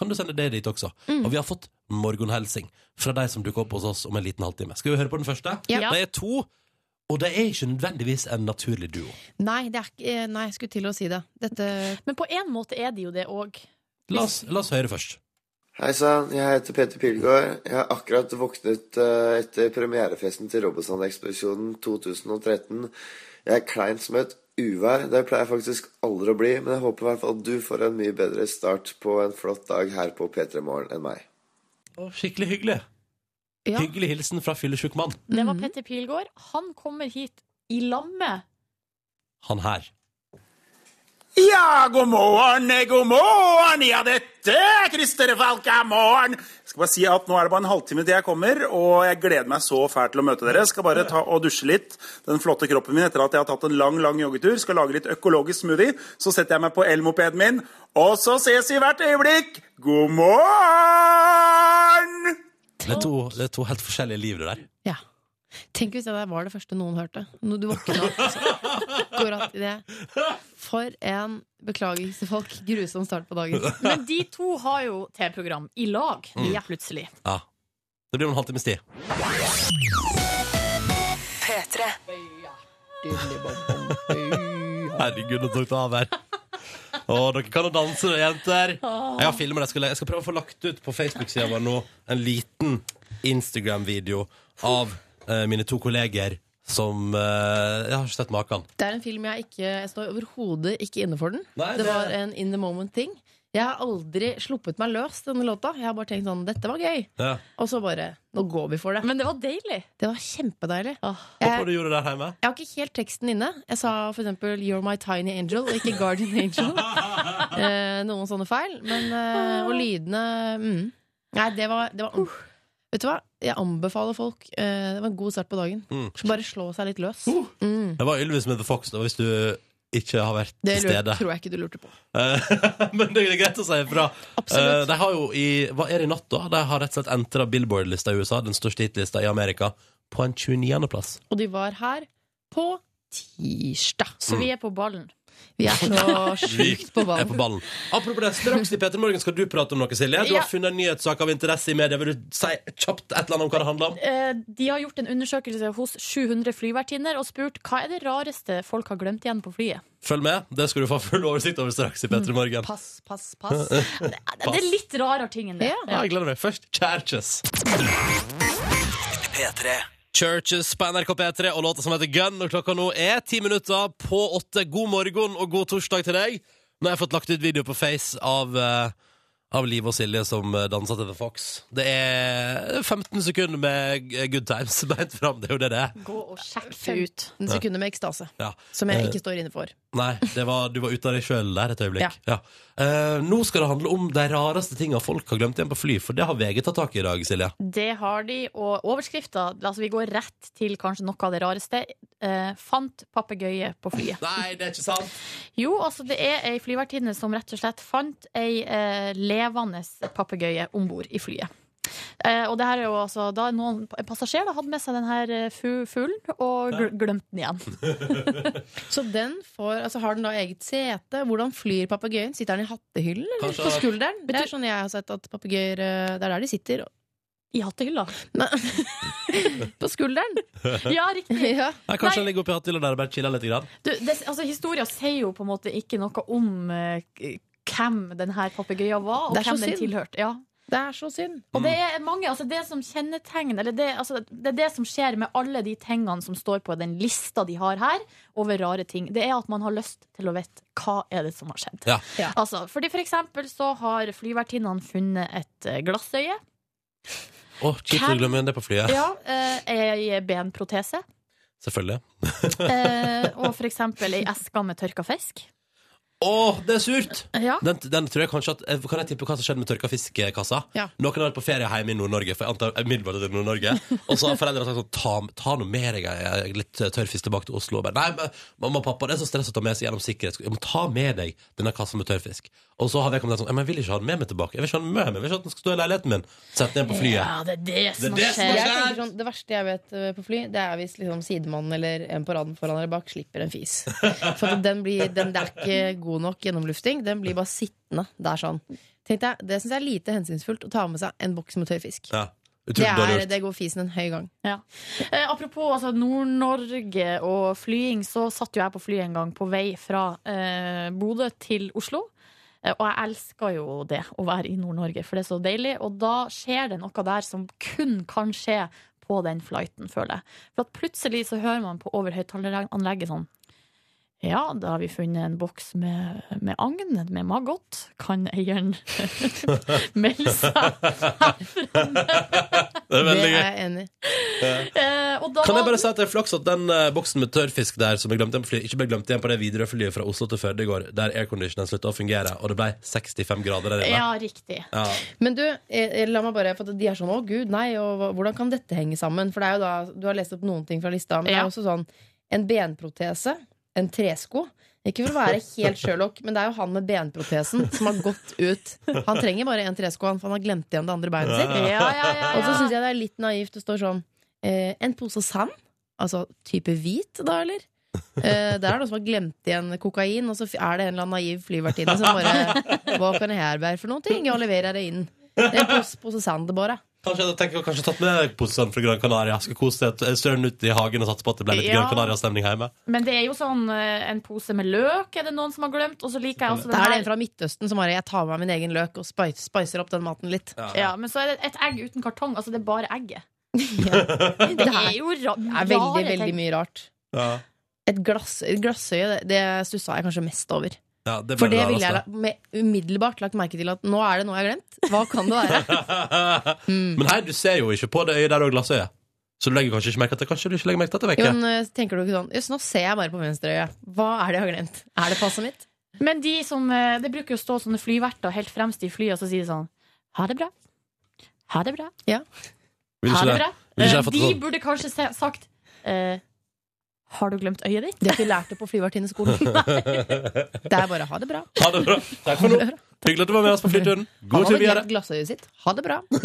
[SPEAKER 2] kan du sende det dit også. Og vi har fått morgenhelsing fra de som dukker opp hos oss om en liten halvtime. Skal vi høre på den første?
[SPEAKER 4] Ja.
[SPEAKER 2] Det er to, og det er ikke nødvendigvis en naturlig duo.
[SPEAKER 4] Nei, det er, ikke- eh, nei, jeg skulle til å si det. Dette
[SPEAKER 3] Men på en måte er de jo det òg.
[SPEAKER 2] La oss, la oss høre først.
[SPEAKER 10] Hei sann, jeg heter Peter Pilgaard. Jeg har akkurat våknet eh, etter premierefesten til Robotsand-ekspedisjonen 2013. Jeg er kleint som et uvær. Det pleier jeg faktisk aldri å bli, men jeg håper i hvert fall du får en mye bedre start på en flott dag her på P3 Morgen enn meg.
[SPEAKER 2] Å, skikkelig hyggelig.
[SPEAKER 4] Ja.
[SPEAKER 2] Hyggelig hilsen fra fyllesjuk mann.
[SPEAKER 3] Det var
[SPEAKER 4] Mhm.
[SPEAKER 3] Petter Pilgaard. Han kommer hit i lamme.
[SPEAKER 2] Han her.
[SPEAKER 11] Ja, god morgen, eh, god morgen! Ja, dette er Christer Falka morgen! Jeg skal bare si at nå er det bare en halvtime til jeg kommer, og jeg gleder meg så fælt til å møte dere. Jeg skal bare ta og dusje litt. Den flotte kroppen min etter at jeg har tatt en lang, lang joggetur. Skal lage litt økologisk smoothie. Så setter jeg meg på elmopeden min, og så ses vi hvert øyeblikk! God morgen!
[SPEAKER 2] Det er, to, det er to helt forskjellige liv, det der.
[SPEAKER 4] Ja. Tenk hvis det der var det første noen hørte. Når du våkna opp, så akkurat i det. For en beklagelse, folk. Grusom start på dagen.
[SPEAKER 3] Men de to har jo TV-program i lag,
[SPEAKER 2] Mm.
[SPEAKER 3] ja. plutselig.
[SPEAKER 2] Ja. Det blir om en halvtimes tid. Herregud, nå tok det av her. Å, dere kan jo danse, dere jenter. Jeg har filmer jeg skal, jeg skal prøve å få lagt ut på Facebook-sida vår nå en liten Instagram-video av eh, mine to kolleger som eh, Jeg har ikke sett maken.
[SPEAKER 4] Det er en film jeg ikke jeg står overhodet ikke inne for den.
[SPEAKER 2] Nei,
[SPEAKER 4] det...
[SPEAKER 2] det-
[SPEAKER 4] var en in the moment-ting. Jeg har aldri sluppet meg løs denne låta. Jeg har bare tenkt sånn Dette var gøy.
[SPEAKER 2] Ja.
[SPEAKER 4] Og så bare Nå går vi for det.
[SPEAKER 3] Men det var deilig.
[SPEAKER 4] Det var kjempedeilig.
[SPEAKER 2] Håper du gjorde det der hjemme.
[SPEAKER 4] Jeg har ikke helt teksten inne. Jeg sa for eksempel 'You're my tiny angel', og ikke 'Guardian angel'. Eh, noen sånne feil. Men, eh, og lydene mm. Nei, det var, det var Vet du hva? Jeg anbefaler folk eh, Det var en god start på dagen.
[SPEAKER 2] Mm.
[SPEAKER 4] Så bare slå seg litt løs. Mm.
[SPEAKER 2] Det var Ylvis med The Fox, da, hvis du ikke har vært
[SPEAKER 4] Det
[SPEAKER 2] til
[SPEAKER 4] lurte,
[SPEAKER 2] stede.
[SPEAKER 4] tror jeg ikke du lurte på.
[SPEAKER 2] Eh, Men det er greit å si ifra.
[SPEAKER 4] Absolutt.
[SPEAKER 2] Eh, De har jo i Hva er det i natt, da? De har rett og slett entra Billboard-lista i USA, den største hitlista i Amerika, på en 29.-plass.
[SPEAKER 4] Og de var her på tirsdag.
[SPEAKER 3] Så vi er på ballen.
[SPEAKER 4] Vi er så sjukt på
[SPEAKER 2] Er på ballen.
[SPEAKER 4] ballen.
[SPEAKER 2] Apropos det, straks i Peter Morgen skal du prate om noe, Silje. Du
[SPEAKER 3] Ja.
[SPEAKER 2] har funnet en nyhetssak av interesse i media. Vil du si kjapt et eller annet om hva det handler om?
[SPEAKER 3] Eh, De har gjort en undersøkelse hos 700 flyvertinner og spurt hva er det rareste folk har glemt igjen på flyet.
[SPEAKER 2] Følg med, det skal du få full oversikt over straks i Peter Morgen.
[SPEAKER 4] Mm. Pass, pass, pass.
[SPEAKER 3] Det er litt rarere ting enn det.
[SPEAKER 4] Ja.
[SPEAKER 2] Ja, jeg gleder meg. Først Churches. Churches på NRK P3 og låta som heter Gun. Og klokka nå er ti minutter på åtte. God morgen og god torsdag til deg. Nå har jeg fått lagt ut video på Face av, eh, av Liv og Silje som eh, danser til The Fox. Det er 15 sekunder med eh, good times beint fram. Det er jo det det er.
[SPEAKER 3] Gå og sjekk det ut.
[SPEAKER 4] 15 sekunder med ekstase,
[SPEAKER 2] Ja.
[SPEAKER 4] som jeg ikke står inne for.
[SPEAKER 2] Nei, det var, du var ute av deg sjøl der et øyeblikk.
[SPEAKER 4] Ja.
[SPEAKER 2] Ja. Eh, nå skal det handle om de rareste tinga folk har glemt igjen på fly, for det har VG tatt tak i i dag, Silje.
[SPEAKER 3] Det har de, og overskrifta altså Vi går rett til kanskje noe av det rareste. Eh, fant papegøye på flyet.
[SPEAKER 2] Nei, det er ikke sant!
[SPEAKER 3] Jo, altså det er ei flyvertinne som rett og slett fant ei eh, levende papegøye om bord i flyet. Eh, og det her er jo altså da noen, En passasjer da, hadde med seg den her eh, fu- fuglen og gl glemte den igjen.
[SPEAKER 4] Så den får, altså har den da eget sete? Hvordan flyr papegøyen? Sitter den i hattehyllen eller
[SPEAKER 2] Kanskje
[SPEAKER 4] på
[SPEAKER 2] at-
[SPEAKER 4] skulderen? Det er sånn jeg har sett at papegøyer eh, Det er der de sitter.
[SPEAKER 3] I hattehylla.
[SPEAKER 4] På skulderen!
[SPEAKER 3] Ja, riktig!
[SPEAKER 4] ja.
[SPEAKER 2] Nei, kanskje
[SPEAKER 3] Nei.
[SPEAKER 2] han ligger oppi hatthylla der og bare chiller litt. Grann.
[SPEAKER 3] Du, det, altså, historia sier jo på en måte ikke noe om eh, hvem den her papegøyen var, og
[SPEAKER 4] Det er så
[SPEAKER 3] hvem den
[SPEAKER 4] synd.
[SPEAKER 3] tilhørte. Ja.
[SPEAKER 4] Det er så synd.
[SPEAKER 3] Og det er mange, altså det som kjennetegner eller det, altså det er det som skjer med alle de tingene som står på den lista de har her, over rare ting. Det er at man har lyst til å vite hva er det som har skjedd.
[SPEAKER 2] Ja.
[SPEAKER 4] Ja.
[SPEAKER 3] Altså, fordi for eksempel så har flyvertinnene funnet et eh, glassøye.
[SPEAKER 2] Å, kjipt å
[SPEAKER 3] Hvem-
[SPEAKER 2] glemme det på flyet.
[SPEAKER 3] Ja, eh, Ei benprotese.
[SPEAKER 2] Selvfølgelig.
[SPEAKER 3] eh, Og for eksempel ei eske med tørka fisk.
[SPEAKER 2] Å, det er surt!
[SPEAKER 3] Ja.
[SPEAKER 2] Den, den tror jeg kanskje at eh, Kan jeg tippe hva som skjedde med tørka fiskekassa?
[SPEAKER 4] Ja.
[SPEAKER 2] Noen har vært på ferie hjemme i Nord-Norge, For jeg antar jeg er middelbart til Nord-Norge og så har foreldrene sagt sånn ta, ta nå med deg eh, litt eh, tørr fisk tilbake til Oslo. Og bare, Nei, men mamma og pappa, det er så stress å ta med seg gjennom sikkerhets... Jeg må ta med deg denne kassa med tørrfisk. Og så har vedkommende sagt sånn «Ja, Men jeg vil ikke ha den med meg tilbake. Jeg vil ikke ha den med meg Jeg vil ikke at den skal stå i leiligheten min. Sett den igjen på flyet.
[SPEAKER 3] Ja, det er det som
[SPEAKER 2] det
[SPEAKER 3] har
[SPEAKER 2] som
[SPEAKER 3] skjedd.
[SPEAKER 4] Jeg tenker sånn, Det verste jeg vet eh, på fly, det er hvis liksom sidemannen eller en på raden foran eller bak slipper en fis. For at den, blir, den det er ikke god nok gjennomlufting. Den blir bare sittende der sånn. Tenkte jeg, Det syns jeg er lite hensynsfullt å ta med seg en boks med tørr fisk.
[SPEAKER 2] Ja.
[SPEAKER 4] Det,
[SPEAKER 2] Utrolig dårlig
[SPEAKER 4] er,
[SPEAKER 2] gjort.
[SPEAKER 4] det går fisen en høy gang.
[SPEAKER 3] Eh, apropos altså, Nord-Norge og flying, så satt jo jeg på flyet en gang på vei fra eh, Bodø til Oslo. Eh, Og jeg elsker jo det, å være i Nord-Norge, for det er så deilig. Og da skjer det noe der som kun kan skje på den flighten, føler jeg. For at plutselig så hører man på overhøyttaleranlegget sånn Ja, da har vi funnet en boks med, med agn, med maggot. Kan eieren melde seg?
[SPEAKER 2] Det er
[SPEAKER 4] Det
[SPEAKER 2] veldig
[SPEAKER 4] er
[SPEAKER 2] gøy.
[SPEAKER 4] jeg enig i.
[SPEAKER 3] Eh, og da
[SPEAKER 2] Kan jeg bare si at det er flaks at den eh, boksen med tørrfisk der som jeg glemte igjen på flyet, ikke ble glemt igjen på det Widerøe-flyet fra Oslo til Førde i går, der airconditionen slutta å fungere, og det ble 65 grader der inne.
[SPEAKER 3] Ja, riktig.
[SPEAKER 2] Ja.
[SPEAKER 4] Men du, eh, la meg bare, for at de er sånn 'Å, gud, nei', og hva- hvordan kan dette henge sammen? For det er jo da, du har lest opp noen ting fra lista, men det er
[SPEAKER 3] Ja.
[SPEAKER 4] også sånn en benprotese, en tresko. Ikke for å være helt Sherlock, men det er jo han med benprotesen som har gått ut. Han trenger bare en tresko, han, for han har glemt igjen det andre beinet sitt.
[SPEAKER 3] Ja, ja, ja, ja.
[SPEAKER 4] Og så syns jeg det er litt naivt det står sånn eh, En pose sand? Altså type hvit, da, eller? Eh, det er noen som har glemt igjen kokain, og så f- er det en eller annen naiv flyvertinne som bare Hva kan jeg her være for noen ting? Jeg leverer det inn. Det er en pose, pose sand, bare.
[SPEAKER 2] Kanskje jeg tenker, kanskje tatt med posene fra Gran Canaria. Skal kose seg et størn ut i hagen og satse på at det ble litt
[SPEAKER 3] Ja.
[SPEAKER 2] Gran Canaria-stemning hjemme.
[SPEAKER 3] Men det er jo sånn eh, en pose med løk er det noen som har glemt. Og så liker jeg også
[SPEAKER 4] Det er det
[SPEAKER 3] den
[SPEAKER 4] en
[SPEAKER 3] her.
[SPEAKER 4] fra Midtøsten som bare Jeg tar med min egen løk og spi- spicer opp den maten litt.
[SPEAKER 3] Ja, men så er det et egg uten kartong. Altså, det er bare egget.
[SPEAKER 4] Det
[SPEAKER 3] Det
[SPEAKER 4] er,
[SPEAKER 3] er jo ra
[SPEAKER 4] det er veldig, veldig mye rart.
[SPEAKER 2] Ja.
[SPEAKER 4] Et, glass, et glassøye, det, det stussa jeg kanskje mest over.
[SPEAKER 2] Ja, det ble
[SPEAKER 4] For det
[SPEAKER 2] rareste.
[SPEAKER 4] ville jeg la- med, umiddelbart lagt merke til at nå er det noe jeg har glemt. Hva kan det være?
[SPEAKER 3] Mm.
[SPEAKER 2] Men her, du ser jo ikke på det øyet der og glassøyet. Så du legger kanskje ikke merke til det? Kanskje du ikke legger merke til at det
[SPEAKER 4] Jo,
[SPEAKER 2] vekker?
[SPEAKER 4] men eh, tenker du ikke sånn Jøss, nå ser jeg bare på venstreøyet. Hva er det jeg har glemt? Er det passet mitt?
[SPEAKER 3] Men de som, eh, det bruker jo å stå sånne flyverter helt fremst i flyet, og så sier de sånn Ha det bra. Ha det bra.
[SPEAKER 2] Vil
[SPEAKER 3] Ha
[SPEAKER 2] ikke
[SPEAKER 3] det
[SPEAKER 2] det?
[SPEAKER 3] bra.
[SPEAKER 2] Vil ikke
[SPEAKER 3] Eh,
[SPEAKER 2] jeg fått det
[SPEAKER 3] De
[SPEAKER 2] sånn?
[SPEAKER 3] burde kanskje se- sagt eh, Har du glemt øyet ditt?
[SPEAKER 4] De har ikke lært det på flyvertinneskolen. Det er bare ha det bra.
[SPEAKER 2] Ha det bra. Takk for nå. Hyggelig at du var med oss på flyturen.
[SPEAKER 4] Han
[SPEAKER 2] God
[SPEAKER 4] hadde
[SPEAKER 2] tur videre.
[SPEAKER 4] glemt glassøyet sitt. Ha det bra.
[SPEAKER 2] Ja,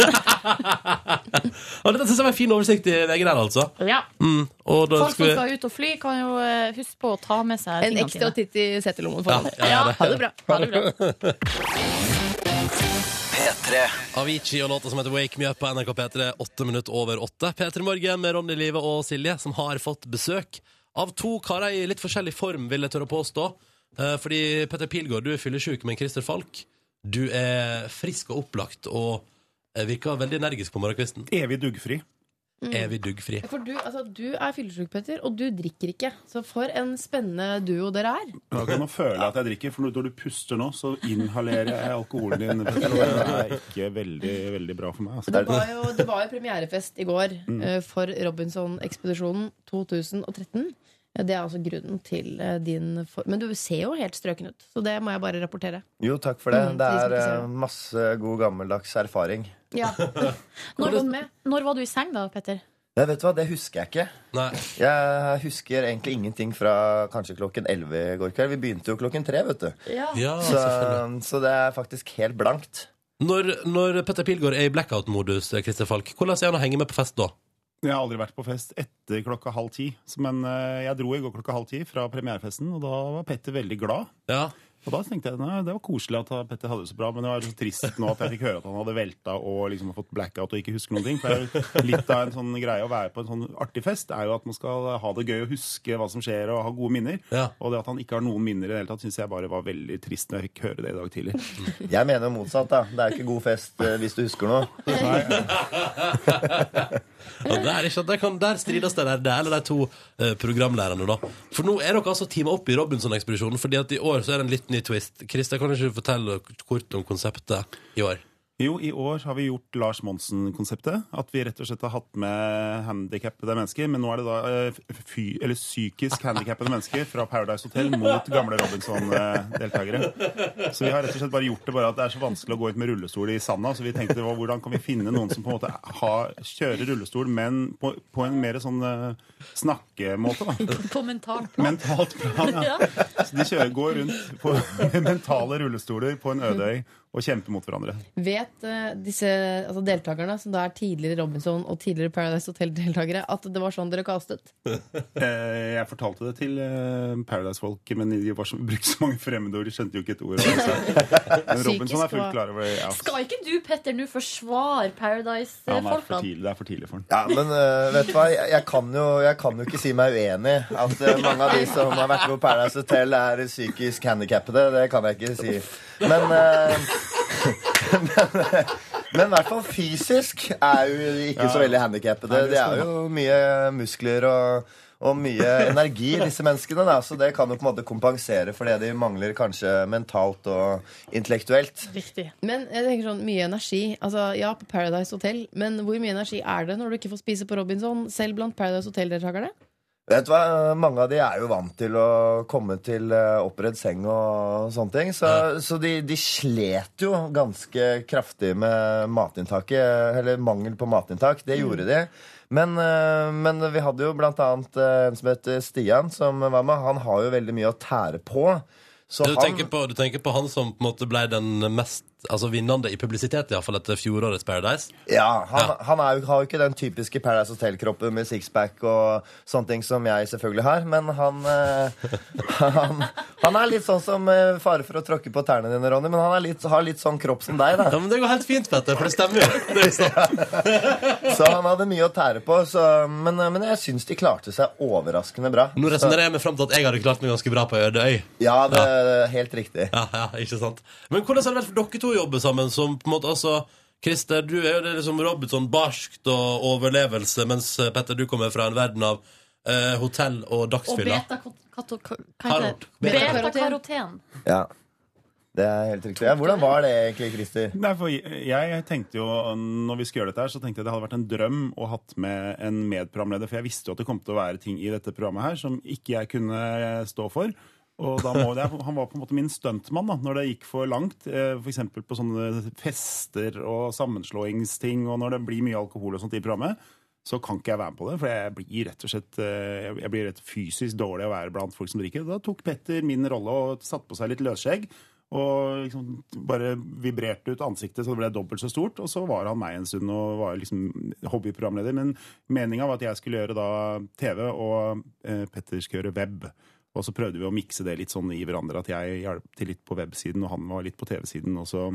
[SPEAKER 2] dette synes jeg var en fin oversikt i VG der, altså.
[SPEAKER 3] Ja.
[SPEAKER 2] Mm. Og da
[SPEAKER 3] Folk
[SPEAKER 2] skal
[SPEAKER 3] som
[SPEAKER 2] vi...
[SPEAKER 3] skal ut og fly, kan jo eh, huske på å ta med seg
[SPEAKER 4] En
[SPEAKER 3] tingene
[SPEAKER 4] ekstra
[SPEAKER 3] sine.
[SPEAKER 4] titt i settelommen
[SPEAKER 2] Ja,
[SPEAKER 4] for
[SPEAKER 2] ja,
[SPEAKER 4] han.
[SPEAKER 2] ja, det.
[SPEAKER 4] Ha det bra.
[SPEAKER 3] Ha det bra.
[SPEAKER 9] P3
[SPEAKER 2] Avicii og låta som heter Wake Me Up på NRK P3, åtte minutter over åtte. P3 Morgen med Ronny Live og Silje, som har fått besøk av to karer i litt forskjellig form, vil jeg tørre å påstå. Eh, Fordi Petter Pilgaard, du er fyllesyk, men Christer Falk, du er frisk og opplagt og eh, virker veldig energisk på morgenkvisten.
[SPEAKER 11] Evig duggfri.
[SPEAKER 3] Mm.
[SPEAKER 2] Evig duggfri.
[SPEAKER 4] For du, altså, du er fyllesyk, Petter, og du drikker ikke. Så for en spennende duo dere er.
[SPEAKER 11] Da kan man føle at jeg drikker, for når du puster nå, så inhalerer jeg alkoholen din. Petter, og Det er ikke veldig, veldig bra for meg. Altså.
[SPEAKER 4] Det var jo, det var jo premierefest i går
[SPEAKER 2] Mm.
[SPEAKER 4] eh, for Robinson-ekspedisjonen 2013. Eh, Det er altså grunnen til eh, din for Men du ser jo helt strøken ut, så det må jeg bare rapportere.
[SPEAKER 12] Jo, takk for det.
[SPEAKER 4] Mm,
[SPEAKER 12] det
[SPEAKER 4] de som
[SPEAKER 12] er
[SPEAKER 4] ikke ser
[SPEAKER 12] eh,
[SPEAKER 4] det.
[SPEAKER 12] masse god gammeldags erfaring.
[SPEAKER 4] Ja.
[SPEAKER 3] Når,
[SPEAKER 4] Hvordan med?
[SPEAKER 3] når var du i seng, da, Petter?
[SPEAKER 12] Jeg vet du hva, Det husker jeg ikke.
[SPEAKER 2] Nei,
[SPEAKER 12] Jeg husker egentlig ingenting fra kanskje klokken 11 i går kveld. Vi begynte jo klokken 3, vet du.
[SPEAKER 2] ja,
[SPEAKER 12] Så,
[SPEAKER 2] selvfølgelig.
[SPEAKER 12] så det er faktisk helt blankt.
[SPEAKER 2] Når, når Petter Pilgaard er i blackout-modus, Christer Falk, hvordan er han å henge med på fest da?
[SPEAKER 13] Jeg har aldri vært på fest etter klokka halv ti. Så- Men eh, jeg dro i går klokka halv ti fra premierefesten, og da var Petter veldig glad. Og da tenkte jeg nei, det var koselig at eh, Petter hadde det så bra, men det var så trist nå at jeg fikk høre at han hadde velta og liksom fått blackout og ikke husker noen ting. For det er jo litt av en sånn greie å være på en sånn artig fest er jo at man skal ha det gøy og huske hva som skjer og ha gode minner. Og det at han ikke har noen minner i det hele tatt, syns jeg bare var veldig trist når jeg fikk høre det i dag tidlig.
[SPEAKER 12] Jeg mener motsatt, da. Det er ikke god fest eh, hvis du husker noe.
[SPEAKER 2] Ja, det er ikke, der, kan, der strides det der, det eller de to eh, programlærerne, da. For nå er dere altså teama opp i Robinson-ekspedisjonen, fordi at i år så er det en litt ny twist. Christer, kan du ikke fortelle kort om konseptet i år?
[SPEAKER 13] Jo, i år har vi gjort Lars Monsen-konseptet. At vi rett og slett har hatt med handikappede mennesker. Men nå er det da eh, fy, eller psykisk handikappede mennesker fra Paradise Hotel mot gamle Robinson-deltakere. Så vi har rett og slett bare gjort det bare at det er så vanskelig å gå ut med rullestol i sanda. Så vi tenkte hva- hvordan kan vi finne noen som på en måte har, kjører rullestol, men på, på en mer sånn eh, snakkemåte, da.
[SPEAKER 3] På mentalt plan.
[SPEAKER 13] Mentalt plan, ja. Så de kjører, går rundt på mentale rullestoler på en øde øy og kjemper mot hverandre.
[SPEAKER 4] Vet eh, disse altså deltakerne, som da er tidligere Robinson og tidligere Paradise Hotel-deltakere, at det var sånn dere castet?
[SPEAKER 13] Eh, Jeg fortalte det til eh, Paradise-folk, men de var så, brukte så mange fremmedord. De skjønte jo ikke et ord. av det. Men Robinson er fullt klar over det. Ja.
[SPEAKER 3] Skal ikke du, Petter, nå forsvare
[SPEAKER 13] Ja, han er for
[SPEAKER 3] Paradise-folkene?
[SPEAKER 13] tidlig, det er for tidlig for han.
[SPEAKER 12] Ja, men eh, vet du hva, jeg, jeg, kan jo, jeg kan jo ikke si meg uenig at eh, mange av de som har vært på Paradise Hotel, er psykisk handikappede. Det kan jeg ikke si. Men eh, Men i hvert fall fysisk er jo ikke
[SPEAKER 13] Ja.
[SPEAKER 12] så veldig handikappede.
[SPEAKER 13] Nei, det
[SPEAKER 12] De
[SPEAKER 13] skal
[SPEAKER 12] er
[SPEAKER 13] man
[SPEAKER 12] jo mye muskler og, og mye energi, disse menneskene. Da. Så det kan jo på en måte kompensere for det de mangler kanskje mentalt og intellektuelt.
[SPEAKER 3] Riktig.
[SPEAKER 4] Men jeg tenker sånn, mye energi. Altså, ja, på Paradise Hotel, men hvor mye energi er det når du ikke får spise på Robinson, selv blant Paradise Hotel-deltakerne?
[SPEAKER 12] Vet du hva, Mange av de er jo vant til å komme til eh, oppredd seng og sånne ting. Så, så de, de slet jo ganske kraftig med matinntaket, eller mangel på matinntak. Det
[SPEAKER 2] Mm.
[SPEAKER 12] gjorde de. Men, eh, men vi hadde jo blant annet eh, en som het Stian, som var med. Han har jo veldig mye å tære på. Så
[SPEAKER 2] du,
[SPEAKER 12] han-
[SPEAKER 2] tenker på, du tenker på han som på en måte ble den mest altså vinnende i publisitet, iallfall etter fjorårets Paradise?
[SPEAKER 12] Ja, han, han er jo, har jo ikke den typiske Paradise Hotel-kroppen med sixpack og sånne ting som jeg selvfølgelig har, men han, eh, han Han er litt sånn som eh, fare for å tråkke på tærne dine, Ronny, men han er litt, har litt sånn kropp som deg, da.
[SPEAKER 2] Ja, men Det går helt fint, Petter, for det stemmer jo.
[SPEAKER 12] Så han hadde mye å tære på, så, men, eh, men jeg syns de klarte seg overraskende bra.
[SPEAKER 2] Nå
[SPEAKER 12] Så-
[SPEAKER 2] resonnerer jeg meg fram til at jeg hadde klart meg ganske bra på ei øde øy.
[SPEAKER 12] Ja, det er helt riktig.
[SPEAKER 2] Ja, ja, ikke sant Men hvordan har det vært for dere to å jobbe sammen? Som på en måte, altså Christer, du er jo det liksom Robinson barskt og overlevelse, mens eh, Petter, du kommer fra en verden av eh, hotell og
[SPEAKER 3] Og
[SPEAKER 2] dagsfylla.
[SPEAKER 3] beta-karoten. Beta-karoten.
[SPEAKER 12] Ja, det er helt riktig. Ja, hvordan var det egentlig, Christer?
[SPEAKER 13] Nei, for jeg, jeg tenkte jo, når vi skulle gjøre dette her, så tenkte jeg det hadde vært en drøm å hatt med en medprogramleder, for jeg visste jo at det kom til å være ting i dette programmet her som ikke jeg kunne eh, stå for. Og da må jeg, Han var på en måte min stuntmann da, når det gikk for langt. F.eks. på sånne fester og sammenslåingsting, og når det blir mye alkohol og sånt i programmet. Så kan ikke jeg være med på det, for jeg blir rett og slett eh, Jeg blir rett fysisk dårlig å være blant folk som drikker. Da tok Petter min rolle og satte på seg litt løsskjegg. Og liksom bare vibrerte ut ansiktet så det ble dobbelt så stort. Og så var han meg en stund og var liksom hobbyprogramleder. Men meninga var at jeg skulle gjøre da TV, og eh, Petter skulle gjøre web. Og så prøvde vi å mikse det litt sånn i hverandre, at jeg hjalp til litt på websiden, og han var litt på TV-siden. og så-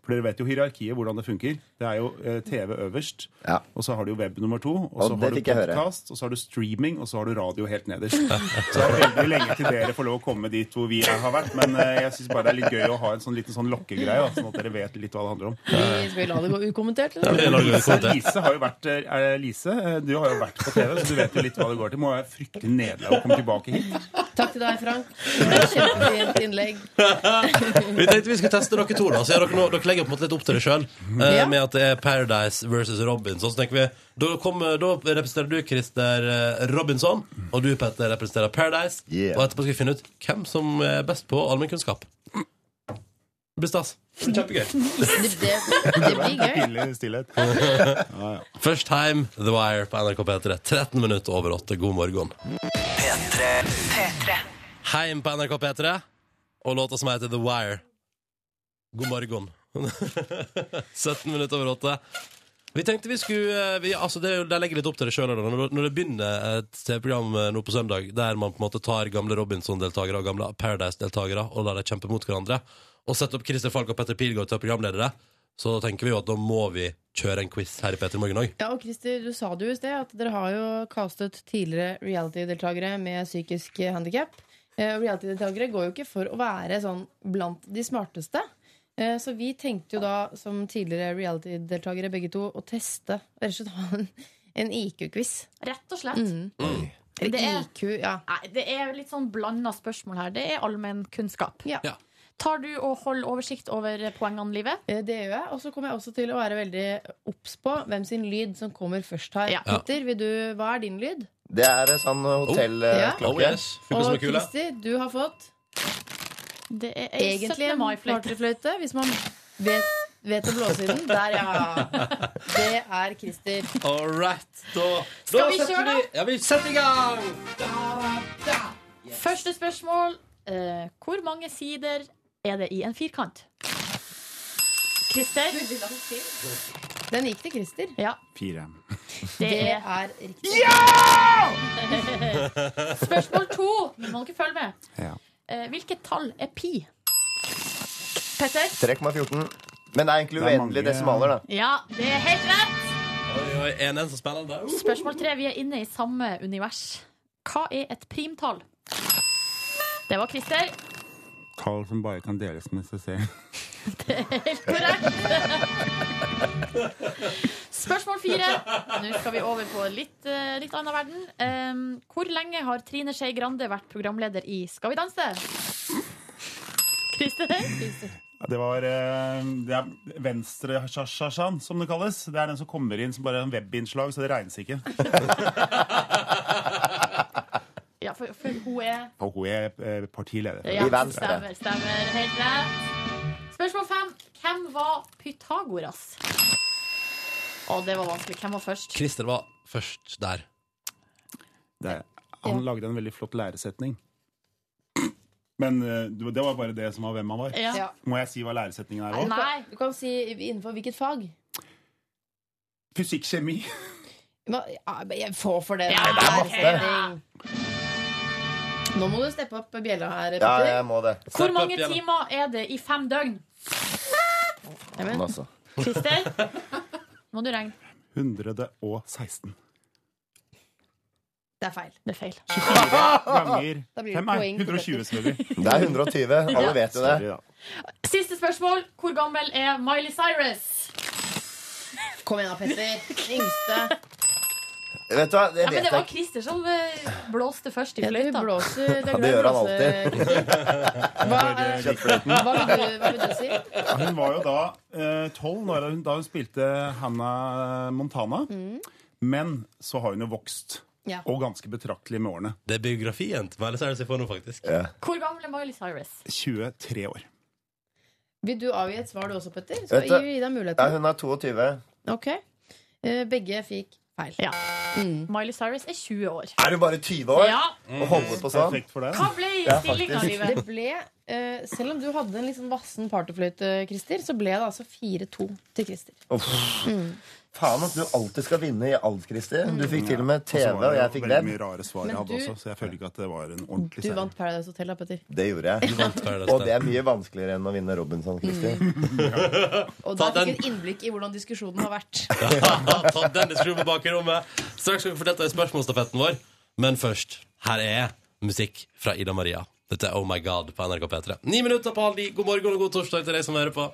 [SPEAKER 13] For dere vet jo hierarkiet, hvordan det funker. Det er jo eh, TV øverst, og så har du jo web nummer to, og,
[SPEAKER 12] Og
[SPEAKER 13] så
[SPEAKER 12] det
[SPEAKER 13] har du
[SPEAKER 12] fikk jeg høre.
[SPEAKER 13] podkast, og så har du streaming, og så har du radio helt nederst. Så det er veldig lenge til dere får lov å komme dit hvor vi har vært, men eh, jeg syns bare det er litt gøy å ha en sånn liten sånn lokkegreie, da, sånn at dere vet litt hva det handler om.
[SPEAKER 4] Vi skal vi la det gå ukommentert?
[SPEAKER 13] Ja,
[SPEAKER 4] Eller?
[SPEAKER 13] men Lise, Lise har jo vært eh, Lise, eh, du har jo vært på TV, så du vet jo litt hva det går til. Må være fryktelig nederlag å komme tilbake hit.
[SPEAKER 4] Takk til deg, Frank. Det var Kjempefint innlegg.
[SPEAKER 2] Vi tenkte vi skulle teste dere to, da. Så gjør dere, nå, dere legger på en måte litt opp til det sjøl.
[SPEAKER 4] Ja.
[SPEAKER 2] Med at det er Paradise versus Robinson. Så tenker vi Da, kommer- da representerer du Christer eh, Robinson, og du, Petter, representerer Paradise.
[SPEAKER 12] Yeah.
[SPEAKER 2] Og etterpå skal vi finne ut hvem som er best på allmennkunnskap. Det blir stas. Det blir Kjempegøy.
[SPEAKER 4] Det blir gøy.
[SPEAKER 13] Pinlig stillhet.
[SPEAKER 2] First time The Wire på NRK P3. 13 minutter over 8. God morgen. Heim på NRK P3 og låta som heter The Wire. God morgen. 17 minutter over åtte. Vi tenkte vi skulle eh, vi, altså det, er jo- De legger litt opp til det sjøl. Når, når det begynner et TV-program eh, nå på søndag der man på en måte tar gamle Robinson-deltakere og gamle Paradise-deltakere og lar dem kjempe mot hverandre, og setter opp Christer Falk og Petter Pilgaard til programledere, så tenker vi jo at da må vi kjøre en quiz her i Peter Morgen òg.
[SPEAKER 4] Ja, og Christer, du sa det jo i sted at dere har jo castet tidligere reality-deltakere med psykisk handikap. Reality-deltakere går jo ikke for å være sånn blant de smarteste. Eh, Så vi tenkte jo da, som tidligere reality-deltakere begge to, å teste rett og slett ha en- en IQ-quiz.
[SPEAKER 3] Rett og slett.
[SPEAKER 4] Eller
[SPEAKER 3] Det er-
[SPEAKER 4] IQ, ja.
[SPEAKER 3] Nei, det er litt sånn blanda spørsmål her. Det er allmennkunnskap.
[SPEAKER 4] Ja.
[SPEAKER 3] Tar du og holder oversikt over poengene, Livet?
[SPEAKER 4] Eh, Det gjør jeg. Og så kommer jeg også til å være veldig obs på hvem sin lyd som kommer først her.
[SPEAKER 12] Ja.
[SPEAKER 4] Petter, vil du, hva er din lyd?
[SPEAKER 12] Det er en sånn
[SPEAKER 4] Ja.
[SPEAKER 12] hotellklokke.
[SPEAKER 4] Oh, yes. Funker som en kule. Du har fått
[SPEAKER 3] Det er
[SPEAKER 4] egentlig en partyfløyte, hvis man vet, vet å blåse i den. Der, ja! Det er Christer.
[SPEAKER 2] All right, da,
[SPEAKER 3] Skal
[SPEAKER 2] da
[SPEAKER 3] vi
[SPEAKER 2] setter
[SPEAKER 3] kjøre, da?
[SPEAKER 2] Ja, vi setter i gang!
[SPEAKER 3] Første spørsmål. Eh, hvor mange sider er det i en firkant? Christer?
[SPEAKER 4] Den gikk til Christer.
[SPEAKER 3] Ja.
[SPEAKER 13] Fire.
[SPEAKER 3] Det er
[SPEAKER 4] her riktig.
[SPEAKER 3] Spørsmål to. Nå må dere følge med.
[SPEAKER 12] Ja.
[SPEAKER 3] Eh, hvilket tall er pi? Petter?
[SPEAKER 12] 3,14. Men det er egentlig
[SPEAKER 2] Det er
[SPEAKER 12] uendelige
[SPEAKER 2] mange-
[SPEAKER 12] desimaler, da.
[SPEAKER 3] Ja, det er helt rett!
[SPEAKER 2] Oi, oi, en, en så spennende.
[SPEAKER 3] Spørsmål tre. Vi er inne i samme univers. Hva er et primtall? Det var Christer.
[SPEAKER 13] Tall som bare kan deles med seg selv.
[SPEAKER 3] Det er helt korrekt. Spørsmål fire. Nå skal vi over på litt, eh, litt annen verden. Em, hvor lenge har Trine Skei Grande vært programleder i Skal vi danse? Christer?
[SPEAKER 13] Det var eh, det er venstre shashan, som det kalles. Det er den som kommer inn som bare er en webinnslag, så det regnes ikke.
[SPEAKER 3] Ja, for, for hun er
[SPEAKER 13] Og hun er eh, partileder.
[SPEAKER 3] ja, Stemmer, stemmer. Helt rett. Spørsmål fem. Hvem var Pythagoras? Å, det var vanskelig. Hvem var først?
[SPEAKER 2] Christer var først der.
[SPEAKER 13] Det er, han lagde en veldig flott læresetning. Men eh, det var- det var bare det som var hvem han var.
[SPEAKER 4] Ja. Ja.
[SPEAKER 13] Må jeg si hva læresetningen er
[SPEAKER 4] Du
[SPEAKER 13] òg?
[SPEAKER 4] kan- Du kan si innenfor hvilket fag.
[SPEAKER 13] Fysikk-kjemi.
[SPEAKER 4] Nå, ja, men jeg får for det.
[SPEAKER 13] det er masse.
[SPEAKER 4] sending. Nå må du steppe opp bjella her, Petter.
[SPEAKER 12] Ja, jeg må det.
[SPEAKER 3] Hvor mange timer er det i fem døgn?
[SPEAKER 12] Sånn, altså.
[SPEAKER 3] Christer? Må du regne.
[SPEAKER 13] 116.
[SPEAKER 4] Det er feil.
[SPEAKER 3] Det er feil.
[SPEAKER 13] Ganger
[SPEAKER 3] Da blir det
[SPEAKER 13] fem er
[SPEAKER 3] poeng til
[SPEAKER 13] 120, selvfølgelig.
[SPEAKER 12] Det er 120. Alle
[SPEAKER 3] Ja.
[SPEAKER 12] vet jo
[SPEAKER 13] Sorry,
[SPEAKER 12] det.
[SPEAKER 13] da.
[SPEAKER 3] Siste spørsmål. Hvor gammel er Miley Cyrus?
[SPEAKER 4] Kom igjen da, Petter. Yngste.
[SPEAKER 12] Vet du hva, det
[SPEAKER 3] Ja, men
[SPEAKER 12] vet
[SPEAKER 3] det var
[SPEAKER 12] jeg ikke.
[SPEAKER 3] Christer som eh, blåste først i
[SPEAKER 4] Ja, du
[SPEAKER 3] fløyta.
[SPEAKER 4] blåser, det
[SPEAKER 12] Ja, det gjør han alltid.
[SPEAKER 13] Kjøttfløyten.
[SPEAKER 4] Hva vil du, hva vil du si?
[SPEAKER 13] Hun var jo da eh, tolv da hun- da hun spilte Hannah Montana. Men så har hun jo vokst.
[SPEAKER 3] Mm. Ja.
[SPEAKER 13] Og ganske betraktelig med årene.
[SPEAKER 2] Det er biografien til Miley Cyrus jeg får nå, faktisk.
[SPEAKER 3] Hvor gammel er Miley Cyrus?
[SPEAKER 13] 23 år.
[SPEAKER 4] Vil du avgi et svar du også, Petter? Skal
[SPEAKER 12] Vet du,
[SPEAKER 4] jeg gi deg
[SPEAKER 12] ja,
[SPEAKER 4] muligheten?
[SPEAKER 12] hun er 22.
[SPEAKER 4] Ok. Eh, Begge fikk feil.
[SPEAKER 3] Ja. Miley Cyrus er 20 år.
[SPEAKER 12] Er hun bare 20 år?
[SPEAKER 3] Ja.
[SPEAKER 12] Og holder på sånn?
[SPEAKER 13] Mm. Perfekt for deg.
[SPEAKER 3] Hva ble
[SPEAKER 12] Ja,
[SPEAKER 3] stillinga,
[SPEAKER 12] faktisk.
[SPEAKER 3] Live?
[SPEAKER 4] Det ble, eh, selv om du hadde en litt sånn vassen partyfløyte, Christer, så ble det altså 4-2 til Christer.
[SPEAKER 12] Uff. Faen at du alltid skal vinne i alt, Kristi. Du fikk til og med
[SPEAKER 13] Mm. Og så
[SPEAKER 12] TV,
[SPEAKER 13] var
[SPEAKER 12] og
[SPEAKER 13] det
[SPEAKER 12] jeg
[SPEAKER 13] jo
[SPEAKER 12] fikk
[SPEAKER 13] veldig
[SPEAKER 12] web.
[SPEAKER 13] mye rare svar
[SPEAKER 4] Men
[SPEAKER 13] jeg hadde
[SPEAKER 4] du-
[SPEAKER 13] også, så jeg føler ikke at det var en ordentlig
[SPEAKER 4] Du
[SPEAKER 13] seier.
[SPEAKER 4] vant Paradise Hotel, da, Petter.
[SPEAKER 12] Det gjorde jeg. Og det er mye vanskeligere enn å vinne Robinson, Kristi.
[SPEAKER 13] Mm.
[SPEAKER 4] Og
[SPEAKER 2] Ta
[SPEAKER 4] da fikk
[SPEAKER 2] den.
[SPEAKER 4] du et innblikk i hvordan diskusjonen har vært.
[SPEAKER 2] Ta den diskusjonen på bakrommet. Straks skal vi få delta i spørsmålsstafetten vår. Men først, her er musikk fra Ida Maria. Dette er Oh My God på NRK P3. Ni minutter på halv ni. God morgen og god torsdag til deg som hører på.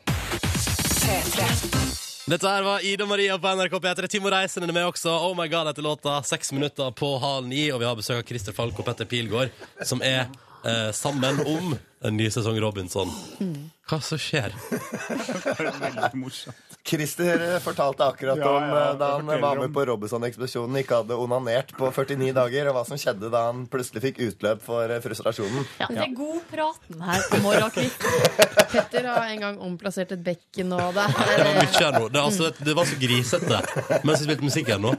[SPEAKER 2] Dette her var Ida Maria på NRK P3. Timo Reisen er med også. Oh my god, etter låta Seks minutter på halv ni. Og vi har besøk av Christer Falk og Petter Pilgaard, som er eh, sammen om en ny sesong Robinson. Hva som skjer?
[SPEAKER 13] Veldig morsomt.
[SPEAKER 12] Krister fortalte akkurat
[SPEAKER 13] Ja,
[SPEAKER 12] om
[SPEAKER 13] ja,
[SPEAKER 12] eh, da
[SPEAKER 13] jeg
[SPEAKER 12] han
[SPEAKER 13] forteller
[SPEAKER 12] var med
[SPEAKER 13] om-
[SPEAKER 12] på Robinson-ekspedisjonen, ikke hadde onanert på 49 dager, og hva som skjedde da han plutselig fikk utløp for eh, frustrasjonen.
[SPEAKER 3] Ja, det er godpraten her på morgenkvisten.
[SPEAKER 4] Petter har en gang omplassert et bekken, og det
[SPEAKER 2] Det var
[SPEAKER 4] er
[SPEAKER 2] mye her nå. Det, er altså, et- det var så grisete mens vi spilte musikk her nå.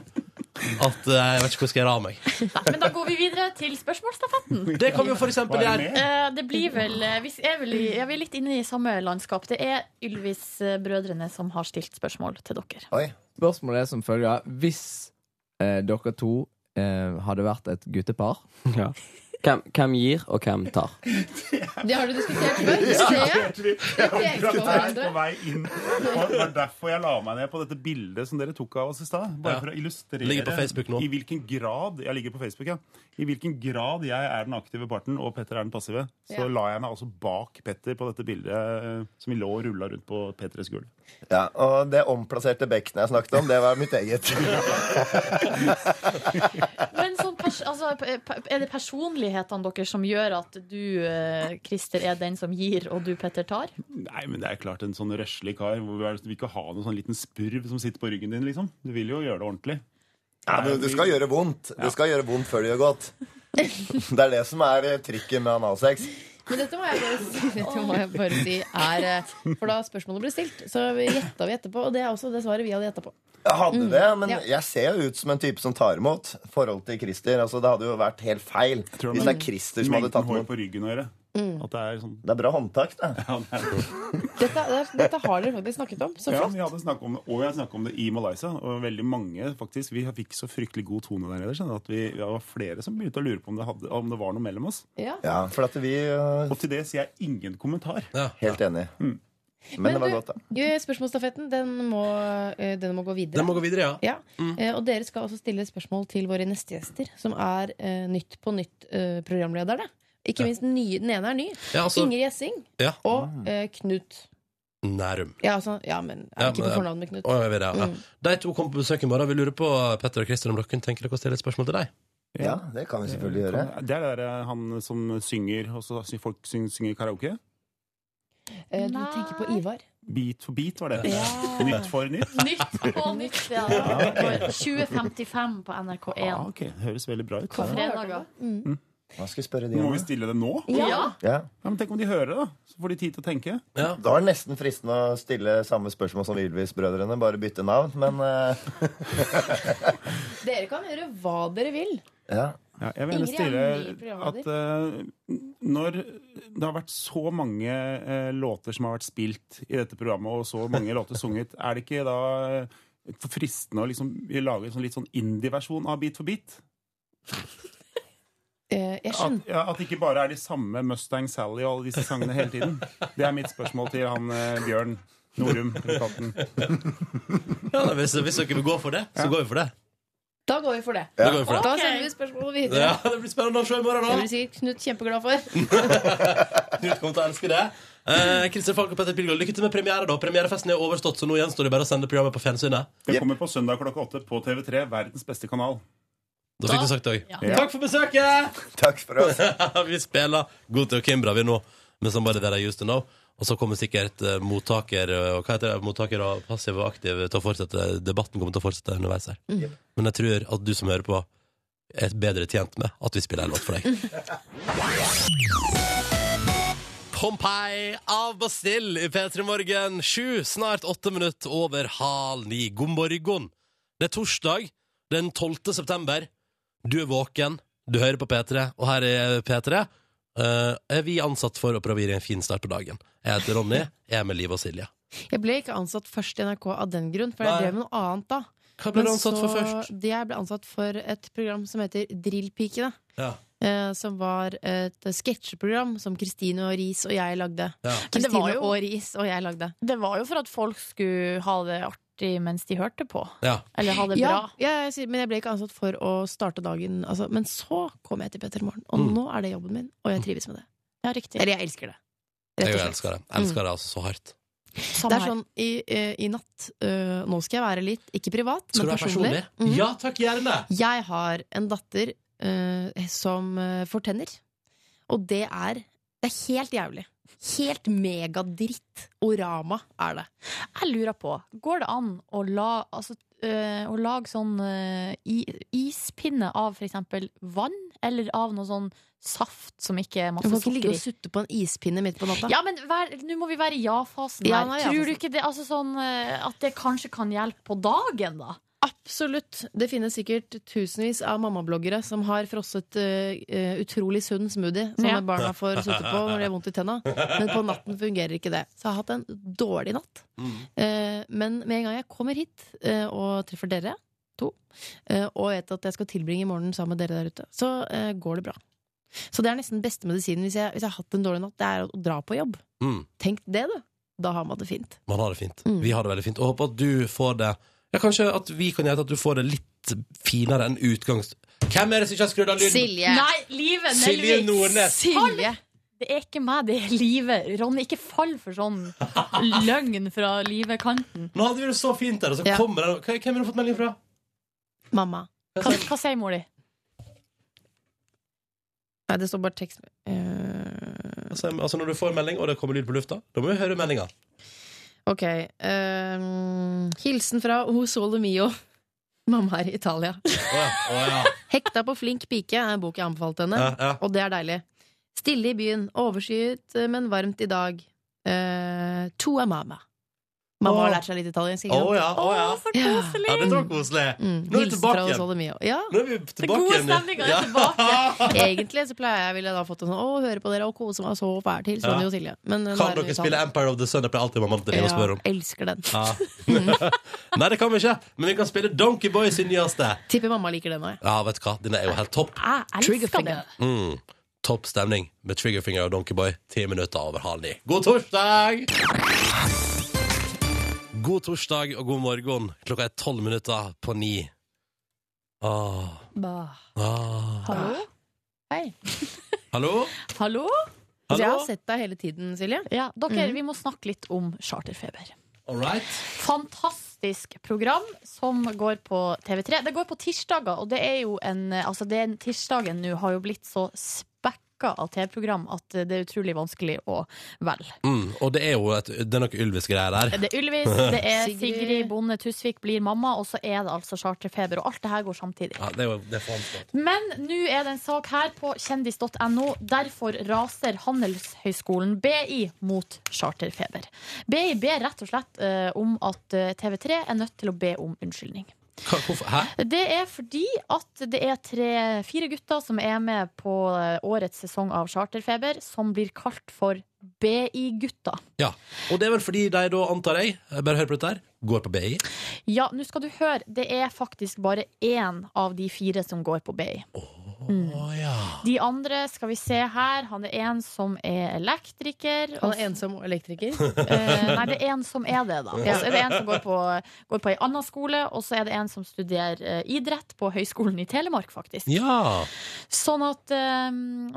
[SPEAKER 2] at eh, jeg vet ikke hvor jeg skal gjøre av meg.
[SPEAKER 3] Men da går vi videre til spørsmålstafetten.
[SPEAKER 2] Det kan vi jo for eksempel gjøre. Hva er det
[SPEAKER 3] Eh, Det blir vel eh, Vi er vel i, ja, vi er litt inne i samme landskap. Det er Ylvis-brødrene som har stilt spørsmål til dere.
[SPEAKER 14] Spørsmålet er som følger. Hvis eh, dere to eh, hadde vært et guttepar, hvem, hvem gir, og hvem tar?
[SPEAKER 4] Det har du diskutert før.
[SPEAKER 13] Ja,
[SPEAKER 4] ser
[SPEAKER 13] det
[SPEAKER 4] jeg.
[SPEAKER 13] hørte vi.
[SPEAKER 4] Vi
[SPEAKER 13] Jeg
[SPEAKER 4] peker
[SPEAKER 13] var
[SPEAKER 4] på
[SPEAKER 13] akkurat
[SPEAKER 4] hverandre.
[SPEAKER 13] på vei inn. Og det var derfor jeg la meg ned på dette bildet som dere tok av oss i stad. Bare
[SPEAKER 2] Ja.
[SPEAKER 13] for å
[SPEAKER 2] Ligger på Facebook nå.
[SPEAKER 13] illustrere i hvilken grad jeg ligger på Facebook, ja. I hvilken grad jeg er den aktive parten og Petter er den passive. Så
[SPEAKER 12] Ja.
[SPEAKER 13] la jeg meg altså bak Petter på dette bildet eh, som vi lå og rulla rundt på P3s gulv.
[SPEAKER 12] Ja, og det omplasserte bekkenet jeg snakket om, det var mitt eget.
[SPEAKER 3] Men sånn pers altså, p- p- er det personlighetene deres som gjør at du, eh, Christer, er den som gir, og du, Petter, tar?
[SPEAKER 13] Nei, men det er klart en sånn røslig kar. Hvor vi er- du vil ikke ha noen sånn liten spurv som sitter på ryggen din, liksom. Du vil jo gjøre det ordentlig.
[SPEAKER 12] Ja, men det skal gjøre vondt. Det skal gjøre vondt før det gjør godt. Det er det som er eh, trikken med analsex.
[SPEAKER 4] Men dette må jeg bare si, dette må jeg bare si er eh, For da spørsmålet ble stilt, så vi gjetta vi etterpå. Og det er også det svaret vi hadde gjetta på.
[SPEAKER 12] Jeg hadde det, men
[SPEAKER 4] Mm. ja.
[SPEAKER 12] jeg ser jo ut som en type som tar imot. Forhold til Christer. Altså, det hadde jo vært helt feil hvis det er Christer som hadde tatt
[SPEAKER 13] hår
[SPEAKER 12] imot.
[SPEAKER 13] på ryggen å gjøre.
[SPEAKER 4] Mm.
[SPEAKER 13] At det er sånn
[SPEAKER 12] Det er bra håndtak, det.
[SPEAKER 13] Ja, det er det.
[SPEAKER 4] Dette, dette har dere faktisk snakket om. Så
[SPEAKER 13] ja,
[SPEAKER 4] flott.
[SPEAKER 13] vi hadde snakket om det, og jeg snakket om det i Malaysia. Og veldig mange, faktisk. Vi fikk så fryktelig god tone der nede. skjønner du, At vi, det var flere som begynte å lure på om det, hadde, om det var noe mellom oss.
[SPEAKER 4] Ja.
[SPEAKER 12] for at vi eh,
[SPEAKER 13] Og til det sier jeg ingen kommentar.
[SPEAKER 12] Helt enig.
[SPEAKER 4] Men det var du- godt, Eh, Spørsmålsstafetten den må, eh, den må gå videre.
[SPEAKER 2] Den må gå videre, ja. Mm.
[SPEAKER 4] Eh, Og dere skal også stille spørsmål til våre nestegjester, som er eh, Nytt på nytt-programlederne. Ikke minst den, nye, den ene er ny.
[SPEAKER 2] Ja, altså-
[SPEAKER 4] Inger Gjessing
[SPEAKER 2] Ja.
[SPEAKER 4] og eh, Knut.
[SPEAKER 2] Nærum.
[SPEAKER 4] Ja, altså, ja, men er det ikke
[SPEAKER 2] men-
[SPEAKER 4] på fornavn med Knut.
[SPEAKER 2] Å, jeg vet det, ja.
[SPEAKER 4] Mm.
[SPEAKER 2] De to kommer på besøk i morgen. Vi lurer på Petter og Kristin om dere tenker dere å stille et spørsmål til deg.
[SPEAKER 12] Ja, det kan vi selvfølgelig
[SPEAKER 13] Det
[SPEAKER 12] gjøre.
[SPEAKER 13] er det der eh, han som synger, og så sy- folk syng, synger karaoke.
[SPEAKER 4] Eh, Du tenker på Ivar.
[SPEAKER 13] Beat for beat, var det. Nytt for nytt.
[SPEAKER 3] Nytt på nytt, ja. Går 2055 på
[SPEAKER 13] Ja,
[SPEAKER 3] NRK1
[SPEAKER 13] Ah, ok, Det høres veldig bra ut.
[SPEAKER 3] på fredager.
[SPEAKER 12] Hva skal vi spørre de
[SPEAKER 13] Må
[SPEAKER 12] om?
[SPEAKER 13] vi stille det nå?
[SPEAKER 3] Ja.
[SPEAKER 12] Ja.
[SPEAKER 13] Ja, men tenk om de hører det, da. Så får de tid til å tenke.
[SPEAKER 12] Da er det nesten fristende å stille samme spørsmål som Ylvis-brødrene, bare bytte navn, men eh,
[SPEAKER 4] Dere kan gjøre hva dere vil.
[SPEAKER 12] ja.
[SPEAKER 13] Ja, jeg vil gjerne
[SPEAKER 4] Ingrid
[SPEAKER 13] stille
[SPEAKER 4] er ny programleder.
[SPEAKER 13] at eh, når det har vært så mange eh, låter som har vært spilt i dette programmet, og så mange låter sunget, er det ikke da eh, for fristende å liksom lage en sånn litt sånn indie-versjon av Beat for beat?
[SPEAKER 4] Eh, jeg
[SPEAKER 2] Ah.
[SPEAKER 13] at, ja, at det ikke bare er de samme Mustang Sally og alle disse sangene hele tiden. Det er mitt spørsmål til han eh, Bjørn Norum. Katten.
[SPEAKER 2] Ja, nei, hvis, hvis dere vil gå for det, så går vi for det.
[SPEAKER 4] Da går vi for det.
[SPEAKER 2] Da går vi for det.
[SPEAKER 4] Da sender vi spørsmålet videre.
[SPEAKER 2] Ja, det blir spennende å se i morgen,
[SPEAKER 4] Det
[SPEAKER 2] da.
[SPEAKER 4] blir sikkert Knut kjempeglad for.
[SPEAKER 2] Knut kommer til å elske det. Eh, Kristin Falk og Petter Pilgaard, lykke til med premiere, da. Premierefesten er overstått, så nå gjenstår det bare å sende programmet på fjernsynet.
[SPEAKER 13] Det kommer på søndag klokka åtte på TV3, verdens beste kanal.
[SPEAKER 2] Da fikk du sagt det òg. Takk for besøket!
[SPEAKER 12] Takk for oss.
[SPEAKER 2] vi spiller God til Kimbra, vi nå, med Somebody That I Used To Know. Og så kommer sikkert eh, mottaker eh, og hva heter det, mottaker og passiv og aktiv til å fortsette. Debatten kommer til å fortsette underveis her. Men jeg tror at du som hører på, er bedre tjent med at vi spiller en låt for deg. Pompeii av Bastille i P3 Morgen. Sju, snart åtte minutter over halv ni. God morgen. Det er torsdag den 12. september. Du er våken, du hører på P3, og her er P3. Eh, er vi ansatt for å prøve å gi deg en fin start på dagen? Jeg heter Ronny, jeg er med Liv og Silje.
[SPEAKER 4] Jeg ble ikke ansatt først i NRK av den grunn, for
[SPEAKER 2] Nei.
[SPEAKER 4] jeg drev med noe annet da.
[SPEAKER 2] Hva ble du
[SPEAKER 4] Men
[SPEAKER 2] ansatt for først?
[SPEAKER 4] det Jeg ble ansatt for et program som heter Drillpikene.
[SPEAKER 2] Ja.
[SPEAKER 4] eh, som var et sketsjeprogram som Kristine og Riis og jeg lagde.
[SPEAKER 3] Men det var
[SPEAKER 4] Kristine
[SPEAKER 3] jo-
[SPEAKER 4] og Riis og jeg lagde.
[SPEAKER 3] Det var jo for at folk skulle ha det artig mens de hørte på.
[SPEAKER 2] Ja.
[SPEAKER 3] Eller ha det
[SPEAKER 4] Ja,
[SPEAKER 3] bra.
[SPEAKER 4] ja, jeg sier- men jeg ble ikke ansatt for å starte dagen. Altså, men så kom jeg til Petter Morgen, og
[SPEAKER 2] Mm.
[SPEAKER 4] nå er det jobben min, og jeg trives med det.
[SPEAKER 3] Ja, riktig.
[SPEAKER 4] Eller jeg elsker det.
[SPEAKER 2] Jeg
[SPEAKER 4] Rett og slett.
[SPEAKER 2] elsker det. Jeg elsker det altså så hardt.
[SPEAKER 4] det er sånn i, eh, i natt eh, Nå skal jeg være litt, ikke privat,
[SPEAKER 2] Skal du
[SPEAKER 4] men
[SPEAKER 2] være
[SPEAKER 4] personlig.
[SPEAKER 2] personlig?
[SPEAKER 4] Mhm.
[SPEAKER 2] Ja takk, gjerne!
[SPEAKER 4] Jeg har en datter eh, som eh, får tenner. Og det er Det er helt jævlig. Helt megadritt. Orama er det.
[SPEAKER 3] Jeg lurer på, går det an å, la, altså, øh, å lage sånn øh, i- ispinne av for eksempel vann, eller av noe sånn saft som ikke er
[SPEAKER 4] Du
[SPEAKER 3] masse
[SPEAKER 4] kan ikke
[SPEAKER 3] sukker
[SPEAKER 4] ligge og
[SPEAKER 3] i?
[SPEAKER 4] sutte på en ispinne midt på natta.
[SPEAKER 3] Ja, men vær, nå må vi være i ja-fasen
[SPEAKER 4] Ja,
[SPEAKER 3] her.
[SPEAKER 4] nå er
[SPEAKER 3] Tror
[SPEAKER 4] ja-fasen.
[SPEAKER 3] eh, du ikke det, altså sånn, øh, at det kanskje kan hjelpe på dagen, da?
[SPEAKER 4] Absolutt. Det finnes sikkert tusenvis av mammabloggere som har frosset eh, eh, utrolig sunn smoothie som
[SPEAKER 3] Ja.
[SPEAKER 4] barna får sutte på når de har vondt i tenna. Men på natten fungerer ikke det. Så jeg har hatt en dårlig natt.
[SPEAKER 2] Mm.
[SPEAKER 4] Eh, men med en gang jeg kommer hit eh, og treffer dere to, eh, og vet at jeg skal tilbringe morgenen sammen med dere der ute, så eh, går det bra. Så det er nesten beste medisinen hvis jeg, hvis jeg har hatt en dårlig natt, det er å dra på jobb.
[SPEAKER 2] Mm.
[SPEAKER 4] Tenk det, du. Da har man det fint.
[SPEAKER 2] Man har det fint.
[SPEAKER 4] Mm.
[SPEAKER 2] Vi har det veldig fint. Og håper at du får det Ja, kanskje at vi kan gjøre at du får det litt finere enn utgangs... Hvem er det som ikke har skrudd av lyden?
[SPEAKER 3] Nei, Live Nelvik.
[SPEAKER 2] Silje Nordnes.
[SPEAKER 4] Silje.
[SPEAKER 3] Det er ikke meg, det er Live. Ronny, ikke fall for sånn løgn fra livekanten.
[SPEAKER 2] Nå hadde vi det så fint der, og så
[SPEAKER 3] Ja.
[SPEAKER 2] kommer det Hva- Hvem har du fått melding fra?
[SPEAKER 4] Mamma.
[SPEAKER 3] Hva, hva sier mor di?
[SPEAKER 4] Nei, det står bare tekst eh,
[SPEAKER 2] Altså, altså når du får melding, og det kommer lyd på lufta, da må vi høre meldinga.
[SPEAKER 4] Ok. ehm, hilsen fra O Sole Mio. Mamma er i Italia. Hekta på flink pike er en bok jeg anbefalte henne,
[SPEAKER 2] Ja, ja.
[SPEAKER 4] og det er deilig. Stille i byen, overskyet, men varmt i dag. Eh, to er mamma. Mamma har
[SPEAKER 2] Åh.
[SPEAKER 4] lært seg litt italiensk.
[SPEAKER 2] Å ja, å ja. Ja, det var koselig. Nå er vi
[SPEAKER 4] Mm. Hilsen
[SPEAKER 2] tilbake
[SPEAKER 4] fra Osvaldo
[SPEAKER 2] igjen.
[SPEAKER 4] Mio. Ja.
[SPEAKER 2] Nå er vi tilbake
[SPEAKER 4] gode
[SPEAKER 2] igjen.
[SPEAKER 4] stemningen er tilbake. Egentlig så pleier jeg ville jeg da fått en sånn 'Å, høre på dere og kose meg så fælt til', Sonja
[SPEAKER 2] Ja.
[SPEAKER 4] og Silje. Men eh, nå
[SPEAKER 2] Kan
[SPEAKER 4] er vi
[SPEAKER 2] dere
[SPEAKER 4] i
[SPEAKER 2] spille
[SPEAKER 4] Italia.
[SPEAKER 2] Empire of the Sun? Det pleier alltid mamma til å spørre om.
[SPEAKER 4] Ja, elsker den.
[SPEAKER 2] Ja. Nei, det kan vi ikke, men vi kan spille Donkey Boy sin nyeste.
[SPEAKER 4] Tipper mamma liker den òg.
[SPEAKER 2] Ja, vet du hva, den er jo helt topp.
[SPEAKER 3] Jeg elsker det.
[SPEAKER 2] Mm. Topp stemning med Triggerfinger og Donkeyboy. Ti minutter over halv ni. God torsdag! God torsdag og god morgen. Klokka er tolv minutter på ni. Ah.
[SPEAKER 3] Bah.
[SPEAKER 2] Ah.
[SPEAKER 3] Hallo? Hei.
[SPEAKER 2] Hallo?
[SPEAKER 3] Hallo? Mm.
[SPEAKER 2] Hallo?
[SPEAKER 4] Jeg har sett deg hele tiden, Silje.
[SPEAKER 3] Ja, dere,
[SPEAKER 4] Mhm.
[SPEAKER 3] vi må snakke litt om charterfeber.
[SPEAKER 2] All right.
[SPEAKER 3] Fantastisk program som går på TV3. Det går på tirsdager, og det er jo en Altså, den tirsdagen nå har jo blitt så spekka av TV-program at det er utrolig vanskelig å velge.
[SPEAKER 2] Mm. Og det er jo et, det er noe ulvisk greier der.
[SPEAKER 3] Det er Ylvis, det er Sigrid Bonde Tusvik blir mamma, og så er det altså charterfeber. Og alt det her går samtidig.
[SPEAKER 2] Ja, det er jo det er for anslått.
[SPEAKER 3] Men nå er det en sak her på kjendis.no. Derfor raser Handelshøyskolen BI mot charterfeber. BI ber rett og slett eh, om at eh, TV3 er nødt til å be om unnskyldning.
[SPEAKER 2] Hva, hvorfor? Hæ?
[SPEAKER 3] Det er fordi at det er tre-fire gutter som er med på eh, årets sesong av Charterfeber, som blir kalt for BI-gutta.
[SPEAKER 2] Ja. Og det er vel fordi de da, antar jeg, bare hør på dette her, går på BI.
[SPEAKER 3] Ja, nå skal du høre, det er faktisk bare én av de fire som går på BI. Mm. De andre, skal vi se her, han er en som er elektriker.
[SPEAKER 4] Han er ensom elektriker?
[SPEAKER 3] Eh, nei, det er en som er det, da. Og så er det en som går på, går på ei anna skole, og så er det en som studerer eh, idrett på Høgskolen i Telemark, faktisk.
[SPEAKER 2] Ja.
[SPEAKER 3] Sånn at eh,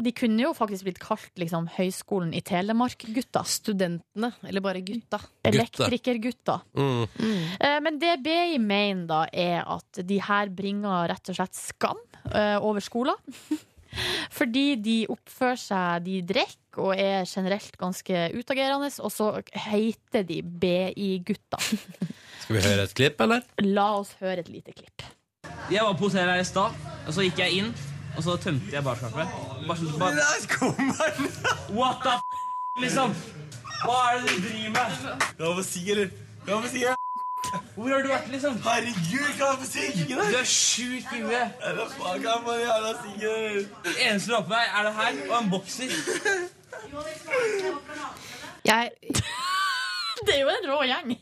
[SPEAKER 3] de kunne jo faktisk blitt kalt liksom, Høgskolen i Telemark-gutta.
[SPEAKER 4] Studentene, eller bare gutta.
[SPEAKER 3] Elektrikergutta.
[SPEAKER 2] Mm.
[SPEAKER 3] Eh, Men det BI mener da er at de her bringer rett og slett skam eh, over skolen. Fordi de oppfører seg, de drikker og er generelt ganske utagerende, og så heter de BI-gutta.
[SPEAKER 2] Skal vi høre et klipp, eller?
[SPEAKER 3] La oss høre et lite klipp.
[SPEAKER 15] Jeg var og poserte her i stad, og så gikk jeg inn, og så tømte jeg barskapet. Bare, sånn- bare, What the f***, liksom? Hva er det du driver med? La meg si, eller? La meg si, Hvor har du vært, liksom? Herregud, kan jeg få si Du er sjuk i huet. Det eneste du har på deg, er det her og en bokser.
[SPEAKER 4] Jeg,
[SPEAKER 3] Det er jo en rå gjeng!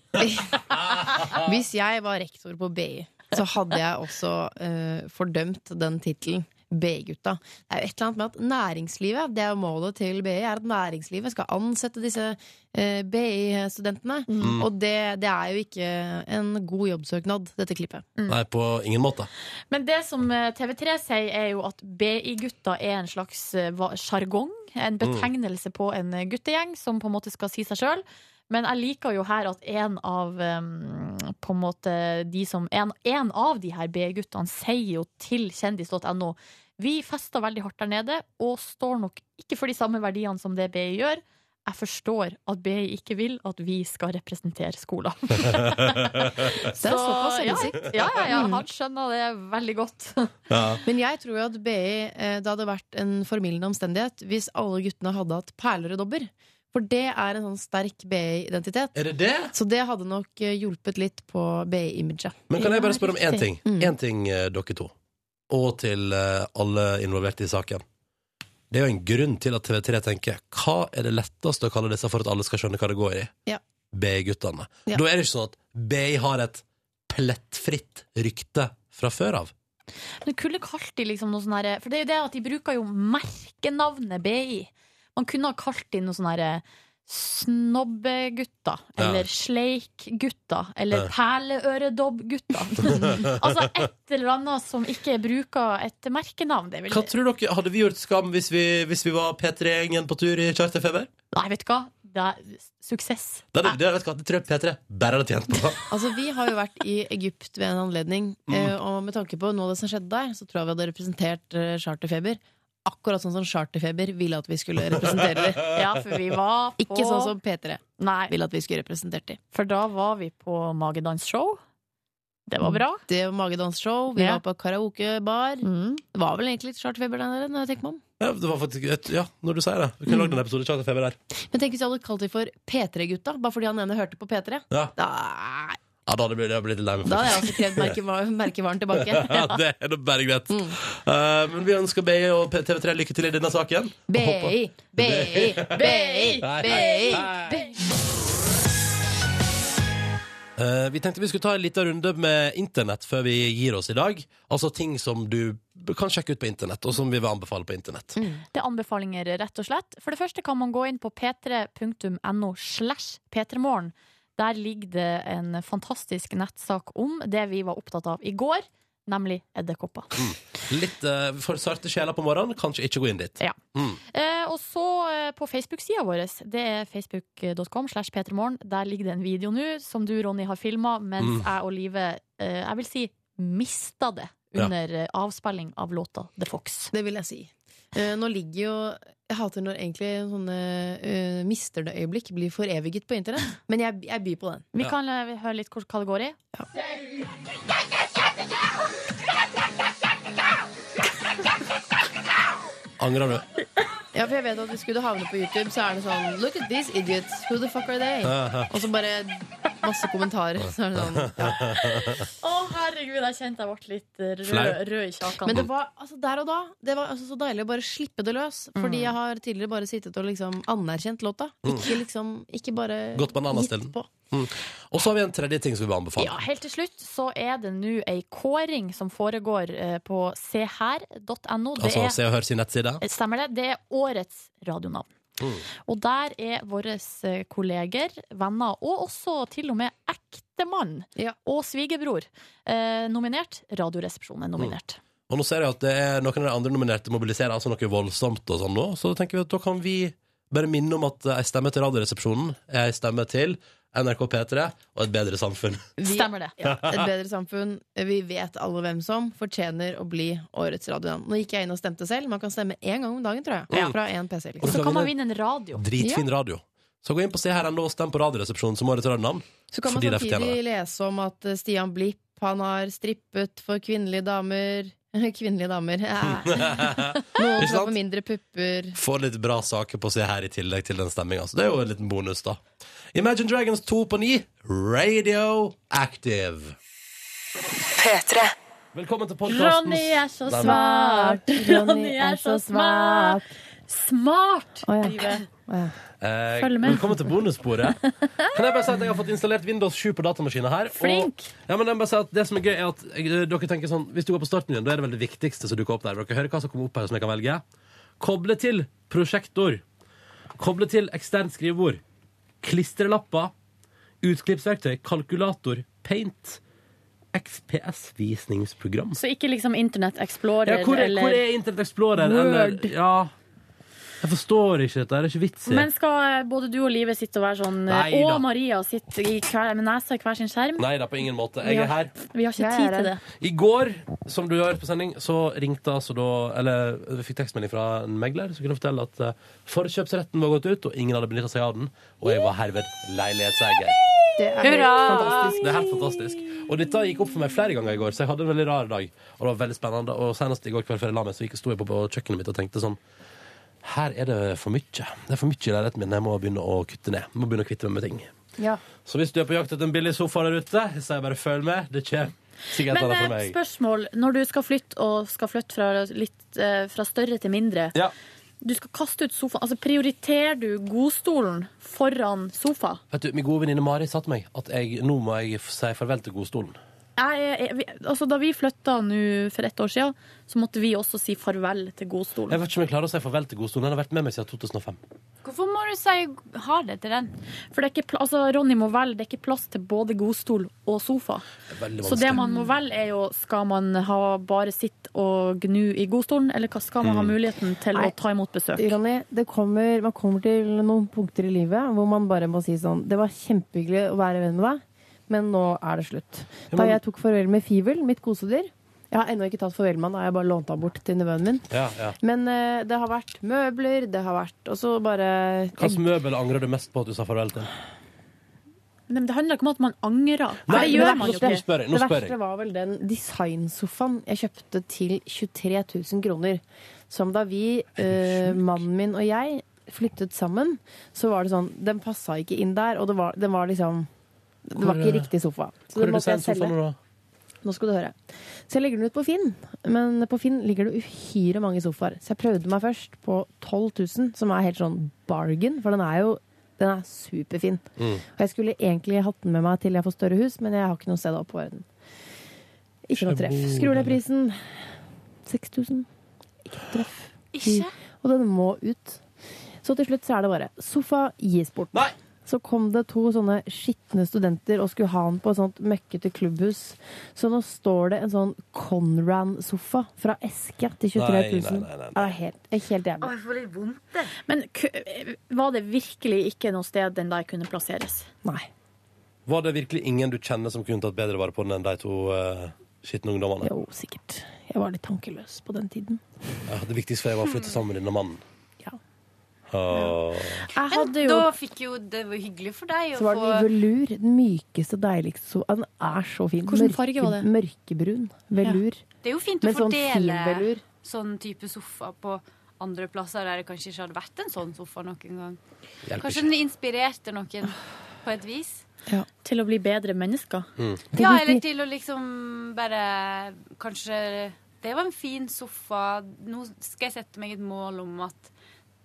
[SPEAKER 4] hvis jeg var rektor på BI, så hadde jeg også eh, fordømt den tittelen. BI-gutta. Det er jo et eller annet med at næringslivet, det er jo målet til BI, er at næringslivet skal ansette disse eh, BI-studentene.
[SPEAKER 2] Mm.
[SPEAKER 4] Og det, det er jo ikke en god jobbsøknad, dette klippet.
[SPEAKER 2] Nei, på ingen måte.
[SPEAKER 3] Men det som eh, TV3 sier, er jo at BI-gutta er en slags eh, hva- sjargong. En betegnelse på en eh, guttegjeng som på en måte skal si seg sjøl. Men jeg liker jo her at en av eh, på en måte de som En, en av de her BI-guttene sier jo til kjendis.no Vi fester veldig hardt der nede og står nok ikke for de samme verdiene som det BI gjør. Jeg forstår at BI ikke vil at vi skal representere skolen.
[SPEAKER 4] Det er såpass
[SPEAKER 3] Ja,
[SPEAKER 4] selvinnsikt.
[SPEAKER 3] ja, ja, ja,
[SPEAKER 4] Mm.
[SPEAKER 3] han skjønner det veldig godt.
[SPEAKER 4] Men jeg tror jo at BI eh, Det hadde vært en formildende omstendighet hvis alle guttene hadde hatt perler og dobber. For det er en sånn sterk BI-identitet.
[SPEAKER 2] Er det det?
[SPEAKER 4] Så det hadde nok eh, hjulpet litt på BI-imaget.
[SPEAKER 2] Men kan jeg bare spørre om én ting?
[SPEAKER 4] Mm.
[SPEAKER 2] Én ting, eh, dere to. Og til eh, alle involverte i saken. Det er jo en grunn til at TV3 tenker hva er det letteste å kalle disse for at alle skal skjønne hva det går i?
[SPEAKER 4] Ja.
[SPEAKER 2] BI-guttene.
[SPEAKER 4] Ja.
[SPEAKER 2] Da er det ikke sånn at BI har et plettfritt rykte fra før av.
[SPEAKER 3] Men du kunne kalt de liksom noe sånn herre For det er jo det at de bruker jo merkenavnet BI. Man kunne ha kalt de noe sånn herre Snobbegutter.
[SPEAKER 9] Ja.
[SPEAKER 3] Eller sleikgutter. Eller
[SPEAKER 9] Ja.
[SPEAKER 3] perleøredobbgutter. altså et eller annet som ikke bruker et merkenavn. Det vil
[SPEAKER 2] Hva tror dere, Hadde vi gjort skam hvis vi, hvis vi var P3-gjengen på tur i charterfeber?
[SPEAKER 3] Nei, vet du hva? Det er suksess.
[SPEAKER 2] Det, hadde- det, vet du hva, det tror jeg P3 bare hadde tjent på.
[SPEAKER 4] Altså, vi har jo vært i Egypt ved en anledning,
[SPEAKER 2] Mm.
[SPEAKER 4] eh, og med tanke på noe av det som skjedde der, så tror jeg vi hadde representert eh, charterfeber. Akkurat sånn som charterfeber ville at vi skulle representere dem.
[SPEAKER 3] Ja, for vi var på-
[SPEAKER 4] Ikke sånn som P3
[SPEAKER 3] Nei.
[SPEAKER 4] ville at vi skulle representert dem.
[SPEAKER 3] For da var vi på magedansshow. Det
[SPEAKER 9] Mm.
[SPEAKER 3] var bra. Mm.
[SPEAKER 4] Det var magedansshow, vi
[SPEAKER 3] Ja.
[SPEAKER 4] var på karaokebar. Det var vel egentlig litt charterfeber der nede, når jeg tenker meg om.
[SPEAKER 2] Ja, det var faktisk et, ja, når du sier det. Vi kunne
[SPEAKER 4] Mm.
[SPEAKER 2] lagd en episode av charterfeber der.
[SPEAKER 4] Men tenk hvis jeg hadde kalt dem for P3-gutta, bare fordi han ene hørte på P3.
[SPEAKER 2] Ja.
[SPEAKER 4] Da,
[SPEAKER 2] Ja, da hadde jeg blitt- jeg hadde blitt litt lei meg.
[SPEAKER 4] da hadde jeg
[SPEAKER 2] faktisk.
[SPEAKER 4] altså krevd merkeva- merkevaren tilbake.
[SPEAKER 2] Ja, det er da bare greit.
[SPEAKER 3] Mm.
[SPEAKER 2] Eh, men vi ønsker BI og P- TV3 lykke til i denne saken.
[SPEAKER 4] BI,
[SPEAKER 2] Og håper-
[SPEAKER 4] BI, BI,
[SPEAKER 2] Nei.
[SPEAKER 4] BI.
[SPEAKER 2] Eh, vi tenkte vi skulle ta en liten runde med internett før vi gir oss i dag. Altså ting som du b- kan sjekke ut på internett, og som vi vil anbefale på internett.
[SPEAKER 3] Det er anbefalinger, rett og slett. For det første kan man gå inn på p3.no slash p3morgen. Der ligger det en fantastisk nettsak om det vi var opptatt av i går, nemlig edderkopper.
[SPEAKER 4] Mm.
[SPEAKER 2] Litt eh, for sarte sjeler på morgenen, kanskje ikke gå inn dit.
[SPEAKER 3] Ja.
[SPEAKER 2] Mm.
[SPEAKER 3] Eh, og så eh, på Facebook-sida vår, det er facebook.com slash p3morgen. Der ligger det en video nå som du, Ronny, har filma, mens
[SPEAKER 2] Mm.
[SPEAKER 3] jeg og Live, eh, jeg vil si, mista det
[SPEAKER 4] Ja.
[SPEAKER 3] under eh, avspilling av låta The Fox.
[SPEAKER 4] Det vil jeg si. Eh, nå ligger jo Jeg hater når egentlig sånne uh, mister det øyeblikk blir foreviget på internett, men jeg, jeg byr på den.
[SPEAKER 3] Vi kan eh, høre litt hvor- hva det går i.
[SPEAKER 2] Angrer du?
[SPEAKER 4] Ja, for jeg vet at hvis skulle du havne på YouTube, så er det sånn Look at these idiots. Who the fuck are they?
[SPEAKER 2] Ja.
[SPEAKER 4] Og så bare masse kommentarer. Så er det sånn
[SPEAKER 3] Å, herregud, jeg kjente jeg ble litt eh, rød,
[SPEAKER 4] Flau.
[SPEAKER 3] rød i kjakan.
[SPEAKER 4] Men det var altså, der og da Det var altså, så deilig å bare slippe det løs.
[SPEAKER 2] Mm.
[SPEAKER 4] Fordi jeg har tidligere bare sittet og liksom anerkjent låta. Ikke liksom Ikke bare
[SPEAKER 2] Gått bananas til den. Mm. Og så har vi en tredje ting som vi vil anbefale.
[SPEAKER 3] ja, helt til slutt så er det nå ei kåring som foregår eh, på seher.no. Det
[SPEAKER 2] altså
[SPEAKER 3] er-
[SPEAKER 2] Se og Hør sin nettside.
[SPEAKER 3] Stemmer det? Det er årets radionavn.
[SPEAKER 2] Mm.
[SPEAKER 3] Og der er våre eh, kolleger, venner og også til og med ektemann og svigerbror eh, nominert. Radioresepsjonen er nominert.
[SPEAKER 2] Og nå ser jeg at det er noen av de andre nominerte mobiliserer altså noe voldsomt og sånn nå, så da tenker vi at da kan vi bare minne om at ei stemme til Radioresepsjonen er ei stemme til NRK P3 og et bedre samfunn.
[SPEAKER 3] Stemmer det.
[SPEAKER 4] Ja, et bedre samfunn. eh, Vi vet alle hvem som fortjener å bli årets radionavn. Nå gikk jeg inn og stemte selv. Man kan stemme én gang om dagen, tror jeg.
[SPEAKER 2] Ja.
[SPEAKER 4] Fra én PC.
[SPEAKER 2] Og du
[SPEAKER 4] Liksom.
[SPEAKER 2] skal Så kan man vinne-
[SPEAKER 3] Finn en radio.
[SPEAKER 2] Dritfin radio. Så gå inn på Se her ennå og stem på Radioresepsjonen som årets radionavn.
[SPEAKER 4] Så kan man
[SPEAKER 2] fordi de
[SPEAKER 4] samtidig
[SPEAKER 2] fortjener det.
[SPEAKER 4] lese om at eh, Stian Blipp han har strippet for kvinnelige damer. Kvinnelige damer. Ja. Noen
[SPEAKER 2] Ikke
[SPEAKER 4] skal
[SPEAKER 2] sant?
[SPEAKER 4] få mindre pupper.
[SPEAKER 2] Få litt bra saker på Se her i tillegg til den stemminga. Så det er jo en liten bonus, da. Imagine Dragons 2 på 9, Radio Active.
[SPEAKER 9] P3.
[SPEAKER 2] Velkommen til podkasten.
[SPEAKER 3] Ronny er så smart! Ronny er så smart! Smart! Livet.
[SPEAKER 2] Eh,
[SPEAKER 3] Følg med.
[SPEAKER 2] Velkommen til bonussporet. Kan jeg bare si at jeg har fått installert Windows 7 på datamaskinen her.
[SPEAKER 3] Flink.
[SPEAKER 2] Og, ja, men jeg må bare si at det som er gøy, er at eh, dere tenker sånn Hvis du går på startmenyen, da er det vel det viktigste som dukker opp der. Dere hører hva som kommer opp her, som jeg kan velge. Koble til prosjektor. Koble til eksternt skrivebord. Klistrelapper. Utklippsverktøy. Kalkulator. Paint. XPS-visningsprogram.
[SPEAKER 3] Så ikke liksom Internett Explorer
[SPEAKER 2] Ja, hvor, er,
[SPEAKER 3] eller
[SPEAKER 2] hvor er Internett Explorer? Eller,
[SPEAKER 3] Word.
[SPEAKER 2] ja. Jeg forstår ikke dette. Det er ikke vits i.
[SPEAKER 3] Men skal eh, både du og Live sitte og være sånn
[SPEAKER 2] Nei
[SPEAKER 3] Og
[SPEAKER 2] da.
[SPEAKER 3] Maria sitte i hver, med nesa i hver sin skjerm?
[SPEAKER 2] Nei da, på ingen måte. Jeg
[SPEAKER 3] Ja.
[SPEAKER 2] er her.
[SPEAKER 3] Vi har ikke
[SPEAKER 2] Jeg
[SPEAKER 3] tid
[SPEAKER 2] er
[SPEAKER 3] til
[SPEAKER 2] her.
[SPEAKER 3] det.
[SPEAKER 2] I går, som du hørte på sending, så ringte altså da Eller vi fikk tekstmelding fra en megler som kunne fortelle at eh, forkjøpsretten var gått ut, og ingen hadde benytta seg av den, og jeg var herved leilighetseier.
[SPEAKER 4] Det er fantastisk.
[SPEAKER 2] Det er helt fantastisk. Og dette gikk opp for meg flere ganger i går, så jeg hadde en veldig rar dag. Og det var veldig spennende. Og senest i går kveld før jeg la meg, så gikk jeg sto jeg på, på kjøkkenet mitt og tenkte sånn Her er det for mye. Det er for mye i leiligheten min. Jeg må begynne å kutte ned. Jeg må begynne å kvitte meg med ting.
[SPEAKER 3] Ja.
[SPEAKER 2] Så hvis du er på jakt etter en billig sofa der ute, så jeg bare følg med. Det kommer sikkert
[SPEAKER 3] Men
[SPEAKER 2] alle for
[SPEAKER 3] eh,
[SPEAKER 2] meg.
[SPEAKER 3] spørsmål. Når du skal flytte, og skal flytte fra, litt, eh, fra større til mindre
[SPEAKER 2] Ja.
[SPEAKER 3] Du skal kaste ut sofaen. Altså, prioriterer du godstolen foran sofa?
[SPEAKER 2] Vet du, Min gode venninne Mari sa til meg at jeg, nå må jeg f- si farvel til godstolen.
[SPEAKER 3] Jeg, er- jeg, vi, altså, da vi flytta nå for ett år siden, så måtte vi også si farvel til godstolen.
[SPEAKER 2] Jeg vet ikke om jeg klarer å si farvel til godstolen. Den har vært med meg siden 2005.
[SPEAKER 13] Hvorfor må du si ha det til den?
[SPEAKER 3] For det er ikke, pla- altså, Ronny må velge, det er ikke plass til både godstol og sofa.
[SPEAKER 2] veldig
[SPEAKER 3] Så det
[SPEAKER 2] vanskelig.
[SPEAKER 3] man må velge, er jo skal man ha bare sitte og gnu i godstolen, eller hva skal man ha
[SPEAKER 4] Mm.
[SPEAKER 3] muligheten til
[SPEAKER 4] Nei.
[SPEAKER 3] å ta imot besøk?
[SPEAKER 4] Ronny, det kommer, man kommer til noen punkter i livet hvor man bare må si sånn Det var kjempehyggelig å være venn med deg, men nå er det slutt.
[SPEAKER 2] Ja,
[SPEAKER 4] Da
[SPEAKER 2] men-
[SPEAKER 4] jeg tok farvel med Fivel, mitt kosedyr Jeg har ennå ikke tatt farvel med han, da har jeg bare lånt han bort til nevøen min.
[SPEAKER 2] Ja, ja.
[SPEAKER 4] Men eh, det har vært møbler, det har vært Og så bare
[SPEAKER 2] Hvilket møbel angrer du mest på at du sa farvel til?
[SPEAKER 3] Men det handler ikke om at man angrer.
[SPEAKER 2] Nei,
[SPEAKER 3] For det
[SPEAKER 2] men
[SPEAKER 3] gjør
[SPEAKER 2] det-
[SPEAKER 3] man jo
[SPEAKER 2] nå
[SPEAKER 3] ikke.
[SPEAKER 2] spør jeg, nå
[SPEAKER 4] det
[SPEAKER 2] spør jeg.
[SPEAKER 4] verste var vel den designsofaen jeg kjøpte til 23 000 kroner. Som da vi, eh, mannen min og jeg, flyttet sammen, så var det sånn Den passa ikke inn der, og det var, den var liksom Det var
[SPEAKER 2] Hvor,
[SPEAKER 4] ikke
[SPEAKER 2] eh,
[SPEAKER 4] riktig sofa.
[SPEAKER 2] hvor er designsofaen nå da?
[SPEAKER 4] Nå skal du høre. Så jeg legger den ut på Finn, men på Finn ligger det uhyre mange sofaer. Så jeg prøvde meg først på 12 000, som er helt sånn bargain, for den er jo den er superfin.
[SPEAKER 16] Mm.
[SPEAKER 4] Og jeg skulle egentlig hatt den med meg til jeg får større hus, men jeg har ikke noe sted å oppbevare den. Ikke noe treff. Skrur ned prisen. 6000. Ikke noe treff.
[SPEAKER 13] Ikke?
[SPEAKER 4] Og den må ut. Så til slutt så er det bare sofa gis bort. Så kom det to sånne skitne studenter og skulle ha den på et sånt møkkete klubbhus. Så nå står det en sånn Conran-sofa fra eske til 23 000.
[SPEAKER 16] Nei, nei, nei, nei.
[SPEAKER 4] Ja, Det er helt, helt jævlig.
[SPEAKER 3] Men ku- var det virkelig ikke noe sted den der kunne plasseres?
[SPEAKER 4] Nei.
[SPEAKER 2] Var det virkelig ingen du kjenner som kunne tatt bedre vare på den enn de to eh, skitne ungdommene?
[SPEAKER 4] Jo, sikkert. Jeg var litt tankeløs på den tiden.
[SPEAKER 2] Ja, det viktigste for deg var å flytte sammen med denne mannen? Ja.
[SPEAKER 13] Men da fikk jo Det var hyggelig for deg å
[SPEAKER 4] Så var
[SPEAKER 13] få
[SPEAKER 4] den i velur. Den mykeste, deiligste sofaen. Den er så fin.
[SPEAKER 13] Hvilken farge var det?
[SPEAKER 4] Mørkebrun. Velur.
[SPEAKER 13] Det er jo fint å
[SPEAKER 4] Men sånn fin
[SPEAKER 13] fordele
[SPEAKER 4] velur.
[SPEAKER 13] sånn type sofa på andre plasser der det kanskje ikke hadde vært en sånn sofa noen gang.
[SPEAKER 3] Hjelper
[SPEAKER 13] kanskje den inspirerte noen på et vis.
[SPEAKER 3] Til å bli bedre mennesker?
[SPEAKER 13] Ja, eller til å liksom bare Kanskje det var en fin sofa. Nå skal jeg sette meg et mål om at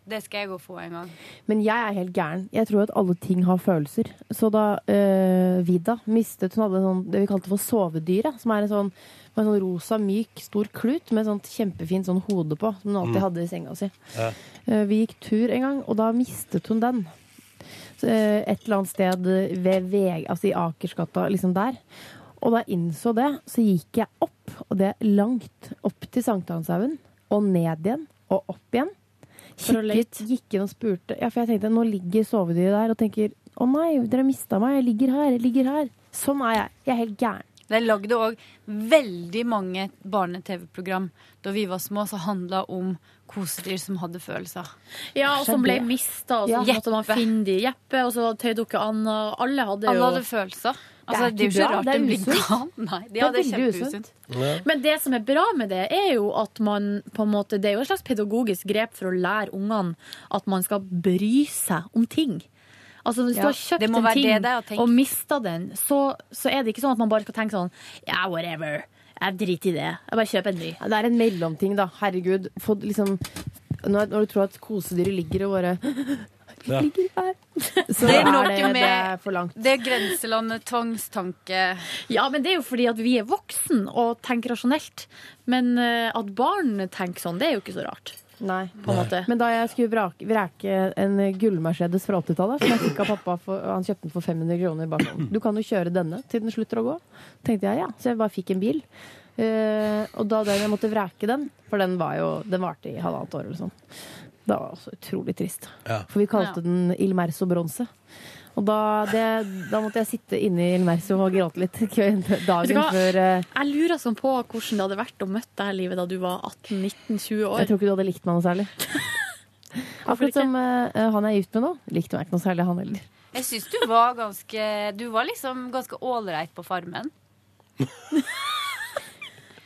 [SPEAKER 13] det skal jeg gå og få en gang.
[SPEAKER 4] Men jeg er helt gæren. Jeg tror at alle ting har følelser. Så da eh, Vida mistet Hun hadde en sånn, det vi kalte for sovedyret. Som er en sånn, med en sånn rosa, myk, stor klut med et sånt kjempefint sånn hode på. Som hun alltid
[SPEAKER 16] Mm.
[SPEAKER 4] hadde i senga si. Eh, vi gikk tur en gang, og da mistet hun den. Så, eh, et eller annet sted ved Veg, altså i Akersgata, liksom der. Og da jeg innså det, så gikk jeg opp, og det er langt, opp til Sankthanshaugen, og ned igjen, og opp igjen.
[SPEAKER 3] For å
[SPEAKER 4] Kikket, gikk inn og spurte. Ja, for jeg tenkte, nå ligger sovedyret der, og tenker, å nei, dere mista meg, jeg ligger her, jeg ligger her. Sånn er jeg, jeg er helt gæren.
[SPEAKER 13] De lagde òg veldig mange barne-TV-program da vi var små som handla om kosedyr som hadde følelser.
[SPEAKER 3] Ja, og som ble mista, og så
[SPEAKER 13] Ja.
[SPEAKER 3] måtte man finne de. Jeppe, og så Tøydukke Anna. Alle hadde jo
[SPEAKER 13] Alle hadde følelser. Altså, det er jo
[SPEAKER 3] bra,
[SPEAKER 13] ikke rart
[SPEAKER 3] det er
[SPEAKER 13] den blir
[SPEAKER 3] usunt.
[SPEAKER 13] gal. Nei, det, ja, det er
[SPEAKER 3] veldig
[SPEAKER 13] kjempeusunt.
[SPEAKER 3] Men det som er bra med det, er jo at man på en måte Det er jo et slags pedagogisk grep for å lære ungene at man skal bry seg om ting. Altså Hvis du
[SPEAKER 13] Ja,
[SPEAKER 3] har kjøpt
[SPEAKER 13] det må
[SPEAKER 3] en
[SPEAKER 13] være det
[SPEAKER 3] ting
[SPEAKER 13] det er å tenke.
[SPEAKER 3] og mista den, så, så er det ikke sånn at man bare skal tenke sånn Ja, whatever. Jeg driter i det. Jeg bare kjøper en ny.
[SPEAKER 4] Ja, Det er en mellomting, da. Herregud. Få liksom når, når du tror at kosedyret ligger og bare
[SPEAKER 2] Ja.
[SPEAKER 4] Ligger her. Så
[SPEAKER 13] Det
[SPEAKER 4] det
[SPEAKER 13] er
[SPEAKER 4] er,
[SPEAKER 13] noe
[SPEAKER 4] det, det
[SPEAKER 13] med-
[SPEAKER 4] er for langt.
[SPEAKER 13] Det er grenselandet tvangstanke.
[SPEAKER 3] Ja, men det er jo fordi at vi er voksen og tenker rasjonelt. Men eh, at barn tenker sånn, det er jo ikke så rart.
[SPEAKER 4] Nei.
[SPEAKER 3] På en måte.
[SPEAKER 4] Men da jeg skulle vrake, vrake en gull-Mercedes fra 80-tallet, som jeg fikk av pappa for, og Han kjøpte den for 500 kroner. Bare sånn. Du kan jo kjøre denne til den slutter å gå. Tenkte jeg, ja. Så jeg bare fikk en bil. Eh, og da den, jeg måtte vrake den, for den var jo Den varte i halvannet år eller sånn. Det var også utrolig trist.
[SPEAKER 2] Ja.
[SPEAKER 4] For vi kalte den Il Merso Bronse. Og da, det, da måtte jeg sitte inne i Il Merso og gråte litt kvelden-
[SPEAKER 3] Vet du
[SPEAKER 4] dagen
[SPEAKER 3] hva?
[SPEAKER 4] før eh,
[SPEAKER 3] Jeg lurer sånn på hvordan det hadde vært å møte deg i livet da du var 18-19-20 år.
[SPEAKER 4] Jeg tror ikke du hadde likt meg noe særlig. Akkurat som eh, han jeg er gift med nå, likte meg ikke noe særlig, han heller.
[SPEAKER 13] Jeg syns du var ganske Du var liksom ganske ålreit på Farmen.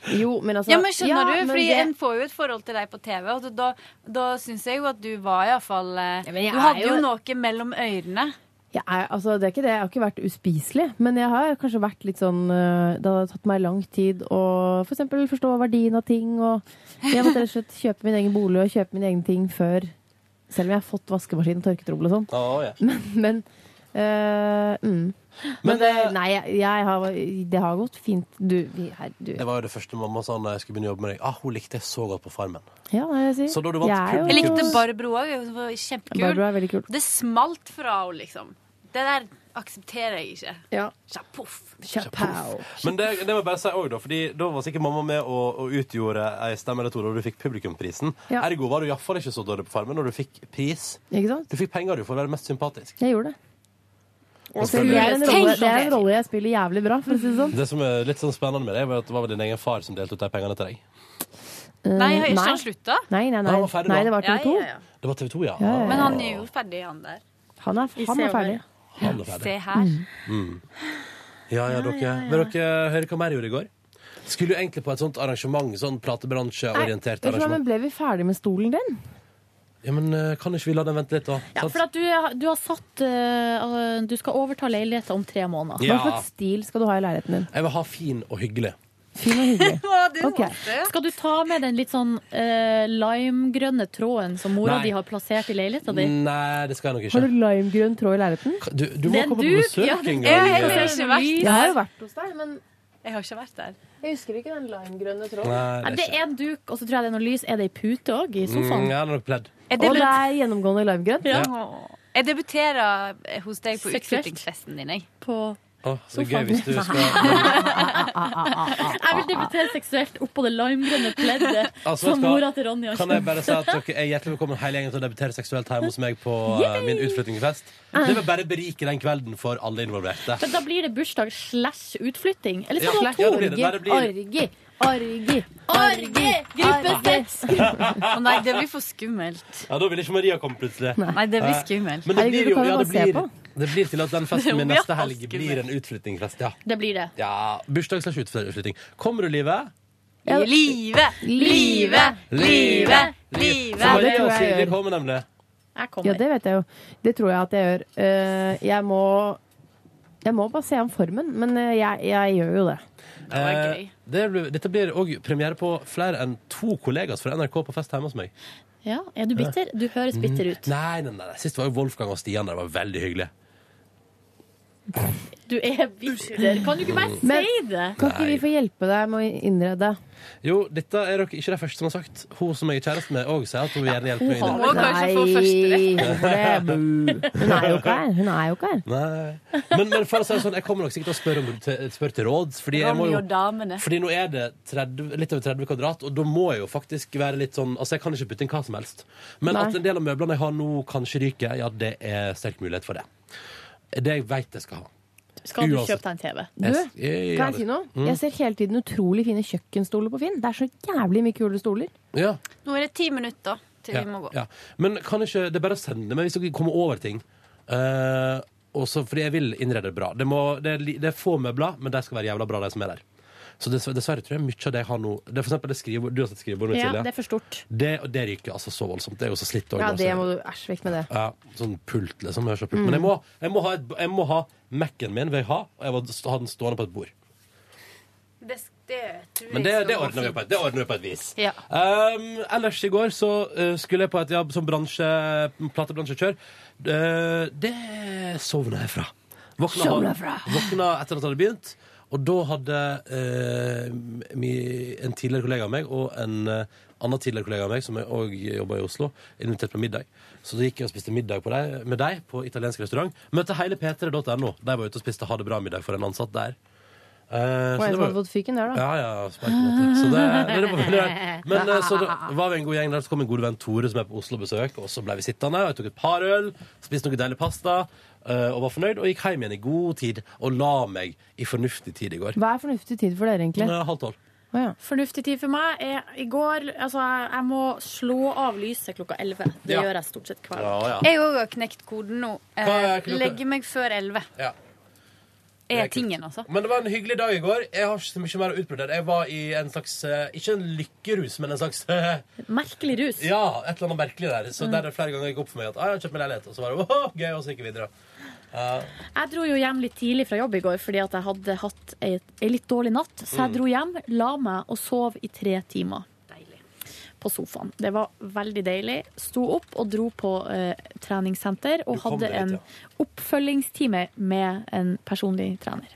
[SPEAKER 4] Jo, men altså
[SPEAKER 13] ja, men skjønner
[SPEAKER 4] Ja,
[SPEAKER 13] du?
[SPEAKER 4] men
[SPEAKER 13] Fordi
[SPEAKER 4] det-
[SPEAKER 13] En får jo et forhold til deg på TV, og da, da syns jeg jo at du var iallfall ja,
[SPEAKER 4] jeg
[SPEAKER 13] Du eh, hadde
[SPEAKER 4] er
[SPEAKER 13] jo...
[SPEAKER 4] jo-
[SPEAKER 13] noe mellom ørene.
[SPEAKER 4] Jeg er, altså, det er ikke det. Jeg har ikke vært uspiselig, men jeg har kanskje vært litt sånn øh, Det har tatt meg lang tid å for eksempel forstå verdien av ting. Og jeg måtte rett og slett kjøpe min egen bolig og kjøpe mine egne ting før. Selv om jeg har fått vaskemaskin og tørketrommel og sånn.
[SPEAKER 2] Å, ja.
[SPEAKER 4] Men, men øh, mm. Men, det- nei, jeg, jeg har, det har gått fint. Du, vi, her, du.
[SPEAKER 2] Det var jo det første mamma sa når jeg skulle begynne å jobbe med deg. Ah, hun likte jeg så godt på Farmen.
[SPEAKER 4] Ja, hva er det jeg sier?
[SPEAKER 2] Så da du vant
[SPEAKER 4] Jeg er jo-
[SPEAKER 13] Jeg likte Barbro òg. Hun var kjempekul.
[SPEAKER 4] Barbro er veldig kul.
[SPEAKER 13] Det smalt fra henne, liksom. Det der aksepterer jeg ikke.
[SPEAKER 4] Ja.
[SPEAKER 13] Sjapoff.
[SPEAKER 2] Men det, det må jeg bare si også, da, Fordi da var sikkert mamma med og, og utgjorde ei stemme eller to da du fikk publikumprisen.
[SPEAKER 4] Ja.
[SPEAKER 2] Ergo var du iallfall ikke så dårlig på Farmen når du fikk pris.
[SPEAKER 4] Ikke sant?
[SPEAKER 2] Du fikk penger du for å være mest sympatisk.
[SPEAKER 4] Jeg gjorde det.
[SPEAKER 2] Og
[SPEAKER 4] Så det er en rolle,
[SPEAKER 2] selvfølgelig-
[SPEAKER 4] det er en rolle jeg spiller jævlig bra, for å si det sånn.
[SPEAKER 2] Det som er litt sånn spennende med det, var at det var vel din egen far som delte ut de pengene til deg.
[SPEAKER 13] Nei, har ikke han slutta?
[SPEAKER 4] Nei, nei,
[SPEAKER 2] Nei,
[SPEAKER 4] nei.
[SPEAKER 2] han var ferdig da.
[SPEAKER 4] nei det var TV 2.
[SPEAKER 13] Ja, ja, ja.
[SPEAKER 2] Det var TV 2, ja.
[SPEAKER 4] Ja, ja, ja.
[SPEAKER 13] Men han er jo ferdig, han der.
[SPEAKER 4] Han er,
[SPEAKER 13] I
[SPEAKER 4] han
[SPEAKER 13] Se
[SPEAKER 4] er
[SPEAKER 13] og Hør.
[SPEAKER 4] ferdig.
[SPEAKER 2] Han er ferdig.
[SPEAKER 13] Se her.
[SPEAKER 2] Mm. Ja, ja, dere. Vil dere høre hva mer jeg gjorde i går? Skulle jo egentlig på et sånt arrangement, sånn platebransjeorientert
[SPEAKER 4] Nei, vet du hva,
[SPEAKER 2] arrangement.
[SPEAKER 4] men ble vi ferdig med stolen din?
[SPEAKER 2] Ja, men eh, kan ikke vi la den vente litt, da?
[SPEAKER 3] Ja,
[SPEAKER 2] Sant?
[SPEAKER 3] for at du, du har satt eh, Du skal overta leiligheten om tre måneder.
[SPEAKER 2] Ja. Hva slags
[SPEAKER 4] stil skal du ha i leiligheten din?
[SPEAKER 2] Jeg vil ha fin og hyggelig.
[SPEAKER 4] Fin og hyggelig.
[SPEAKER 3] Ok. Skal du ta med den litt sånn eh, limegrønne tråden som mora
[SPEAKER 2] Nei. Mm.
[SPEAKER 3] di har plassert i leiligheten din?
[SPEAKER 2] Nei, det skal jeg nok
[SPEAKER 4] Har
[SPEAKER 2] ikke.
[SPEAKER 4] du limegrønn tråd i leiligheten?
[SPEAKER 2] Du, du må
[SPEAKER 3] Den
[SPEAKER 2] komme
[SPEAKER 3] du-
[SPEAKER 2] på besøk
[SPEAKER 3] ja,
[SPEAKER 2] en gang.
[SPEAKER 3] jeg har
[SPEAKER 2] eh.
[SPEAKER 3] ikke vært der.
[SPEAKER 4] Jeg har jo vært hos deg, men
[SPEAKER 13] Jeg har ikke vært der.
[SPEAKER 4] Jeg husker ikke den limegrønne tråden.
[SPEAKER 2] Nei,
[SPEAKER 3] Nei, det er sånn. en duk, og så tror jeg det er noe lys. Er det ei pute òg i sofaen?
[SPEAKER 2] Mm, ja, det er nok pledd.
[SPEAKER 13] Er det
[SPEAKER 4] Og det
[SPEAKER 13] litt-
[SPEAKER 4] er gjennomgående limegrønt?
[SPEAKER 2] Ja.
[SPEAKER 13] Jeg debuterer eh, hos deg på
[SPEAKER 3] Seksuelt.
[SPEAKER 13] utflyttingsfesten din, jeg.
[SPEAKER 2] Å, så
[SPEAKER 13] Sofaen.
[SPEAKER 2] gøy hvis du skal
[SPEAKER 3] Jeg vil debutere seksuelt oppå det limegrønne pleddet
[SPEAKER 2] Altså, vet
[SPEAKER 3] som
[SPEAKER 2] du hva?
[SPEAKER 3] mora til Ronny har
[SPEAKER 2] Kan jeg bare si at dere er hjertelig velkommen hele gjengen til å debutere seksuelt hjemme hos meg på eh, min utflyttingsfest? Det vil bare berike den kvelden for alle involverte.
[SPEAKER 3] Men da blir det bursdag slash utflytting. Eller
[SPEAKER 2] Ja,
[SPEAKER 3] skal du ha
[SPEAKER 2] slash, ja,
[SPEAKER 3] to?
[SPEAKER 2] det blir det. Nei, det blir-
[SPEAKER 3] Orgi,
[SPEAKER 4] orgi,
[SPEAKER 3] orgi, gruppe seks!
[SPEAKER 13] Å nei, det blir for skummelt.
[SPEAKER 2] Ja, Da vil ikke Maria komme plutselig.
[SPEAKER 13] Nei, det blir
[SPEAKER 2] Eh,
[SPEAKER 13] skummelt.
[SPEAKER 2] Men det blir
[SPEAKER 13] Herregud, du
[SPEAKER 2] jo
[SPEAKER 13] kan jo
[SPEAKER 2] ja, det
[SPEAKER 13] bare se
[SPEAKER 2] blir, det blir til at den festen min neste helg blir en utflyttingsfest. Ja.
[SPEAKER 3] Det blir det.
[SPEAKER 2] ja Bursdag slash utflytting. Kommer du, Live?
[SPEAKER 13] Live, live, live, live.
[SPEAKER 2] Så Maria og
[SPEAKER 4] jeg
[SPEAKER 2] Silje
[SPEAKER 4] gjør.
[SPEAKER 2] kommer nemlig.
[SPEAKER 4] Ja, det vet jeg jo. Det tror jeg at jeg gjør. Eh, Jeg må Jeg må bare se an formen, men eh, jeg, jeg gjør jo det.
[SPEAKER 2] Eh, det blir, dette blir òg premiere på flere enn to kollegaer fra NRK på fest hjemme hos meg.
[SPEAKER 3] Ja, er du bitter? Du høres bitter ut.
[SPEAKER 2] Mm. Nei, nei, nei, nei. Sist var jo Wolfgang og Stian der. Det var veldig hyggelig.
[SPEAKER 3] Du er bitter. Kan du ikke bare
[SPEAKER 4] Men-
[SPEAKER 3] si det?
[SPEAKER 4] Kan ikke vi få hjelpe deg med å innrede?
[SPEAKER 2] Jo, dette er dere ikke de første som har sagt. Hun som jeg er kjæreste med, òg sier at hun vil gjerne hjelpe meg.
[SPEAKER 4] Hun har- Nei, hvorfor det? Bu. Hun er jo ikke her. Hun er jo ikke her.
[SPEAKER 2] Nei. Men, men for å si det sånn, jeg kommer nok sikkert til å spørre, om, til, spørre til råds. Fordi, jeg må
[SPEAKER 13] Ronny
[SPEAKER 2] jo,
[SPEAKER 13] og damene.
[SPEAKER 2] fordi nå er det 30, litt over 30 kvadrat, og da må jeg jo faktisk være litt sånn Altså, jeg kan ikke putte inn hva som helst. Men
[SPEAKER 17] Nei.
[SPEAKER 2] at en del av møblene jeg har nå, kanskje ryker, ja, det er sterk mulighet for det. Det jeg veit jeg skal ha.
[SPEAKER 4] Skal du
[SPEAKER 2] Uansett.
[SPEAKER 4] kjøpe deg en TV? Du,
[SPEAKER 2] Jeg s- jeg-
[SPEAKER 4] kan jeg si noe?
[SPEAKER 2] Mm.
[SPEAKER 4] Jeg ser hele tiden utrolig fine kjøkkenstoler på Finn. Det er så jævlig mye kule stoler.
[SPEAKER 2] Ja.
[SPEAKER 13] Nå er det ti minutter til
[SPEAKER 2] ja,
[SPEAKER 13] vi må gå.
[SPEAKER 2] Ja. Men kan ikke Det er bare å sende meg hvis dere kommer over ting. Eh, også, fordi jeg vil innrede det bra. Det, må, det, er, li- det er få møbler, men de skal være jævla bra, de som er der. Så dessverre, dessverre tror jeg mye av det jeg har nå Det er for eksempel det skrivebord- Du har sett skrivebordet mitt,
[SPEAKER 4] Ja,
[SPEAKER 2] Silje.
[SPEAKER 4] det er for stort.
[SPEAKER 2] Det, og det ryker altså så voldsomt. Det er jo så slitt. også,
[SPEAKER 4] Ja,
[SPEAKER 2] altså.
[SPEAKER 4] det må du Æsj, vekk med det.
[SPEAKER 2] Ja, sånn pult, liksom. Jeg har så pult.
[SPEAKER 4] Mm.
[SPEAKER 2] Men jeg må, jeg må ha, et- jeg må ha Mac-en min, vil jeg ha, og jeg må st- ha den stående på et bord.
[SPEAKER 13] Det, det tror
[SPEAKER 2] Men det,
[SPEAKER 13] jeg skal
[SPEAKER 2] det,
[SPEAKER 13] gå
[SPEAKER 2] ordner vi
[SPEAKER 13] fint.
[SPEAKER 2] på, et- det ordner vi på et vis.
[SPEAKER 13] Ja.
[SPEAKER 2] Um, ellers i går så eh, skulle jeg på et jobb som bransje, platebransjekjør. Eh, det sovna jeg fra.
[SPEAKER 17] Sovna fra.
[SPEAKER 2] våkna etter at det hadde begynt. Og da hadde eh, mi, en tidligere kollega av meg og en eh, annen tidligere kollega av meg som òg jobba i Oslo, invitert på middag. Så da gikk jeg og spiste middag på deg, med deg på italiensk restaurant. Møtte hele p3.no. De var ute og spiste ha det bra-middag for en ansatt der. Eh, så det
[SPEAKER 4] Var det en som hadde
[SPEAKER 2] var-
[SPEAKER 4] fått fyken der, da?
[SPEAKER 2] ja, ja. sparken etter. Så det, nei, det var veldig rart. Men eh, så da var vi en god gjeng der, så kom en god venn Tore som er på Oslo-besøk, og så ble vi sittende, og jeg tok et par øl, spiste noe deilig pasta, eh, og var fornøyd, og gikk hjem igjen i god tid, og la meg i fornuftig tid i går.
[SPEAKER 4] Hva er fornuftig tid for dere, egentlig?
[SPEAKER 2] Eh, Halv tolv.
[SPEAKER 4] Å, ja.
[SPEAKER 3] Fornuftig tid for meg er i går Altså, jeg, jeg må slå av lyset klokka 11. Det
[SPEAKER 2] Ja.
[SPEAKER 3] gjør jeg stort sett hver dag.
[SPEAKER 2] Ja, ja.
[SPEAKER 13] Jeg òg har knekt koden nå.
[SPEAKER 2] Hva
[SPEAKER 13] Eh,
[SPEAKER 2] er klokka?
[SPEAKER 13] legge meg før elleve.
[SPEAKER 2] Ja. Det
[SPEAKER 13] er
[SPEAKER 2] kult.
[SPEAKER 13] tingen, altså.
[SPEAKER 2] Men det var en hyggelig dag i går. Jeg har ikke så mye mer å utbrodere. Jeg var i en slags eh, Ikke en lykkerus, men en slags eh,
[SPEAKER 3] Merkelig rus.
[SPEAKER 2] Ja, et eller annet merkelig der. Så
[SPEAKER 3] Mm.
[SPEAKER 2] der er det flere ganger gikk opp for meg at ah, jeg har kjøpt meg leilighet. Og så var det «Åh, gøy, og så gikk jeg videre. Eh,
[SPEAKER 3] Jeg dro jo hjem litt tidlig fra jobb i går fordi at jeg hadde hatt ei, ei litt dårlig natt. Så jeg
[SPEAKER 13] Mm.
[SPEAKER 3] dro hjem, la meg og sov i tre timer. På sofaen. Det var veldig deilig. Sto opp og dro på eh, treningssenter og
[SPEAKER 13] kom
[SPEAKER 3] hadde
[SPEAKER 13] deg
[SPEAKER 3] en
[SPEAKER 13] dit,
[SPEAKER 3] oppfølgingstime med en personlig trener.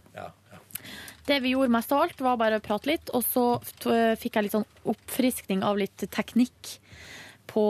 [SPEAKER 3] Det vi gjorde mest av alt, var bare å prate litt, og så t- fikk jeg litt sånn oppfriskning av litt teknikk på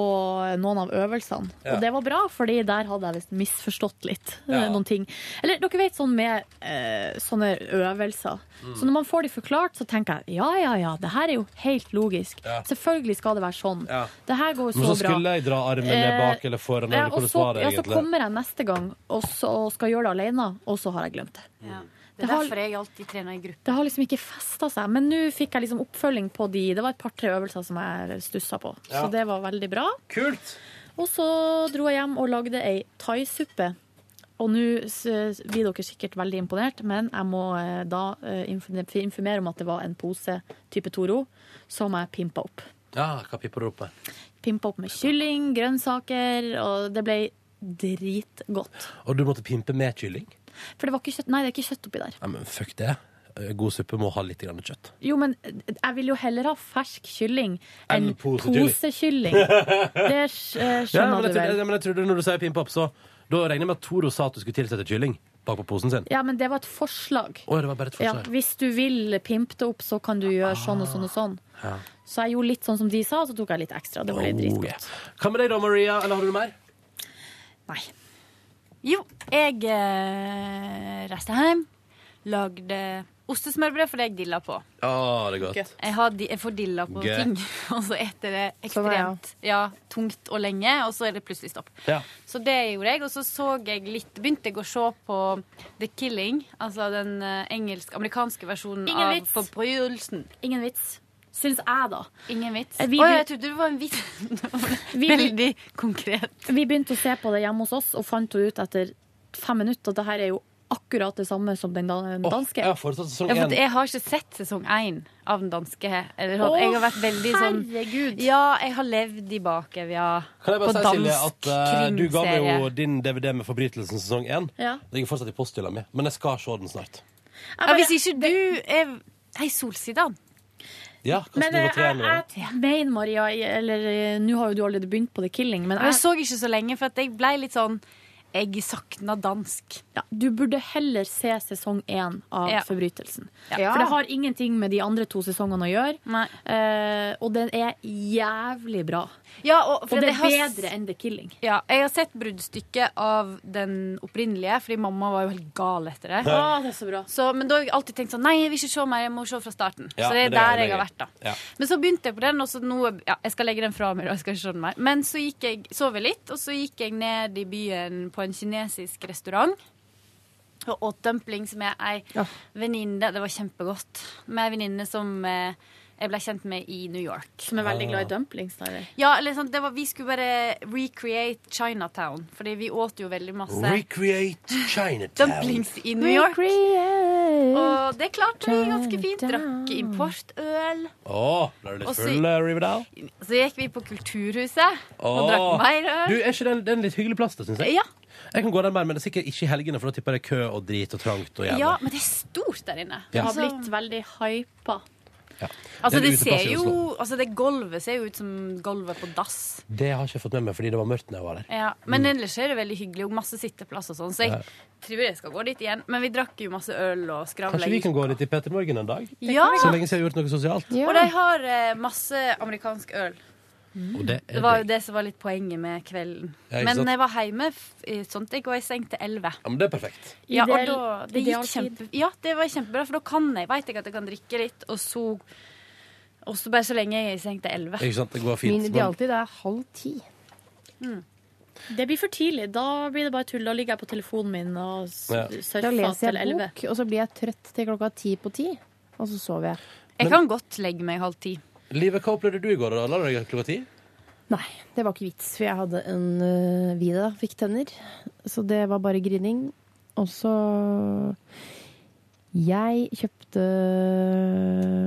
[SPEAKER 3] noen av øvelsene.
[SPEAKER 13] Ja.
[SPEAKER 3] Og det var bra, fordi der hadde jeg visst misforstått litt eh,
[SPEAKER 13] Ja.
[SPEAKER 3] noen ting. Eller dere vet sånn med eh, sånne øvelser.
[SPEAKER 13] Mm.
[SPEAKER 3] Så når man får de forklart, så tenker jeg ja, ja, ja, det her er jo helt logisk.
[SPEAKER 2] Ja.
[SPEAKER 3] Selvfølgelig skal det være sånn.
[SPEAKER 2] Ja.
[SPEAKER 3] Det her går
[SPEAKER 2] Men
[SPEAKER 3] jo
[SPEAKER 2] så
[SPEAKER 3] så bra.
[SPEAKER 2] skulle jeg dra armen ned bak
[SPEAKER 3] Eh,
[SPEAKER 2] eller foran.
[SPEAKER 3] ja,
[SPEAKER 2] eller
[SPEAKER 3] og
[SPEAKER 2] hvordan
[SPEAKER 3] så,
[SPEAKER 2] var det
[SPEAKER 3] ja, så
[SPEAKER 2] egentlig?
[SPEAKER 3] kommer jeg neste gang og, så, og skal gjøre det alene, og så har jeg glemt det.
[SPEAKER 2] Mm.
[SPEAKER 13] Det er
[SPEAKER 3] Det har-
[SPEAKER 13] derfor jeg alltid trener i gruppe.
[SPEAKER 3] Det har liksom ikke festa seg. Men nå fikk jeg liksom oppfølging på de Det var et par-tre øvelser som jeg stussa på.
[SPEAKER 13] Ja.
[SPEAKER 3] Så det var veldig bra.
[SPEAKER 2] Kult!
[SPEAKER 3] Og så dro jeg hjem og lagde ei thaisuppe. Og nå s- blir dere sikkert veldig imponert, men jeg må eh, da eh, inform- informere om at det var en pose type Toro som jeg pimpa opp.
[SPEAKER 2] Ja, hva pipper du opp med?
[SPEAKER 3] Pimpa opp med kylling, grønnsaker, og det ble dritgodt.
[SPEAKER 2] Og du måtte pimpe med kylling?
[SPEAKER 3] For det var ikke kjøtt Nei, det er ikke kjøtt oppi der.
[SPEAKER 2] Nei, men fuck det. Eh, God suppe må ha litt grann kjøtt.
[SPEAKER 3] Jo, men eh, jeg vil jo heller ha fersk kylling
[SPEAKER 2] Enn
[SPEAKER 3] enn
[SPEAKER 2] posekylling.
[SPEAKER 3] posekylling. Det sk- eh,
[SPEAKER 2] Ja, men jeg
[SPEAKER 3] skjønner du
[SPEAKER 2] trodde,
[SPEAKER 3] vel.
[SPEAKER 2] ja, men jeg trodde når du sier pimp opp, så Da regner jeg med at Toro sa at du skulle tilsette kylling bakpå posen sin.
[SPEAKER 3] Ja, men det var et forslag.
[SPEAKER 2] Å, det var bare et
[SPEAKER 3] Ja,
[SPEAKER 2] forslag.
[SPEAKER 3] hvis du vil pimpe det opp, så kan du gjøre sånn og sånn og sånn.
[SPEAKER 2] Ah, Ja.
[SPEAKER 3] Så jeg gjorde litt sånn som de sa, og så tok jeg litt ekstra. Det ble
[SPEAKER 2] Oh,
[SPEAKER 3] dritgodt.
[SPEAKER 2] yeah. Hva med deg da, Maria? Eller har du noe mer?
[SPEAKER 13] Jo, jeg eh, reiste hjem, lagde ostesmørbrød, for det jeg dilla på.
[SPEAKER 2] Ja, det er godt.
[SPEAKER 13] Jeg, har, di- jeg får dilla på
[SPEAKER 2] Gøy.
[SPEAKER 13] ting, og så eter det
[SPEAKER 2] Sånn er
[SPEAKER 13] ekstremt ja, tungt og lenge, og så er det plutselig stopp.
[SPEAKER 2] Ja.
[SPEAKER 13] Så det gjorde jeg, og så så jeg litt Begynte jeg å se på The Killing, altså den eh, engelsk-amerikanske versjonen
[SPEAKER 3] Ingen
[SPEAKER 13] av
[SPEAKER 3] vits.
[SPEAKER 13] Forbrytelsen.
[SPEAKER 3] Ingen vits. Syns jeg, da.
[SPEAKER 13] Ingen vits.
[SPEAKER 3] Eh,
[SPEAKER 13] Å
[SPEAKER 3] vi
[SPEAKER 13] ja,
[SPEAKER 3] blir-
[SPEAKER 13] jeg trodde det var en vits.
[SPEAKER 3] Veldig
[SPEAKER 13] konkret.
[SPEAKER 3] Vi begynte å se på det hjemme hos oss, og fant jo ut etter fem minutter at det her er jo akkurat det samme som den dan- danske.
[SPEAKER 2] Jeg har fortsatt sesong
[SPEAKER 13] Ja, for
[SPEAKER 2] én.
[SPEAKER 13] at
[SPEAKER 3] e-
[SPEAKER 13] jeg har ikke sett sesong én av den danske. her. Eller, sånn.
[SPEAKER 3] Å,
[SPEAKER 13] jeg har vært veldig sånn
[SPEAKER 3] herregud.
[SPEAKER 13] Ja, jeg har levd i bakevja.
[SPEAKER 2] Kan jeg bare si, Silje, at eh, du ga meg jo
[SPEAKER 13] krimserie.
[SPEAKER 2] din DVD med Forbrytelsen sesong én.
[SPEAKER 13] Ja.
[SPEAKER 2] Det ligger fortsatt i posthylla mi, men jeg skal se den snart.
[SPEAKER 13] ja, Hvis ikke du er Hei, Solsidan.
[SPEAKER 2] Ja,
[SPEAKER 3] Men
[SPEAKER 2] kanskje du
[SPEAKER 3] eh,
[SPEAKER 2] går til igjen
[SPEAKER 3] jeg,
[SPEAKER 2] med den?
[SPEAKER 3] jeg mener, Maria, eller eh, nå har jo du allerede begynt på The Killing, men
[SPEAKER 13] Men jeg så ikke så lenge, for at jeg ble litt sånn Jeg sakna dansk.
[SPEAKER 3] Ja, du burde heller se sesong én av
[SPEAKER 13] Ja.
[SPEAKER 3] Forbrytelsen.
[SPEAKER 13] Ja.
[SPEAKER 3] For det har ingenting med de andre to sesongene å gjøre. Eh, og den er jævlig bra.
[SPEAKER 13] Ja, og, for
[SPEAKER 3] og det
[SPEAKER 13] jeg
[SPEAKER 3] er
[SPEAKER 13] har s-
[SPEAKER 3] bedre enn The Killing.
[SPEAKER 13] Ja, jeg har sett bruddstykket av den opprinnelige, fordi mamma var jo helt gal etter det.
[SPEAKER 3] Å, det er så bra.
[SPEAKER 13] men da har jeg alltid tenkt sånn Nei, jeg vil ikke se mer, jeg må se fra starten.
[SPEAKER 2] Ja,
[SPEAKER 13] så det
[SPEAKER 2] men
[SPEAKER 13] er
[SPEAKER 2] det er
[SPEAKER 13] der jeg har
[SPEAKER 2] gøy.
[SPEAKER 13] vært, da.
[SPEAKER 2] Ja.
[SPEAKER 13] Men så begynte jeg på den, og så nå Ja, jeg skal legge den fra meg, da. Jeg skal ikke se den mer. Men så gikk jeg sov jeg litt, og så gikk jeg ned i byen på en kinesisk restaurant. Og åt dumplings med ei venninne. Det var kjempegodt. Med ei venninne som eh, jeg ble kjent med i New York.
[SPEAKER 3] Som er veldig
[SPEAKER 4] Ah.
[SPEAKER 3] glad i dumplings. da, eller?
[SPEAKER 13] Ja, eller sånn, det var, vi skulle bare recreate Chinatown. Fordi vi åt jo veldig masse
[SPEAKER 2] Recreate Chinatown.
[SPEAKER 13] dumplings i New York. Og det klarte vi ganske fint. Drakk importøl.
[SPEAKER 2] Å, ble du
[SPEAKER 13] Og
[SPEAKER 2] litt
[SPEAKER 13] så-
[SPEAKER 2] full, eh, Riverdale?
[SPEAKER 13] Så gikk vi på Kulturhuset og
[SPEAKER 2] Åh.
[SPEAKER 13] drakk mer
[SPEAKER 2] Du,
[SPEAKER 13] øl.
[SPEAKER 2] er ikke den, den litt hyggelig plass, da, syns jeg?
[SPEAKER 13] Ja.
[SPEAKER 2] Jeg kan gå der mer, men det er sikkert ikke i helgene, for da tipper jeg det er kø og drit og trangt og jævlig.
[SPEAKER 13] Ja, men det er stort der inne.
[SPEAKER 2] Ja.
[SPEAKER 3] Det har blitt veldig hypa.
[SPEAKER 13] Altså,
[SPEAKER 2] Det er
[SPEAKER 13] det
[SPEAKER 2] en uteplass
[SPEAKER 13] ser
[SPEAKER 2] i
[SPEAKER 13] jo
[SPEAKER 2] Oslo.
[SPEAKER 13] Altså, det gulvet ser jo ut som gulvet på dass.
[SPEAKER 2] Det har jeg ikke fått med meg, fordi det var mørkt da jeg var der.
[SPEAKER 13] Ja, men ellers er det veldig hyggelig, og masse sitteplass og sånn, så jeg
[SPEAKER 2] Ja.
[SPEAKER 13] tror jeg skal gå dit igjen. Men vi drakk jo masse øl og skravla.
[SPEAKER 2] Kanskje vi kan gå litt i Peter Morgen en dag?
[SPEAKER 13] Ja.
[SPEAKER 2] Så lenge siden jeg har gjort noe sosialt.
[SPEAKER 13] Og de har eh, masse amerikansk øl.
[SPEAKER 2] Og det
[SPEAKER 13] Mm. Det
[SPEAKER 2] er
[SPEAKER 13] var jo
[SPEAKER 2] digg.
[SPEAKER 13] det som var litt poenget med kvelden.
[SPEAKER 2] Ja, ikke
[SPEAKER 13] Men
[SPEAKER 2] sant?
[SPEAKER 13] jeg var hjemme f- i sånt, jeg, og jeg seng til elleve.
[SPEAKER 2] Ja, men det er perfekt.
[SPEAKER 13] Ja, og
[SPEAKER 3] Ideell-
[SPEAKER 13] da, det,
[SPEAKER 3] ideal
[SPEAKER 13] gikk
[SPEAKER 3] tid.
[SPEAKER 13] kjempe, ja, det var kjempebra, for da kan jeg, vet jeg at jeg kan drikke litt, og så, og så bare så lenge jeg er i seng til elleve.
[SPEAKER 2] Ikke sant, det går fint.
[SPEAKER 13] Min
[SPEAKER 2] men-
[SPEAKER 4] Det er halv ti.
[SPEAKER 3] Det blir for tidlig. Da blir det bare tull. Da ligger jeg på telefonen min og s-
[SPEAKER 2] Ja.
[SPEAKER 4] Da
[SPEAKER 3] surfer
[SPEAKER 4] leser
[SPEAKER 3] til
[SPEAKER 4] jeg
[SPEAKER 3] elleve.
[SPEAKER 4] bok, og så blir jeg trøtt til klokka ti på ti. Og så sover jeg.
[SPEAKER 13] Jeg kan godt legge meg halv ti.
[SPEAKER 2] Livet, hva opplevde du i går? da? La deg klokka ti?
[SPEAKER 4] Nei, det var ikke vits, for jeg hadde en uh, video da, fikk tenner. Så det var bare grining. Og så Jeg kjøpte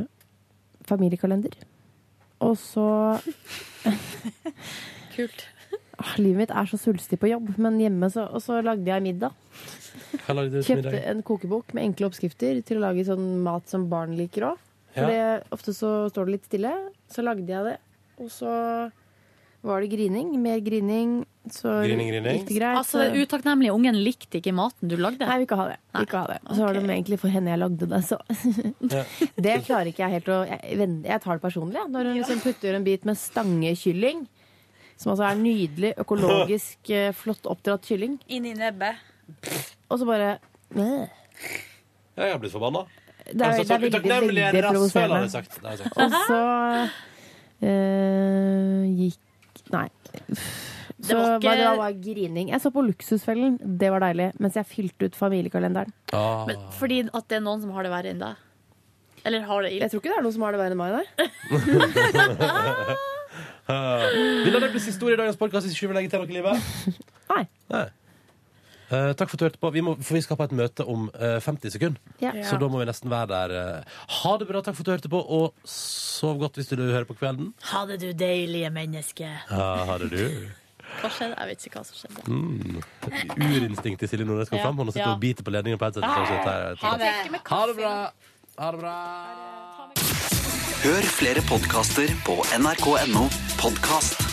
[SPEAKER 4] eh, familiekalender. Og så
[SPEAKER 3] Kult.
[SPEAKER 4] Ah, Livet mitt er så sulstig på jobb, men hjemme så, og så lagde jeg middag.
[SPEAKER 2] Hva lagde du til
[SPEAKER 4] Kjøpte
[SPEAKER 2] middag?
[SPEAKER 4] en kokebok med enkle oppskrifter til å lage sånn mat som barn liker òg. For
[SPEAKER 2] Ja.
[SPEAKER 4] det- ofte så står det litt stille. Så lagde jeg det, og så var det grining. Mer grining. Så
[SPEAKER 2] Grining, grining.
[SPEAKER 4] gikk det greit.
[SPEAKER 3] Altså, den utakknemlige ungen likte ikke maten du lagde?
[SPEAKER 4] Nei, vi ikke ha det. Vi Ikke ha det. Og så var det egentlig for henne jeg lagde det, så Det klarer ikke jeg helt å Jeg, vend- jeg tar det personlig, jeg. Når hun liksom putter en bit med stangekylling, som altså er nydelig, økologisk, eh, flott oppdratt kylling,
[SPEAKER 18] Inn i nebbet.
[SPEAKER 4] og så bare øh.
[SPEAKER 2] Ja, jeg har blitt forbanna.
[SPEAKER 4] Det er-
[SPEAKER 2] Altså,
[SPEAKER 4] det er
[SPEAKER 2] sånn
[SPEAKER 4] veldig,
[SPEAKER 2] utakknemlig
[SPEAKER 4] veldig
[SPEAKER 2] rasshøl,
[SPEAKER 4] provoserende.
[SPEAKER 2] hadde jeg sagt. Det har jeg sagt.
[SPEAKER 4] Og så eh, gikk Nei. Så
[SPEAKER 3] var
[SPEAKER 4] var
[SPEAKER 3] ikke-
[SPEAKER 4] det var bare grining. Jeg så på Luksusfellen, det var deilig, mens jeg fylte ut familiekalenderen.
[SPEAKER 3] Men fordi at det er noen som har det verre enn deg? Eller har det ille?
[SPEAKER 4] Jeg tror ikke det er noen som har det verre enn meg, nei.
[SPEAKER 2] Vil dere bli siste ord i dagens podkast hvis ikke vi legger til noe i livet?
[SPEAKER 4] Nei.
[SPEAKER 2] Eh, takk for at du hørte på. Vi må, for vi skal på et møte om eh, 50 sekunder.
[SPEAKER 4] Ja.
[SPEAKER 2] Så da må vi nesten være der. eh. Ha det bra, takk for at du hørte på, og sov godt hvis du hører på kvelden.
[SPEAKER 3] Ha det, du deilige menneske.
[SPEAKER 2] Ja, ha det, du.
[SPEAKER 3] Hva skjedde? Jeg vet ikke hva som skjedde.
[SPEAKER 2] Mm. Urinstinktet til Silje Nordnes kom
[SPEAKER 3] Ja.
[SPEAKER 2] fram. Hun har sittet
[SPEAKER 3] Ja.
[SPEAKER 2] og biter på ledningen på headsetet.
[SPEAKER 3] Ah.
[SPEAKER 2] så dette er-
[SPEAKER 3] Ha det.
[SPEAKER 2] Ha det bra. Ha det bra.
[SPEAKER 1] Hør flere podkaster på nrk.no podkast.